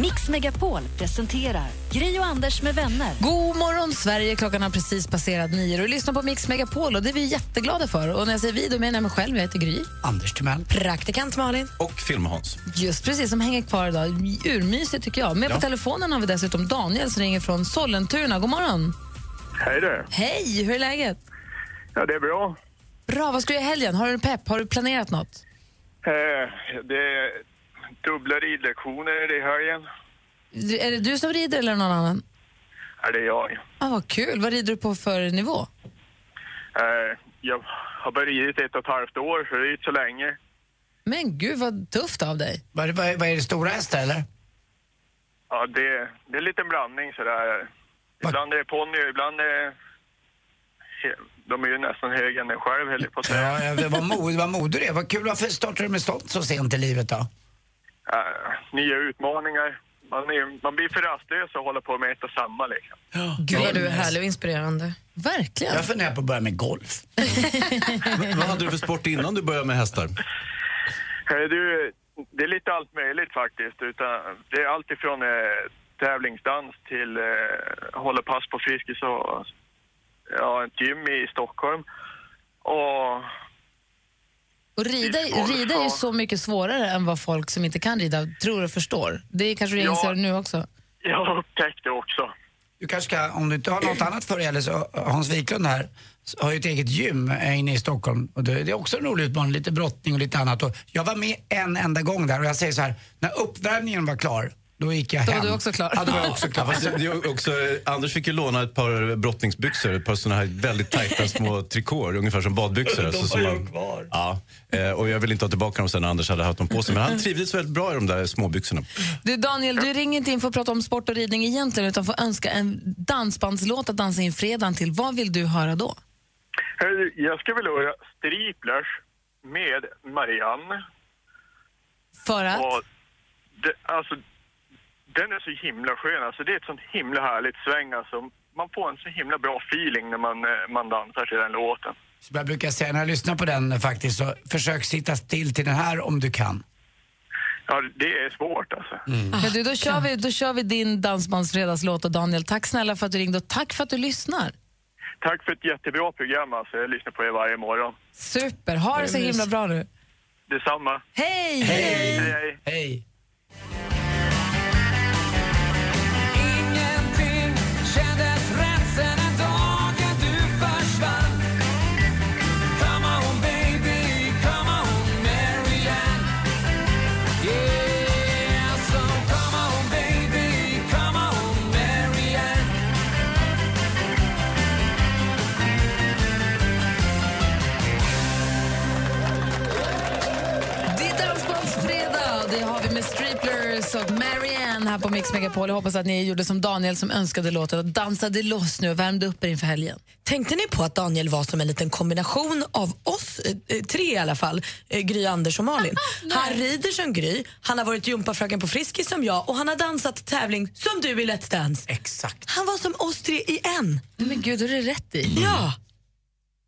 Speaker 6: Mix Megapol presenterar Gri och Anders med vänner.
Speaker 2: God morgon Sverige, klockan har precis passerat nio. Du lyssnar på Mix Megapol och det är vi jätteglada för. Och när jag säger vi, då menar jag mig själv. Jag heter Gry.
Speaker 3: Anders Timell.
Speaker 2: Praktikant Malin.
Speaker 18: Och Film-Hans.
Speaker 2: Just precis, som hänger kvar idag. Urmysigt tycker jag. Med
Speaker 18: Ja.
Speaker 2: på telefonen har vi dessutom Daniel som ringer från Sollentuna. God morgon.
Speaker 26: Hej du.
Speaker 2: Hej, hur är läget?
Speaker 26: Ja, det är bra.
Speaker 2: Bra, vad ska du göra i helgen? Har du pepp? Har du planerat något?
Speaker 26: Eh, det är dubbla ridlektioner i helgen.
Speaker 2: Du- Är det du som rider eller någon annan?
Speaker 26: Ja, det är jag.
Speaker 2: Ah, vad kul. Vad rider du på för nivå?
Speaker 26: Eh, jag har bara ridit ett och ett halvt år, så det är ju inte så länge.
Speaker 2: Men gud, vad tufft av dig.
Speaker 3: Vad är, vad är, vad är det, stora hästar eller?
Speaker 26: Ja, det, det är en liten blandning sådär. Ibland är det ponny, ibland är det... De är ju nästan högre än en själv, höll jag på att säga.
Speaker 3: Ja, ja, det var mod, vad modig du är. Vad kul, varför startade du med sånt så sent i livet då?
Speaker 26: Eh, nya utmaningar. Man, är, man blir för rastlös att hålla på med ett och samma liksom.
Speaker 1: Gud vad du är
Speaker 3: Yes.
Speaker 1: härlig och inspirerande.
Speaker 2: Verkligen.
Speaker 3: Jag funderar på att börja med golf.
Speaker 18: Vad hade du för sport innan du började med hästar?
Speaker 26: Eh, Du, det är lite allt möjligt faktiskt. Utan det är allt ifrån eh, tävlingsdans till eh, hålla pass på Friskis och ja, ett gym i Stockholm. Och
Speaker 2: Och rida, rida är ju så mycket svårare än vad folk som inte kan rida tror och förstår. Det kanske du
Speaker 26: Ja.
Speaker 2: inser nu också.
Speaker 26: jag har upptäckt det också.
Speaker 3: Du kanske ska, om du inte har något annat för dig eller så, Hans Wiklund här s- har ju ett eget gym eh, inne i Stockholm. Och det, det är också en rolig utmaning, lite brottning och lite annat. Och jag var med en enda gång där och jag säger så här, när uppvärmningen var klar, då gick jag
Speaker 2: Då var
Speaker 3: hem.
Speaker 2: du också klar.
Speaker 3: Ja, då var jag också klar.
Speaker 18: Ja, fast det- det är också, eh, Anders fick ju låna ett par brottningsbyxor, ett par såna här väldigt tajta små trikåer, ungefär som badbyxor.
Speaker 27: De
Speaker 18: alltså,
Speaker 27: har
Speaker 18: som
Speaker 27: jag
Speaker 18: kvar. Ja, eh, och jag vill inte ha tillbaka dem sen när Anders hade haft dem på sig. Men han trivdes väldigt bra i de där småbyxorna.
Speaker 2: Du Daniel, du ringer inte in för att prata om sport och ridning egentligen utan för att önska en dansbandslåt att dansa in fredagen till. Vad vill du höra då?
Speaker 26: Eh, Jag skulle vilja höra Striplers med Marianne.
Speaker 2: För att?
Speaker 26: Och det, alltså, den är så himla skön. Alltså, det är ett sånt himla härligt sväng. Alltså, man får en så himla bra feeling när man, eh, man dansar till den låten.
Speaker 3: Så jag brukar säga när jag lyssnar på den eh, faktiskt, så försök sitta still till den här om du kan.
Speaker 26: Ja, det är svårt alltså.
Speaker 2: Men du, då, kör vi, då kör vi din dansbandsfredagslåt och Daniel, tack snälla för att du ringde och tack för att du lyssnar.
Speaker 26: Tack för ett jättebra program. Alltså. Jag lyssnar på er varje morgon.
Speaker 2: Super, ha det så himla bra nu.
Speaker 26: Detsamma.
Speaker 2: Hej!
Speaker 26: Hej! Hej!
Speaker 3: Hej!
Speaker 10: Ingenting kändes rätt sen den dagen du försvann Come on baby, come on Marianne Yeah, so come on baby, come on Marianne
Speaker 2: Det är Dansbandsfredag och det har vi med Striplers och Marianne här på Mix Megapol. Jag hoppas att ni gjorde som Daniel som önskade låten och dansade loss nu och värmde upp er inför helgen.
Speaker 1: Tänkte ni på att Daniel var som en liten kombination av oss eh, eh, tre i alla fall, eh, Gry, Anders och Malin. han rider som Gry, han har varit gympafröken på Friskis som jag och han har dansat tävling som du i Let's Dance.
Speaker 3: Exakt.
Speaker 1: Han var som oss tre i en.
Speaker 2: Men gud, har du rätt i.
Speaker 1: Ja.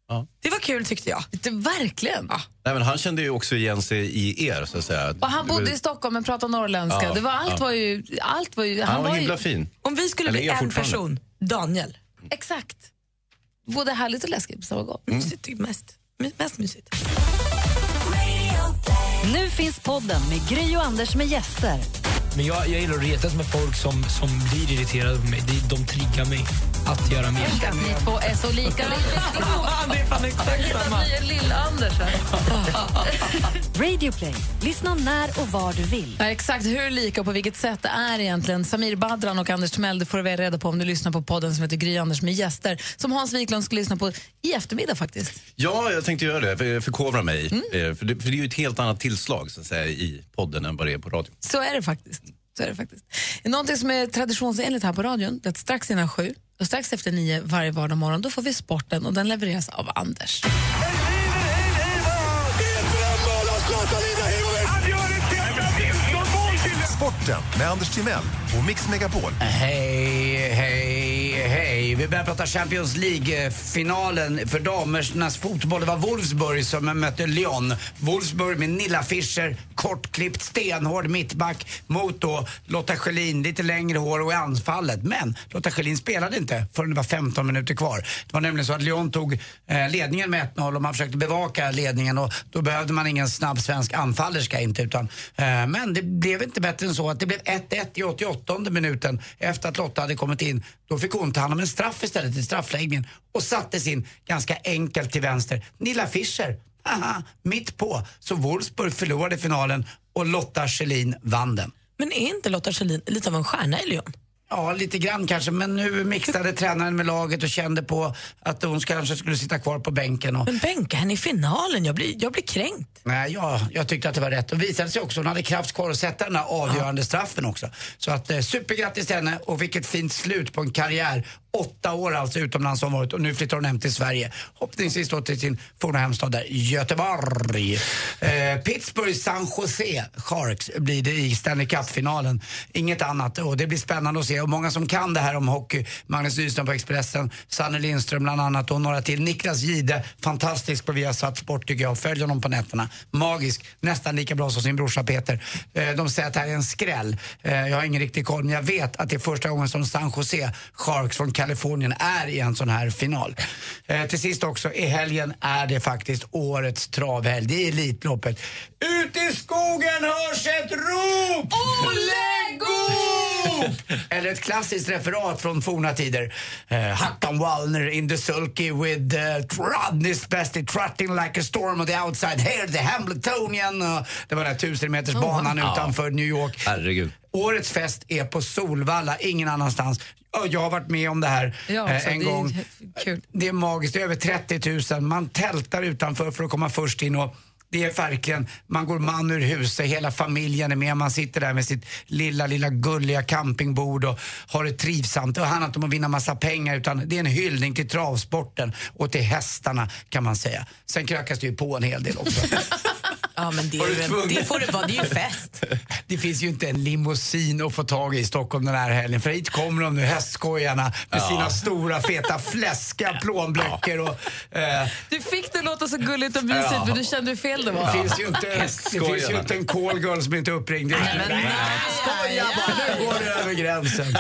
Speaker 18: Ja.
Speaker 1: Det var kul tyckte jag.
Speaker 2: Det, verkligen.
Speaker 18: Nej, men han kände ju också igen sig i er, så att säga.
Speaker 2: Och han bodde i Stockholm men pratade norrländska.
Speaker 18: Ja,
Speaker 2: det var, allt,
Speaker 18: ja.
Speaker 2: var ju, allt var ju...
Speaker 18: Han, var,
Speaker 2: ju-
Speaker 18: himla fin.
Speaker 1: Om vi skulle
Speaker 18: Eller
Speaker 1: bli
Speaker 18: är
Speaker 1: en
Speaker 18: fortfarande.
Speaker 1: person, Daniel.
Speaker 2: Exakt. Både härligt och läskigt på samma gång.
Speaker 3: Mm.
Speaker 1: Mysigt, mest, mest mysigt.
Speaker 6: Nu finns podden med Gri och Anders med gäster.
Speaker 28: Men jag, jag gillar att retas med folk som, som blir irriterade på mig. De, de triggar mig att göra mer.
Speaker 2: Tänk att ni två är så lika. det är fan exakt samma. Ni är lill-Anders här.
Speaker 6: Radioplay. Lyssna när och var du vill.
Speaker 2: Ja, exakt hur lika och på vilket sätt det är egentligen. Samir Badran och Anders Timell det får du väl reda på om du lyssnar på podden som heter Gry Anders med gäster som Hans Wiklund ska lyssna på i eftermiddag faktiskt.
Speaker 18: Ja, jag tänkte göra det. för- Förkovra mig.
Speaker 2: Mm.
Speaker 18: Eh, För, det, för det är ju ett helt annat tillslag så att säga, i podden än vad det är på radio.
Speaker 2: Så är det faktiskt. Så är det faktiskt. Någonting som är traditionsenligt här på radion det är att strax innan sju och strax efter nio varje vardag morgon då får vi sporten och den levereras av Anders.
Speaker 21: Sport
Speaker 11: Sporten med Anders Timell och Mix Megapol.
Speaker 3: Hej, hej, hej. Vi börjar prata Champions League-finalen för damernas fotboll. Det var Wolfsburg som mötte Lyon. Wolfsburg med Nilla Fischer, kortklippt, stenhård mittback mot då Lotta Schelin, lite längre hår och i anfallet. Men Lotta Schelin spelade inte förrän det var 15 minuter kvar. Det var nämligen så att Lyon tog eh, ledningen med 1-0 och man försökte bevaka ledningen och då behövde man ingen snabb svensk anfallerska inte. Utan, eh, men det blev inte bättre än så att det blev 1-1 i 88 minuten efter att Lotta hade kommit in. Då fick hon ta hand om en straff istället i straffläggningen och sattes in ganska enkelt till vänster. Nilla Fischer, haha, mitt på. Så Wolfsburg förlorade finalen och Lotta Schelin vann den.
Speaker 1: Men är inte Lotta Schelin lite av en stjärna i Lyon?
Speaker 3: Ja, lite grann kanske, men nu mixade tränaren med laget och kände på att hon kanske skulle sitta kvar på bänken. Och...
Speaker 1: Men bänka henne i finalen, jag blir, jag blir kränkt.
Speaker 3: Nej, jag, jag tyckte att det var rätt. Och visade sig också, hon hade kraft kvar att sätta den här avgörande straffen också. Så att eh, supergrattis till henne och vilket fint slut på en karriär. Åtta år alltså utomlands har hon varit och nu flyttar hon hem till Sverige. Hoppningsvis då till sin forna hemstad där, Göteborg. Eh, Pittsburgh San Jose Sharks blir det i Stanley Cup-finalen. Inget annat. Och det blir spännande att se. Och många som kan det här om hockey, Magnus Nyström på Expressen, Sanne Lindström bland annat och några till. Niklas Gide, fantastisk på Viasat Sport tycker jag. Följ honom på nätterna. Magisk, nästan lika bra som sin brorsa Peter. Eh, de säger att det här är en skräll. Eh, jag har ingen riktig koll, men jag vet att det är första gången som San Jose Sharks från Kalifornien är i en sån här final. Eh, till sist också, i helgen är det faktiskt årets travhelg. Det är Elitloppet. Ut i skogen hörs ett rop! Olle Eller ett klassiskt referat från forna tider. Eh, Hackan Wallner in the sulky with uh, Rodney's bestie trotting like a storm on the outside. Here the Hamiltonian. Och det var den här tusenmetersbanan
Speaker 18: Oh, wow.
Speaker 3: utanför New York.
Speaker 18: Herregud.
Speaker 3: Årets fest är på Solvalla, ingen annanstans. Ja, Jag har varit med om det här
Speaker 2: Ja,
Speaker 3: eh,
Speaker 2: så
Speaker 3: en
Speaker 2: det är
Speaker 3: gång. Eh,
Speaker 2: kul.
Speaker 3: Det är magiskt, det är över 30 000. Man tältar utanför för att komma först in och det är verkligen, man går man ur huset, hela familjen är med, man sitter där med sitt lilla, lilla gulliga campingbord och har det trivsamt. Det handlar inte om att vinna massa pengar utan det är en hyllning till travsporten och till hästarna kan man säga. Sen krökas det ju på en hel del också.
Speaker 1: Ja, men det, är ju en, det får det vara, det är ju fest.
Speaker 3: Det finns ju inte en limousin att få tag i i Stockholm den här helgen. För hit kommer de nu, hästskojarna med
Speaker 2: Ja.
Speaker 3: sina stora feta fläskiga plånböcker. Och, eh,
Speaker 2: Du fick det låta så gulligt och mysigt,
Speaker 3: Ja.
Speaker 2: men du kände hur fel det var.
Speaker 3: det, finns ju inte, det finns ju inte en call girl som inte är uppringd. Skoja bara, nu går du över gränsen.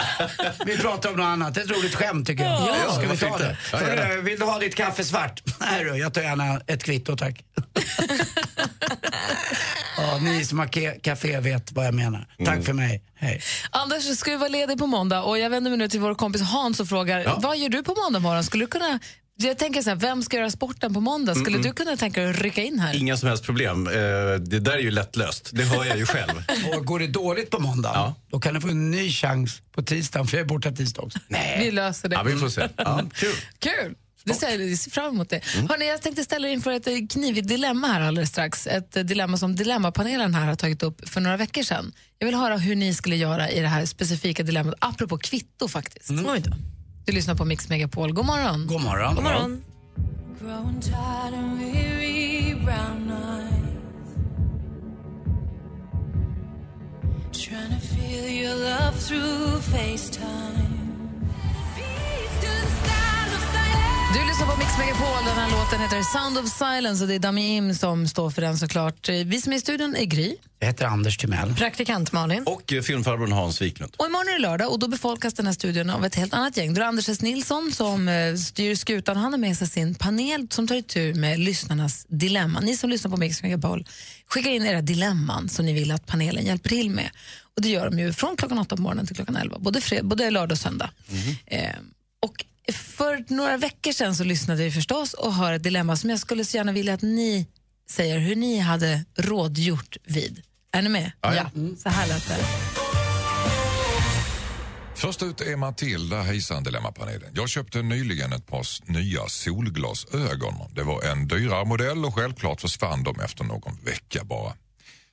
Speaker 3: Vi pratar om något annat. Det är ett roligt skämt tycker jag.
Speaker 9: Ja.
Speaker 3: Ska vi
Speaker 9: varför
Speaker 3: ta
Speaker 9: inte?
Speaker 3: det?
Speaker 9: Ja, gärna.
Speaker 3: Hörru, Vill du ha ditt kaffe svart? Nej du, jag tar gärna ett kvitto tack. ja, ni som har ke- café vet vad jag menar.
Speaker 9: Mm.
Speaker 3: Tack för mig, hej.
Speaker 2: Anders, ska ju vara ledig på måndag och jag vänder mig nu till vår kompis Hans och frågar,
Speaker 3: Ja.
Speaker 2: vad gör du på måndag morgon? Skulle du kunna, jag tänker så här, vem ska göra sporten på måndag? Skulle
Speaker 18: Mm,
Speaker 2: du
Speaker 18: mm.
Speaker 2: kunna tänka dig att rycka in här?
Speaker 18: Inga som helst problem. Eh, Det där är ju lättlöst. Det hör jag ju själv.
Speaker 3: Och går det dåligt på måndag, då kan du få en ny chans på tisdagen, för jag är borta tisdag också. Mm.
Speaker 2: Vi löser det.
Speaker 18: Ja, vi får se. Ja, kul.
Speaker 2: Kul! Det säger jag, vi ser fram emot det. Hörrni, jag tänkte ställa er inför ett eh, knivigt dilemma här alldeles strax. Ett eh, dilemma som Dilemmapanelen här har tagit upp för några veckor sedan. Jag vill höra hur ni skulle göra i det här specifika dilemmat, apropå kvitto faktiskt.
Speaker 1: Oj då.
Speaker 2: Du lyssnar på Mix Megapol. God morgon!
Speaker 3: God morgon.
Speaker 2: God morgon.
Speaker 24: Growing tired and weary brown eyes. Trying to feel your love through FaceTime.
Speaker 2: Du lyssnar på Mix Megapol. Den här låten heter Sound of Silence och det är Dami Im som står för den såklart. Eh, Vi som är i studion är Gry.
Speaker 3: Jag heter Anders Timell.
Speaker 2: Praktikant Malin.
Speaker 18: Och eh, filmfarbrorn Hans Wiklund.
Speaker 2: Och imorgon är det lördag och då befolkas den här studion av ett helt annat gäng. Då är det Anders S. Nilsson som eh, styr skutan. Han har med sig sin panel som tar itu med lyssnarnas dilemma. Ni som lyssnar på Mix Megapol, skicka in era dilemman som ni vill att panelen hjälper till med. Och det gör de ju från klockan åtta på morgonen till klockan elva, både, fred- både lördag och söndag.
Speaker 5: Mhm.
Speaker 2: Eh, och för några veckor sedan så lyssnade vi förstås och hör ett dilemma som jag skulle så gärna vilja att ni säger hur ni hade rådgjort vid. Är ni med? Mm.
Speaker 5: Ja, ja.
Speaker 2: Så här lät det.
Speaker 5: Först ut är Matilda, hejsan Dilemmapanelen. Jag köpte nyligen ett par s- nya solglasögon. Det var en dyrare modell och självklart försvann de efter någon vecka bara.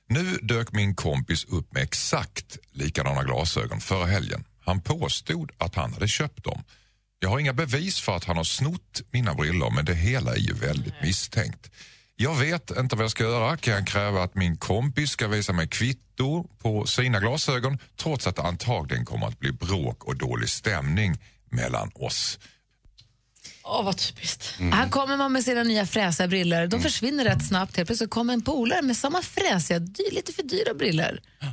Speaker 5: Nu dök min kompis upp med exakt likadana glasögon förra helgen. Han påstod att han hade köpt dem. Jag har inga bevis för att han har snott mina brillor men det hela är ju väldigt misstänkt. Jag vet inte vad jag ska göra. Kan jag kräva att min kompis ska visa mig kvitto på sina glasögon trots att det antagligen kommer att bli bråk och dålig stämning mellan oss?
Speaker 1: Åh, vad typiskt.
Speaker 18: Mm.
Speaker 2: Här kommer man med sina nya fräsiga briller. De försvinner rätt snabbt. Helt plötsligt kommer en polare med samma fräsiga, dy- lite för dyra briller.
Speaker 18: Oh,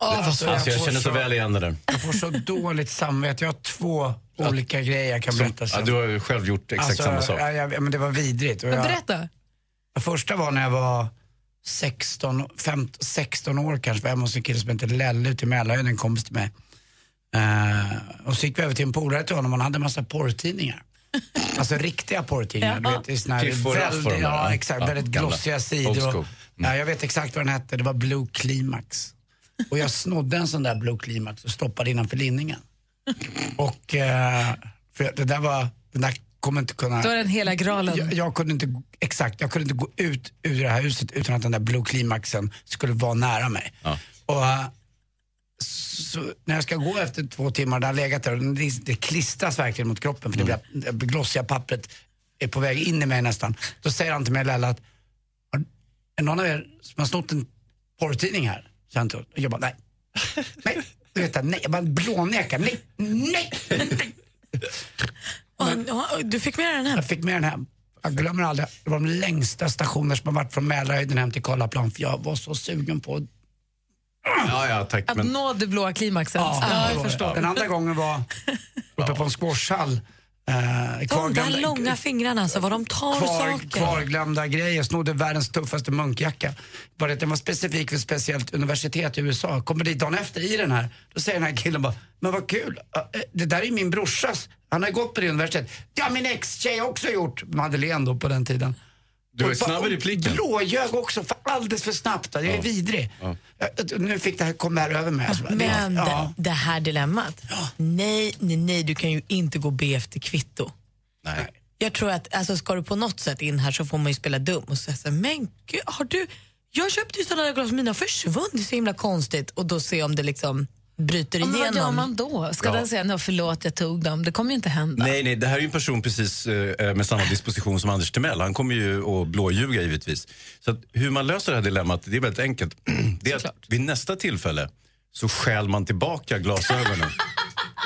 Speaker 3: Alltså,
Speaker 18: alltså, jag
Speaker 3: får
Speaker 18: känner så väl igen det där.
Speaker 3: Jag får så dåligt samvete. Jag har två olika grejer jag kan
Speaker 18: Som-
Speaker 3: berätta
Speaker 18: ja,
Speaker 3: sen.
Speaker 18: du har ju själv gjort exakt
Speaker 3: Alltså,
Speaker 18: samma sak.
Speaker 3: Ja, ja, ja, men det var vidrigt. Och
Speaker 2: Men
Speaker 3: jag-
Speaker 2: berätta.
Speaker 3: Det första var när jag var 16, 15, 16 år kanske, var jag hemma hos en kille som hette Lelle ute i Mälarhöjden, en kompis till mig. Eh, och så gick vi över till en polare till honom, han hade en massa porrtidningar. Alltså riktiga porrtidningar.
Speaker 18: Ja.
Speaker 3: Du vet, i såna här
Speaker 18: Typ Får Raff och de
Speaker 3: väldigt,
Speaker 18: där,
Speaker 3: ja,
Speaker 18: va?
Speaker 3: exakt,
Speaker 18: Ja,
Speaker 3: väldigt
Speaker 18: gamla.
Speaker 3: glossiga
Speaker 18: Old
Speaker 3: sidor.
Speaker 18: school. Mm.
Speaker 3: Och, ja, jag vet exakt vad den hette, det var Blue Climax. Och jag snodde en sån där Blue Climax och stoppade innanför linningen. Och eh, för det där var, den där kommer inte kunna...
Speaker 2: Då är den hela graalen.
Speaker 3: Jag, jag kunde inte, gå- exakt, jag kunde inte gå ut ur det här huset utan att den där blue klimaxen skulle vara nära mig. Och eh, så, när jag ska gå efter två timmar, den har legat där och den- det, det klistras verkligen mot kroppen för det, blir, det glossiga pappret är på väg in i mig nästan. Då säger han till mig, Lella, att "Har- är någon av er som har snott en porrtidning här? Så han till oss. och jag bara, nej. nej. Du vet, nej. Jag bara blånekar, nej, nej.
Speaker 1: Och- och Du fick med den hem?
Speaker 3: Jag fick med den hem. Jag glömmer aldrig, det var de längsta stationer som har varit från Mälarhöjden hem till Karlaplan för jag var så sugen på
Speaker 18: Ja, ja, tack.
Speaker 2: Att
Speaker 18: Men...
Speaker 2: nå det blåa klimaxet. Ja, jag förstår.
Speaker 3: Den andra gången var uppe på en squashhall. Eh,
Speaker 1: De där
Speaker 3: kvarglömda-
Speaker 1: långa fingrarna, alltså, vad de tar
Speaker 3: kvar,
Speaker 1: saker.
Speaker 3: kvarglömda grejer, snodde världens tuffaste munkjacka. Bara att den var specifik för ett speciellt universitet i USA. Kommer dit dagen efter i den här, då säger den här killen bara, men vad kul, eh, eh, det där är min brorsas, han har gått på det universitetet. Det har min ex-tjej också gjort, Madeleine då på den tiden.
Speaker 18: Du är
Speaker 3: Och bara-
Speaker 18: snabb i repliken.
Speaker 3: Blåljög också, för alldeles för snabbt. Jag är
Speaker 18: Ja.
Speaker 3: vidrig.
Speaker 18: Ja.
Speaker 3: Jag- Nu fick det här, kom det här över mig. Alltså, bara, det-
Speaker 1: Men
Speaker 3: ja.
Speaker 1: det, det här dilemmat. Nej, nej, nej, du kan ju inte gå och be efter kvitto.
Speaker 18: Nej.
Speaker 1: Jag tror att alltså, ska du på något sätt in här så får man ju spela dum och säga så här, men gud, har du, jag köpte ju sådana där glas, mina har försvunnit, det är så himla konstigt. Och då se om det liksom bryter
Speaker 2: Ja, men
Speaker 1: igenom.
Speaker 2: vad gör man då? Ska
Speaker 18: Ja.
Speaker 2: den säga "Nå, förlåt jag tog dem? Det kommer ju inte hända.
Speaker 18: Nej, nej, det här är ju en person precis eh, med samma disposition som Anders Timell. Han kommer ju att blåljuga givetvis. Så att hur man löser det här dilemmat, det är väldigt enkelt. Det är att vid nästa tillfälle så stjäl man tillbaka glasögonen.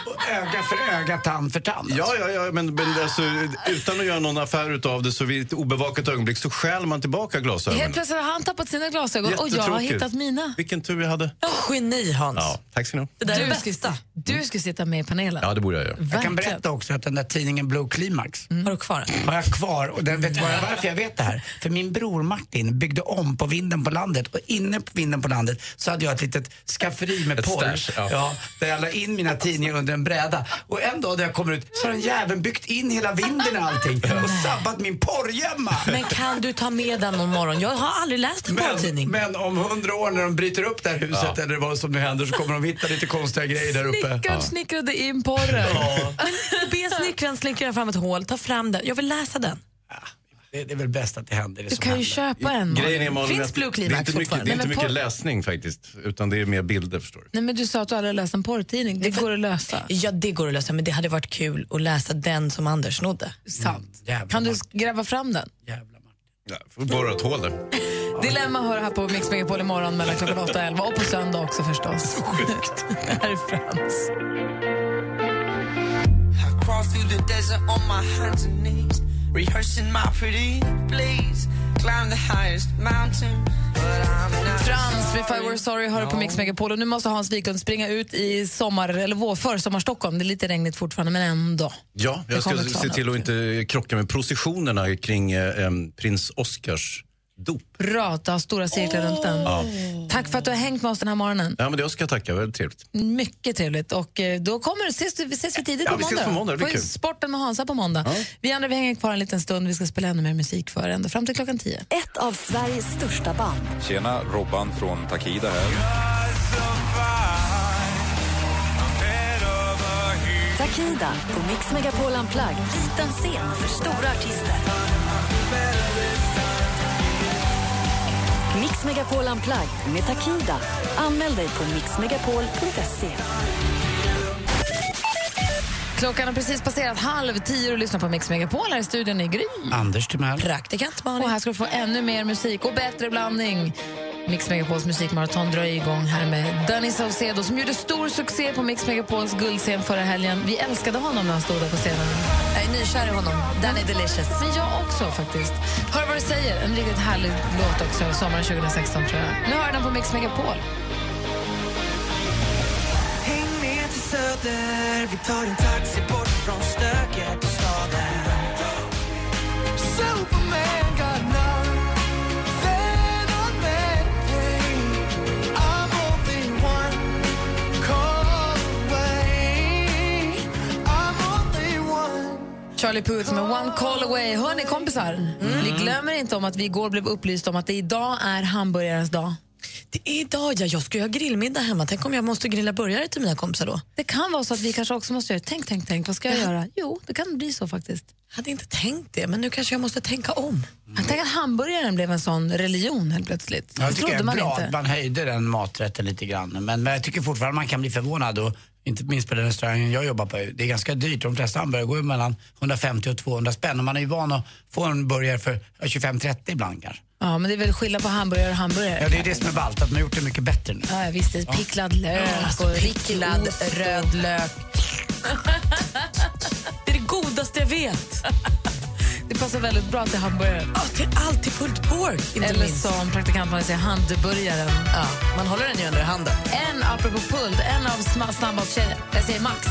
Speaker 3: Och öga för öga, tand för tand.
Speaker 18: Ja, ja, ja men, men alltså, utan att göra någon affär utav det så vid ett obevakat ögonblick så stjäl man tillbaka
Speaker 2: Helt
Speaker 18: glasögonen.
Speaker 2: plötsligt har han tappat sina glasögon och jag har
Speaker 18: Jättetråkigt.
Speaker 2: hittat mina.
Speaker 18: Vilken tur vi hade.
Speaker 1: Geni Hans.
Speaker 18: Ja, tack ska ni ha.
Speaker 2: du, ska, du ska sitta med i panelen.
Speaker 18: Ja, det borde jag göra.
Speaker 3: Jag kan
Speaker 2: Verkligen.
Speaker 3: berätta också att den där tidningen Blue Climax
Speaker 1: Mm. har du kvar
Speaker 3: Har jag kvar och den vet du vad jag- varför jag vet det här? För min bror Martin byggde om på vinden på landet och inne på vinden på landet så hade jag ett litet skafferi med
Speaker 18: Ett
Speaker 3: porr.
Speaker 18: stash, ja.
Speaker 3: där jag la in mina tidningar under en bräda och en dag när jag kommer ut så har den jäveln byggt in hela vinden och allting och sabbat min porrgömma.
Speaker 1: Men kan du ta med den någon morgon? Jag har aldrig läst en
Speaker 3: Men,
Speaker 1: porrtidning.
Speaker 3: men om hundra år när de bryter upp det här huset eller vad som nu händer så kommer de hitta lite konstiga grejer där uppe.
Speaker 2: Snickaren snickrade in porren.
Speaker 1: Be snickaren snickra fram ett hål, ta fram den. Jag vill läsa den.
Speaker 3: Det, det är väl bäst att det händer det
Speaker 2: Du
Speaker 3: som
Speaker 2: kan ju
Speaker 3: händer.
Speaker 2: köpa en.
Speaker 18: Grejen är, Malin,
Speaker 2: Finns
Speaker 18: att
Speaker 2: Blue
Speaker 18: det är
Speaker 2: Climax
Speaker 18: inte mycket,
Speaker 2: fortfarande?
Speaker 18: det är inte
Speaker 2: Nej,
Speaker 18: mycket
Speaker 2: men porr-
Speaker 18: läsning faktiskt, utan det är mer bilder förstår du.
Speaker 2: Nej, men du sa att du aldrig läst en porrtidning. Det går att lösa.
Speaker 1: Ja, det går att lösa, men det hade varit kul att läsa den som Anders snodde.
Speaker 2: Sant. Kan du gräva fram den?
Speaker 18: Ja, får borra ett hål där.
Speaker 2: Dilemma hör här på Mix Megapol imorgon mellan klockan 8 och 11 och på söndag också förstås. Sjukt. här är Frans.
Speaker 10: I crawl through the desert on my hands and knees, rehearsing my pretty please. Climb the highest mountain, but I'm not.
Speaker 2: Frans, If I
Speaker 10: sorry.
Speaker 2: Were Sorry hör du på
Speaker 10: No.
Speaker 2: Mix Megapol och nu måste Hans Wiklund springa ut i sommar, eller vår, för Stockholm. Det är lite regnigt fortfarande, men ändå.
Speaker 18: Ja,
Speaker 2: Det
Speaker 18: jag ska
Speaker 2: kommer
Speaker 18: se
Speaker 2: klara.
Speaker 18: till att inte krocka med processionerna kring eh, em, prins Oscars dop.
Speaker 2: Bra att du har stora cirklar runt den.
Speaker 18: Ja.
Speaker 2: Tack för att du har hängt med oss den här morgonen.
Speaker 18: ja, men det ska jag tacka. Väldigt trevligt.
Speaker 2: Mycket trevligt. Och eh, då kommer, ses, vi ses vi tidigt
Speaker 18: Ja,
Speaker 2: på
Speaker 18: vi
Speaker 2: måndag.
Speaker 18: ses på måndag, det blir
Speaker 2: På
Speaker 18: kul.
Speaker 2: Sporten med Hansa på måndag. Vi andra vi hänger kvar en liten stund. Vi ska spela ännu mer musik för er, ända fram till klockan 10.
Speaker 6: Ett av Sveriges största band.
Speaker 4: Tjena, Robban från Takida här.
Speaker 6: Takida på Mix Megapol Unplugged. Liten scen för stora artister. Mix Megapol Unplugged med Takida. Anmäl dig på mixmegapol.se.
Speaker 2: Klockan har precis passerat halv tio och lyssnar på Mix Megapol här i studion i Gry.
Speaker 3: Anders Timell.
Speaker 2: Praktikant Malin. Och här ska du få ännu mer musik och bättre blandning. Mix Megapols musikmaraton drar igång här med Danny Saucedo som gjorde stor succé på Mix Megapols guldscen förra helgen. Vi älskade honom när han stod där på scenen.
Speaker 6: Jag är nykär i honom. Danny Delicious.
Speaker 2: Men jag också faktiskt. Hör vad du säger. En riktigt härlig låt också, sommaren 2016 tror jag. Nu hör den på Mix Megapol.
Speaker 10: Häng med till Söder, vi tar en taxi bort från stöket i staden Superman got love, Phenomen, hey I'm only one call away I'm only one
Speaker 2: Charlie Puth med One Call Away. Hörni kompisar, ni glömmer inte om att vi igår blev upplysta om att det idag är hamburgarens dag.
Speaker 1: Det är idag, ja. Jag ska ju ha grillmiddag hemma. Tänk om jag måste grilla burgare till mina kompisar då?
Speaker 2: Det kan vara så att vi kanske också måste göra det. Tänk, tänk, tänk. Vad ska jag göra? Jo, det kan bli så faktiskt. Mm.
Speaker 1: Jag hade inte tänkt det, men nu kanske jag måste tänka om.
Speaker 2: Tänk att hamburgaren blev en sån religion helt plötsligt.
Speaker 3: Ja,
Speaker 2: det
Speaker 3: jag tycker det
Speaker 2: trodde
Speaker 3: är
Speaker 2: man
Speaker 3: bra
Speaker 2: inte.
Speaker 3: att man höjde den maträtten lite grann. Men, men jag tycker fortfarande man kan bli förvånad och inte minst på den restaurangen jag jobbar på. Det är ganska dyrt. De flesta hamburgare går ju mellan 150 och 200 spänn. Och man är ju van att få en burgare för ja, 25-30 ibland kanske.
Speaker 2: Ja, men det är väl skillnad på hamburgare och hamburgare.
Speaker 3: Ja, det är det som är ballt, att man har gjort det mycket bättre nu.
Speaker 2: Ja, visst. Det är picklad lök
Speaker 1: alltså,
Speaker 2: och riktig
Speaker 1: picklad
Speaker 2: ost och-
Speaker 1: röd lök. det är det godaste jag vet.
Speaker 2: Det passar väldigt bra till hamburgare.
Speaker 1: Ja, till allt. Till pulled pork, inte
Speaker 2: Eller
Speaker 1: minst.
Speaker 2: som praktikantmannen säger, handburgaren.
Speaker 1: Ja, man håller den ju under handen.
Speaker 2: En, apropå pult, en av sma- snabbmatstjejerna, jag säger Max,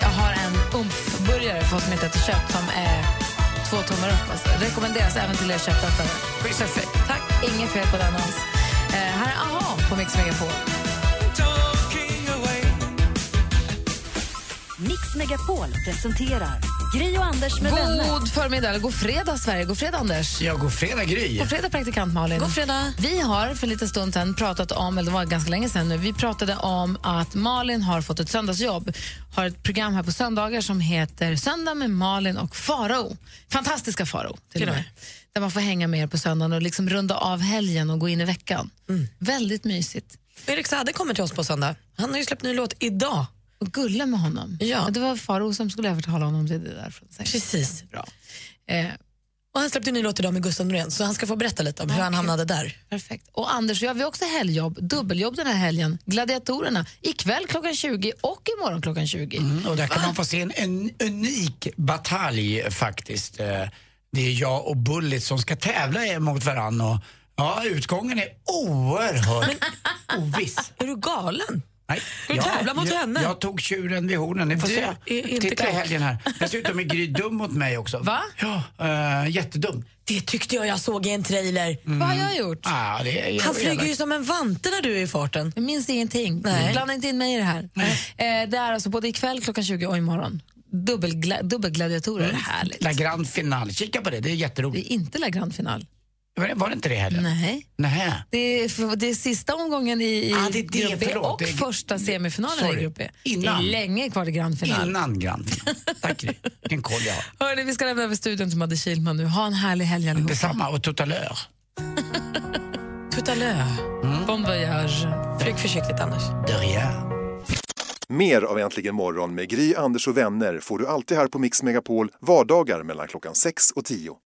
Speaker 2: jag har en umfburgare för oss som inte äter kött som är två tummar upp. Alltså. Rekommenderas även till er köttätare. Tack, inget fel på den alls. Eh, här är AHA på Mix Megapol.
Speaker 6: Mix Megapol presenterar Gry och Anders med vänner.
Speaker 2: God förmiddag, eller god fredag Sverige. God fredag Anders.
Speaker 3: Ja, god fredag Gry.
Speaker 2: God fredag praktikant Malin.
Speaker 1: God fredag.
Speaker 2: Vi har för en liten stund sedan pratat om, eller det var ganska länge sedan nu, vi pratade om att Malin har fått ett söndagsjobb. Har ett program här på söndagar som heter Söndag med Malin och Farao. Fantastiska Farao till och med. Där man får hänga med er på söndagen och liksom runda av helgen och gå in i veckan.
Speaker 1: Mm.
Speaker 2: Väldigt mysigt.
Speaker 1: Erik Saade kommer till oss på söndag. Han har ju släppt ny låt idag.
Speaker 2: Och gulla med honom.
Speaker 1: Ja.
Speaker 2: Det var Farao som skulle övertala honom till det där. Från sig.
Speaker 1: Precis.
Speaker 2: Bra. Eh,
Speaker 1: Och han släppte en ny låt idag med Gustav Norén, så han ska få berätta lite om hur han hamnade där.
Speaker 2: Perfekt. Och Anders och jag, vi har också helgjobb, dubbeljobb den här helgen. Gladiatorerna, ikväll klockan 20 och imorgon klockan 20.
Speaker 3: Mm, och där kan man få se en, en unik batalj faktiskt. Eh, Det är jag och Bullit som ska tävla mot varandra. Och, ja, utgången är oerhört oviss.
Speaker 1: Är du galen?
Speaker 3: Nej,
Speaker 1: Ska du tävla mot
Speaker 3: jag,
Speaker 1: henne?
Speaker 3: Jag tog tjuren vid hornen. Ni får
Speaker 1: Du
Speaker 3: se.
Speaker 1: är inte
Speaker 3: Titta i
Speaker 1: klok.
Speaker 3: helgen här. Dessutom är Gry dum mot mig också. Va? Ja, eh, jättedum. Mm.
Speaker 1: Det tyckte jag jag såg i en trailer.
Speaker 2: Vad har jag gjort?
Speaker 3: Ah, det är
Speaker 1: Han flyger
Speaker 3: elakt.
Speaker 1: ju som en vante när du är i farten.
Speaker 2: Jag minns ingenting.
Speaker 1: Nej.
Speaker 2: Blanda inte in mig i det här. Eh, det är alltså både ikväll klockan 20 och imorgon. Dubbelgla- dubbelgladiatorer,
Speaker 3: Mm.
Speaker 2: härligt.
Speaker 3: La Grand Final. Kika på det, det är
Speaker 2: Det
Speaker 3: jätteroligt.
Speaker 2: är inte La Grand Final.
Speaker 3: Var det, var det inte det heller?
Speaker 2: Nej.
Speaker 3: Nej.
Speaker 2: Det är, för- det är sista omgången i, i
Speaker 3: Ah, det är det,
Speaker 2: grupp B
Speaker 3: förlåt.
Speaker 2: och
Speaker 3: Det är-
Speaker 2: första semifinalen
Speaker 3: Sorry.
Speaker 2: i grupp B.
Speaker 3: Innan.
Speaker 2: Det är länge kvar till Grand Final.
Speaker 3: Innan Grand Final. Tack Gry. Vilken koll jag har.
Speaker 2: Hörrni, vi ska lämna över studion till Madde Kihlman nu. Ha en härlig helg allihopa.
Speaker 3: Detsamma, och tout à l'heure.
Speaker 1: Tout à l'heure.
Speaker 3: Mm.
Speaker 2: Bon voyage.
Speaker 1: Flyg försiktigt annars.
Speaker 3: De rien.
Speaker 7: Mer av Äntligen morgon med Gry, Anders och vänner får du alltid här på Mix Megapol vardagar mellan klockan 6 och 10.